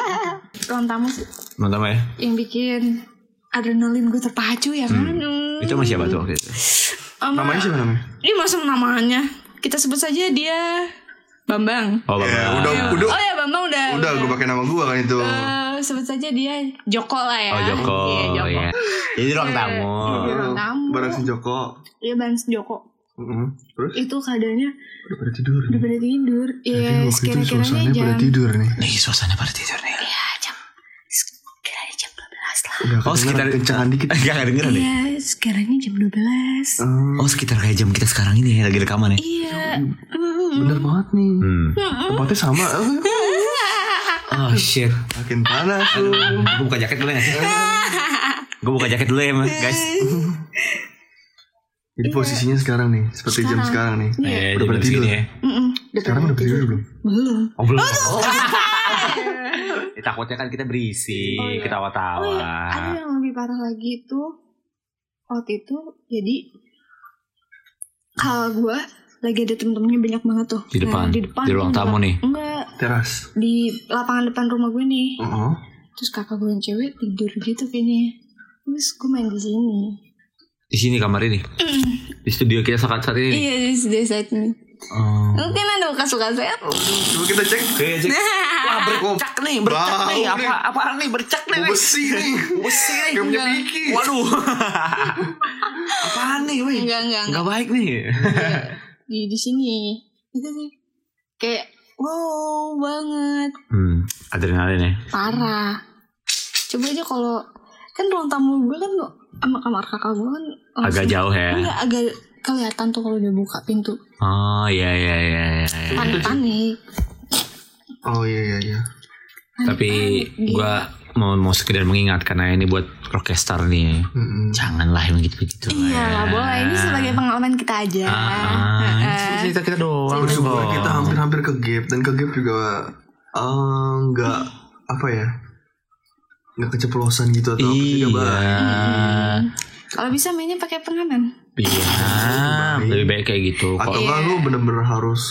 Speaker 1: ruang tamu sih
Speaker 2: Ruang tamu ya.
Speaker 1: yang bikin adrenalin gue terpacu ya kan. Hmm.
Speaker 2: Itu sama siapa tuh waktu itu?
Speaker 1: Sama-
Speaker 3: Namanya siapa namanya?
Speaker 1: Ini masuk namanya. Kita sebut saja dia Bambang.
Speaker 2: Oh, Bambang.
Speaker 3: Ya, udah, udah,
Speaker 1: Oh ya Bambang udah.
Speaker 3: udah, gue pakai nama gue kan itu.
Speaker 1: Eh, sebut saja dia Joko lah ya.
Speaker 2: Oh Joko,
Speaker 1: Iya, Joko.
Speaker 2: ya. Jadi ruang tamu.
Speaker 1: Iya. orang tamu.
Speaker 3: Barang si Joko.
Speaker 1: Iya Bang Joko.
Speaker 3: Mm-mm. Terus
Speaker 1: Itu keadaannya
Speaker 3: udah pada tidur.
Speaker 1: udah pada tidur.
Speaker 3: Jadi
Speaker 1: Iya,
Speaker 3: waktu itu
Speaker 1: sekira-kiranya
Speaker 3: suasananya pada
Speaker 1: jam
Speaker 3: tidur nih.
Speaker 2: Nih suasana pada tidur nih.
Speaker 1: Iya, jam sekiranya jam 12 lah.
Speaker 3: Udah,
Speaker 2: Oh
Speaker 3: kedengeran,
Speaker 2: sekitar
Speaker 3: kencangan
Speaker 2: [LAUGHS]
Speaker 3: dikit.
Speaker 2: Enggak enggak denger deh.
Speaker 1: Iya, sekiranya jam 12.
Speaker 3: Hmm.
Speaker 2: Oh sekitar kayak jam kita sekarang ini ya lagi rekaman ya.
Speaker 1: Iya.
Speaker 3: bener banget nih
Speaker 2: Hmm.
Speaker 3: tempatnya sama
Speaker 1: Hmm.
Speaker 2: Oh shit.
Speaker 3: makin panas lu
Speaker 1: Hmm.
Speaker 2: Gue buka jaket [LAUGHS] dulu ya. Gue buka jaket dulu ya, Mas, guys. Iya.
Speaker 3: jadi posisinya sekarang nih seperti jam sekarang nih
Speaker 2: Eh,
Speaker 3: Udah
Speaker 2: jam
Speaker 3: pada
Speaker 2: segini
Speaker 3: tidur.
Speaker 2: ya.
Speaker 1: Mm-mm.
Speaker 3: sekarang udah tidur belum
Speaker 1: Belum.
Speaker 2: Oh, belum. [LAUGHS] Oh, eh, takutnya kan kita berisi,
Speaker 1: Oh, iya. Oh
Speaker 2: ketawa-tawa.
Speaker 1: iya, ada yang lebih parah lagi itu waktu itu jadi kalau gue lagi ada temen-temennya banyak banget tuh Nah,
Speaker 2: Di depan,
Speaker 1: di depan
Speaker 2: di ruang
Speaker 1: tuh,
Speaker 2: tamu
Speaker 1: enggak-
Speaker 2: nih.
Speaker 1: enggak
Speaker 3: teras
Speaker 1: di lapangan depan rumah gue nih
Speaker 3: oh
Speaker 1: terus kakak gue yang cewek tidur gitu kayaknya terus gue main di sini
Speaker 2: Di sini kamar ini. Di studio kita saat saat ini.
Speaker 1: iya di di saat ini
Speaker 2: Oh.
Speaker 1: mungkin ada ya? bekas bekas saya
Speaker 3: coba kita cek
Speaker 2: Oke, Jack. Wah, Ah, bercak nih, bercak
Speaker 3: Bau
Speaker 2: nih.
Speaker 3: nih.
Speaker 2: Apa Eh, apaan nih bercak nih?
Speaker 3: Bau
Speaker 2: Weh.
Speaker 3: besi nih
Speaker 2: Besi nih.
Speaker 3: Kayak punya Vicky.
Speaker 2: Waduh. apaan nih, weh?
Speaker 1: [LAUGHS] enggak enggak enggak
Speaker 2: Enggak baik nih.
Speaker 1: di di sini itu sih kayak wow banget
Speaker 2: Hmm, adrenalin ya.
Speaker 1: parah coba aja kalau kan ruang tamu gue kan sama kamar kakak gue kan
Speaker 2: Agak
Speaker 1: langsung-
Speaker 2: jauh ya.
Speaker 1: enggak agak kelihatan tuh kalau dia buka pintu
Speaker 2: Oh, iya iya iya. iya.
Speaker 1: panik panik
Speaker 3: oh iya iya iya
Speaker 2: Tapi
Speaker 1: iya.
Speaker 2: gua mau mau sekedar mengingatkan nah ini buat rockstar nih.
Speaker 3: Mm-mm.
Speaker 2: Janganlah yang gitu-gitu.
Speaker 1: iya
Speaker 2: lah
Speaker 1: nggak
Speaker 2: ya.
Speaker 1: boleh ini sebagai pengalaman kita aja
Speaker 2: Ah, ah.
Speaker 1: Heeh.
Speaker 2: Ini cerita kita doang.
Speaker 3: Bersyukur
Speaker 2: Bang.
Speaker 3: kita hampir-hampir ke gap dan ke gap juga eh, nggak apa ya nggak keceplosan gitu atau apa
Speaker 2: Iya.
Speaker 3: juga baik.
Speaker 2: Eh.
Speaker 1: kalau bisa mainnya pakai pengaman
Speaker 2: Iya, lebih baik kayak gitu.
Speaker 3: atau
Speaker 2: Kalau
Speaker 3: enggak lu bener-bener harus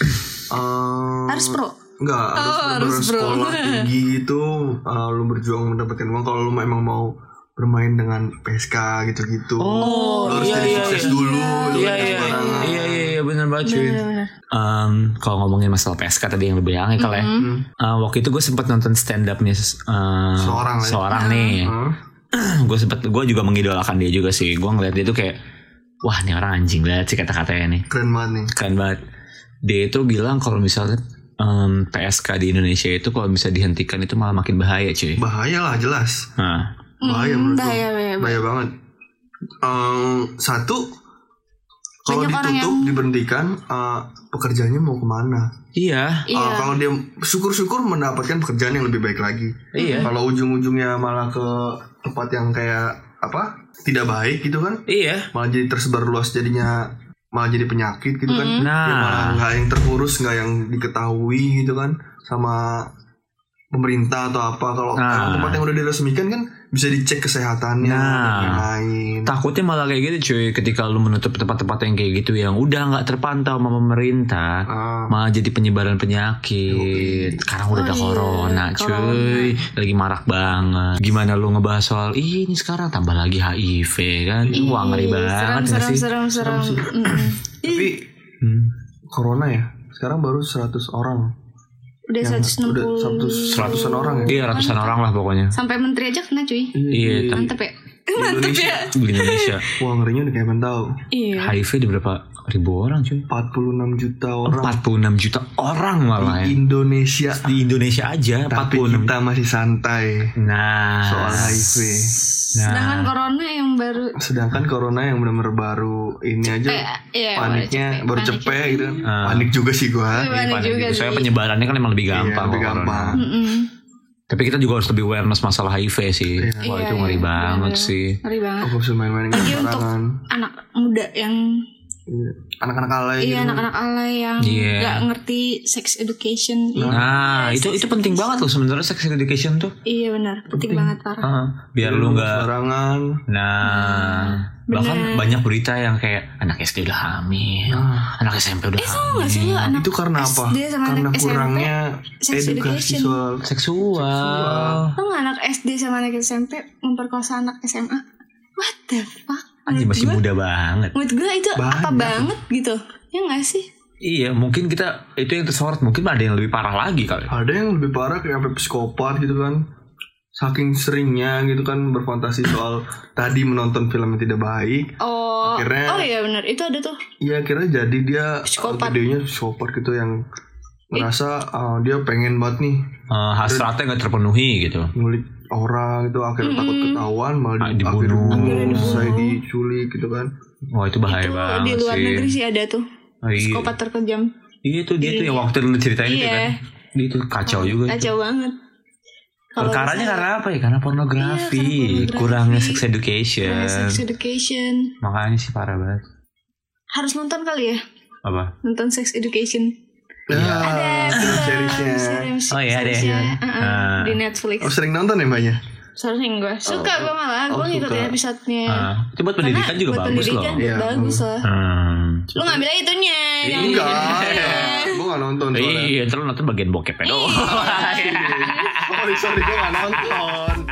Speaker 3: eh,
Speaker 1: harus pro
Speaker 3: Enggak,
Speaker 1: Oh,
Speaker 3: harus bener-bener
Speaker 1: harus, bro.
Speaker 3: sekolah tinggi gitu eh, Lu berjuang mendapatkan uang Kalau lu emang mau bermain dengan PSK gitu-gitu
Speaker 2: Oh,
Speaker 3: Lu harus
Speaker 2: iya,
Speaker 3: jadi
Speaker 2: iya,
Speaker 3: sukses
Speaker 2: iya.
Speaker 3: dulu lu
Speaker 2: Iya
Speaker 3: jangan
Speaker 2: iya
Speaker 3: sembarangan.
Speaker 2: iya iya iya, benar banget cuy.
Speaker 1: benar-benar
Speaker 2: Em, kalau ngomongin masalah PSK tadi yang lebih yang kalau ya.
Speaker 3: Hmm.
Speaker 2: Eh, waktu itu gue sempat nonton stand upnya eh,
Speaker 3: Seorang ya?
Speaker 2: seorang nih. [CLEARS THROAT]
Speaker 3: Hah?
Speaker 2: gue sempat gue juga mengidolakan dia juga sih. Gue ngeliat dia tuh kayak wah ini orang anjing banget sih kata-katanya nih.
Speaker 3: Keren banget nih
Speaker 2: Keren banget. Dia itu bilang kalau misalnya em, PSK di Indonesia itu kalau bisa dihentikan itu malah makin bahaya cuy.
Speaker 3: Bahaya lah jelas
Speaker 2: Nah,
Speaker 3: Bahaya menurut gua.
Speaker 1: Hmm, bahaya, bahaya, bahaya.
Speaker 3: Bahaya banget Em, Satu Kalau
Speaker 1: Banyak orang
Speaker 3: ditutup,
Speaker 1: yang-
Speaker 3: diberhentikan eh, Pekerjaannya mau kemana
Speaker 2: iya,
Speaker 3: Eh,
Speaker 1: iya
Speaker 3: Kalau dia syukur-syukur mendapatkan pekerjaan yang lebih baik lagi
Speaker 2: iya,
Speaker 3: Kalau ujung-ujungnya malah ke tempat yang kayak apa? Tidak baik gitu kan?
Speaker 2: iya.
Speaker 3: Malah jadi tersebar luas jadinya malah jadi penyakit gitu kan? Ya malah
Speaker 2: Nah,
Speaker 3: nggak yang terurus, nggak yang diketahui gitu kan? Sama pemerintah atau apa? Kalau
Speaker 2: Nah.
Speaker 3: kalau tempat yang udah diresmikan kan bisa dicek kesehatannya dan
Speaker 2: Nah.
Speaker 3: lain-lain.
Speaker 2: takutnya malah kayak gitu cuy. Ketika lu menutup tempat-tempat yang kayak gitu yang udah nggak terpantau sama pemerintah,
Speaker 3: Ah,
Speaker 2: malah jadi penyebaran penyakit. Sekarang udah
Speaker 1: Oh
Speaker 2: ada
Speaker 1: iya,
Speaker 2: corona, cuy. Lagi marak banget. Gimana lu ngebahas soal "Ih, ini sekarang tambah lagi HIV kan? Wah, ngeri
Speaker 1: Ih,
Speaker 2: banget nggak
Speaker 1: seram
Speaker 2: sih.
Speaker 1: seram seram
Speaker 3: sih.
Speaker 1: seram Mm-mm.
Speaker 3: Tapi ya,
Speaker 2: Hmm.
Speaker 3: corona ya. Sekarang baru 100 orang.
Speaker 1: udah
Speaker 3: Yang
Speaker 1: 160
Speaker 3: udah 100 seratusan orang ya?
Speaker 2: Iya, ratusan orang lah pokoknya.
Speaker 1: sampai menteri aja kena cuy
Speaker 2: Iya, tapi
Speaker 1: mantep ya
Speaker 3: Di Indonesia.
Speaker 2: di Indonesia
Speaker 3: Wah, ngerinya udah kayak tahu.
Speaker 1: iya
Speaker 2: HIV di berapa ribu orang, cuy?
Speaker 3: 46 juta orang
Speaker 2: 46 juta orang malah ya.
Speaker 3: di Indonesia.
Speaker 2: Di Indonesia aja
Speaker 3: Tapi
Speaker 2: 46.
Speaker 3: kita masih santai.
Speaker 2: Nah,
Speaker 3: Soal HIV. Nah.
Speaker 1: Sedangkan corona yang baru
Speaker 3: Sedangkan corona yang benar-benar baru ini aja
Speaker 1: eh, ya,
Speaker 3: paniknya baru
Speaker 1: panik
Speaker 3: cepet
Speaker 1: ya.
Speaker 3: gitu kan.
Speaker 2: Ah.
Speaker 3: Panik juga sih gua.
Speaker 1: Iya, Gimana
Speaker 2: Panik
Speaker 1: juga
Speaker 2: gitu. Soalnya
Speaker 1: sih.
Speaker 2: penyebarannya kan emang lebih gampang.
Speaker 3: lebih
Speaker 2: kalau corona.
Speaker 3: gampang.
Speaker 1: Mm-mm.
Speaker 2: Tapi kita juga harus lebih awareness masalah HIV sih.
Speaker 3: Iya.
Speaker 2: Wah
Speaker 1: Iya,
Speaker 2: itu ngeri
Speaker 1: iya,
Speaker 2: banget
Speaker 1: bener-bener.
Speaker 2: sih.
Speaker 1: Ngeri banget.
Speaker 3: Aku bisa main-main
Speaker 1: Lagi
Speaker 3: gitu
Speaker 1: Iya, untuk-
Speaker 3: serangan.
Speaker 1: Anak muda yang
Speaker 3: Iya. Anak-anak alay
Speaker 1: iya
Speaker 3: gitu.
Speaker 1: anak-anak alay yang
Speaker 2: Iya.
Speaker 1: nggak ngerti sex education. Iya,
Speaker 2: Nah itu itu penting banget loh sebenarnya sex education tuh.
Speaker 1: Iya benar, penting banget parah.
Speaker 2: Ah, biar
Speaker 3: Iya,
Speaker 2: lu nggak.
Speaker 3: serangan.
Speaker 2: Nah bahkan banyak berita yang kayak anak SD udah hamil,
Speaker 3: Iya.
Speaker 2: anak SMP udah hamil.
Speaker 1: Enggak Eh, sih lu anak
Speaker 3: Ah, Itu karena apa?
Speaker 1: SD sama
Speaker 3: Karena
Speaker 1: anak SMP,
Speaker 3: kurangnya
Speaker 1: sex
Speaker 3: edukasi
Speaker 1: education.
Speaker 3: soal
Speaker 2: Seksual.
Speaker 1: Tau nggak anak SD sama anak SMP memperkosa anak SMA? What the fuck?
Speaker 2: Anjir
Speaker 1: Menurut
Speaker 2: masih
Speaker 1: gua-
Speaker 2: muda banget.
Speaker 1: Menurut gue itu apa
Speaker 3: Banyak.
Speaker 1: banget gitu Ya gak sih?
Speaker 2: Iya mungkin kita itu yang tersorot mungkin ada yang lebih parah lagi kali. Eh,
Speaker 3: ada yang lebih parah kayak sampai psikopat gitu kan saking seringnya gitu kan berfantasi soal tadi menonton film yang tidak baik
Speaker 1: Oh,
Speaker 3: Akhirnya-
Speaker 1: oh iya benar itu ada tuh.
Speaker 3: Iya akhirnya jadi dia
Speaker 1: Psikopat. Iya.
Speaker 3: gedenya psikopat gitu yang ngerasa ah, dia pengen banget nih
Speaker 2: Eh, hasratnya nggak terpenuhi gitu.
Speaker 3: ngulik orang gitu akhirnya takut ketahuan malah
Speaker 2: Ah,
Speaker 3: di,
Speaker 2: dibunuh.
Speaker 1: Akhirnya
Speaker 3: akhirnya
Speaker 1: dibunuh.
Speaker 3: saya diculik gitu kan
Speaker 2: Wah itu bahaya
Speaker 1: itu
Speaker 2: banget
Speaker 1: di luar
Speaker 2: sih.
Speaker 1: negeri sih ada tuh.
Speaker 2: Oh, iya.
Speaker 1: Psikopat terkejam.
Speaker 2: Iya tuh dia tuh yang waktu dulu ceritain itu
Speaker 1: Iya.
Speaker 2: kan. Dia tuh kacau juga. itu.
Speaker 1: Kacau Ah, banget. Kalau
Speaker 2: Perkaranya
Speaker 1: misalnya-
Speaker 2: karena apa ya? Karena
Speaker 1: Iya,
Speaker 2: pornografi,
Speaker 1: karena pornografi.
Speaker 2: kurangnya sex education.
Speaker 1: Nah, sex education.
Speaker 2: Makanya sih parah banget.
Speaker 1: Harus nonton kali ya?
Speaker 2: Apa?
Speaker 1: Nonton sex education.
Speaker 2: Iya.
Speaker 3: Ya,
Speaker 1: ada film,
Speaker 3: seriesnya.
Speaker 1: series-
Speaker 2: Ah, Oh, iya, ada ya?
Speaker 1: seriesnya, uh-uh,
Speaker 2: Ah.
Speaker 1: di Netflix.
Speaker 3: Oh sering nonton
Speaker 1: Iya.
Speaker 3: ya mbaknya?
Speaker 1: Seharusnya gue suka
Speaker 3: Oh.
Speaker 1: gue malah
Speaker 3: Oh,
Speaker 1: gue ngikutin
Speaker 3: suka.
Speaker 1: episode-nya.
Speaker 2: Ah, itu buat
Speaker 1: Iya. Karena
Speaker 2: pendidikan juga
Speaker 1: buat
Speaker 2: bagus
Speaker 1: pendidikan
Speaker 2: loh.
Speaker 1: juga
Speaker 3: Iya,
Speaker 1: bagus loh.
Speaker 2: Hmm.
Speaker 1: Lu ngambil aja itunya.
Speaker 2: Iya.
Speaker 1: jangan
Speaker 3: Enggak,
Speaker 1: itunya.
Speaker 3: gue gak nonton soalnya.
Speaker 1: Iya.
Speaker 2: Iya, terus nanti bagian bokep doang.
Speaker 3: Oh, sorry, sorry gue gak nonton.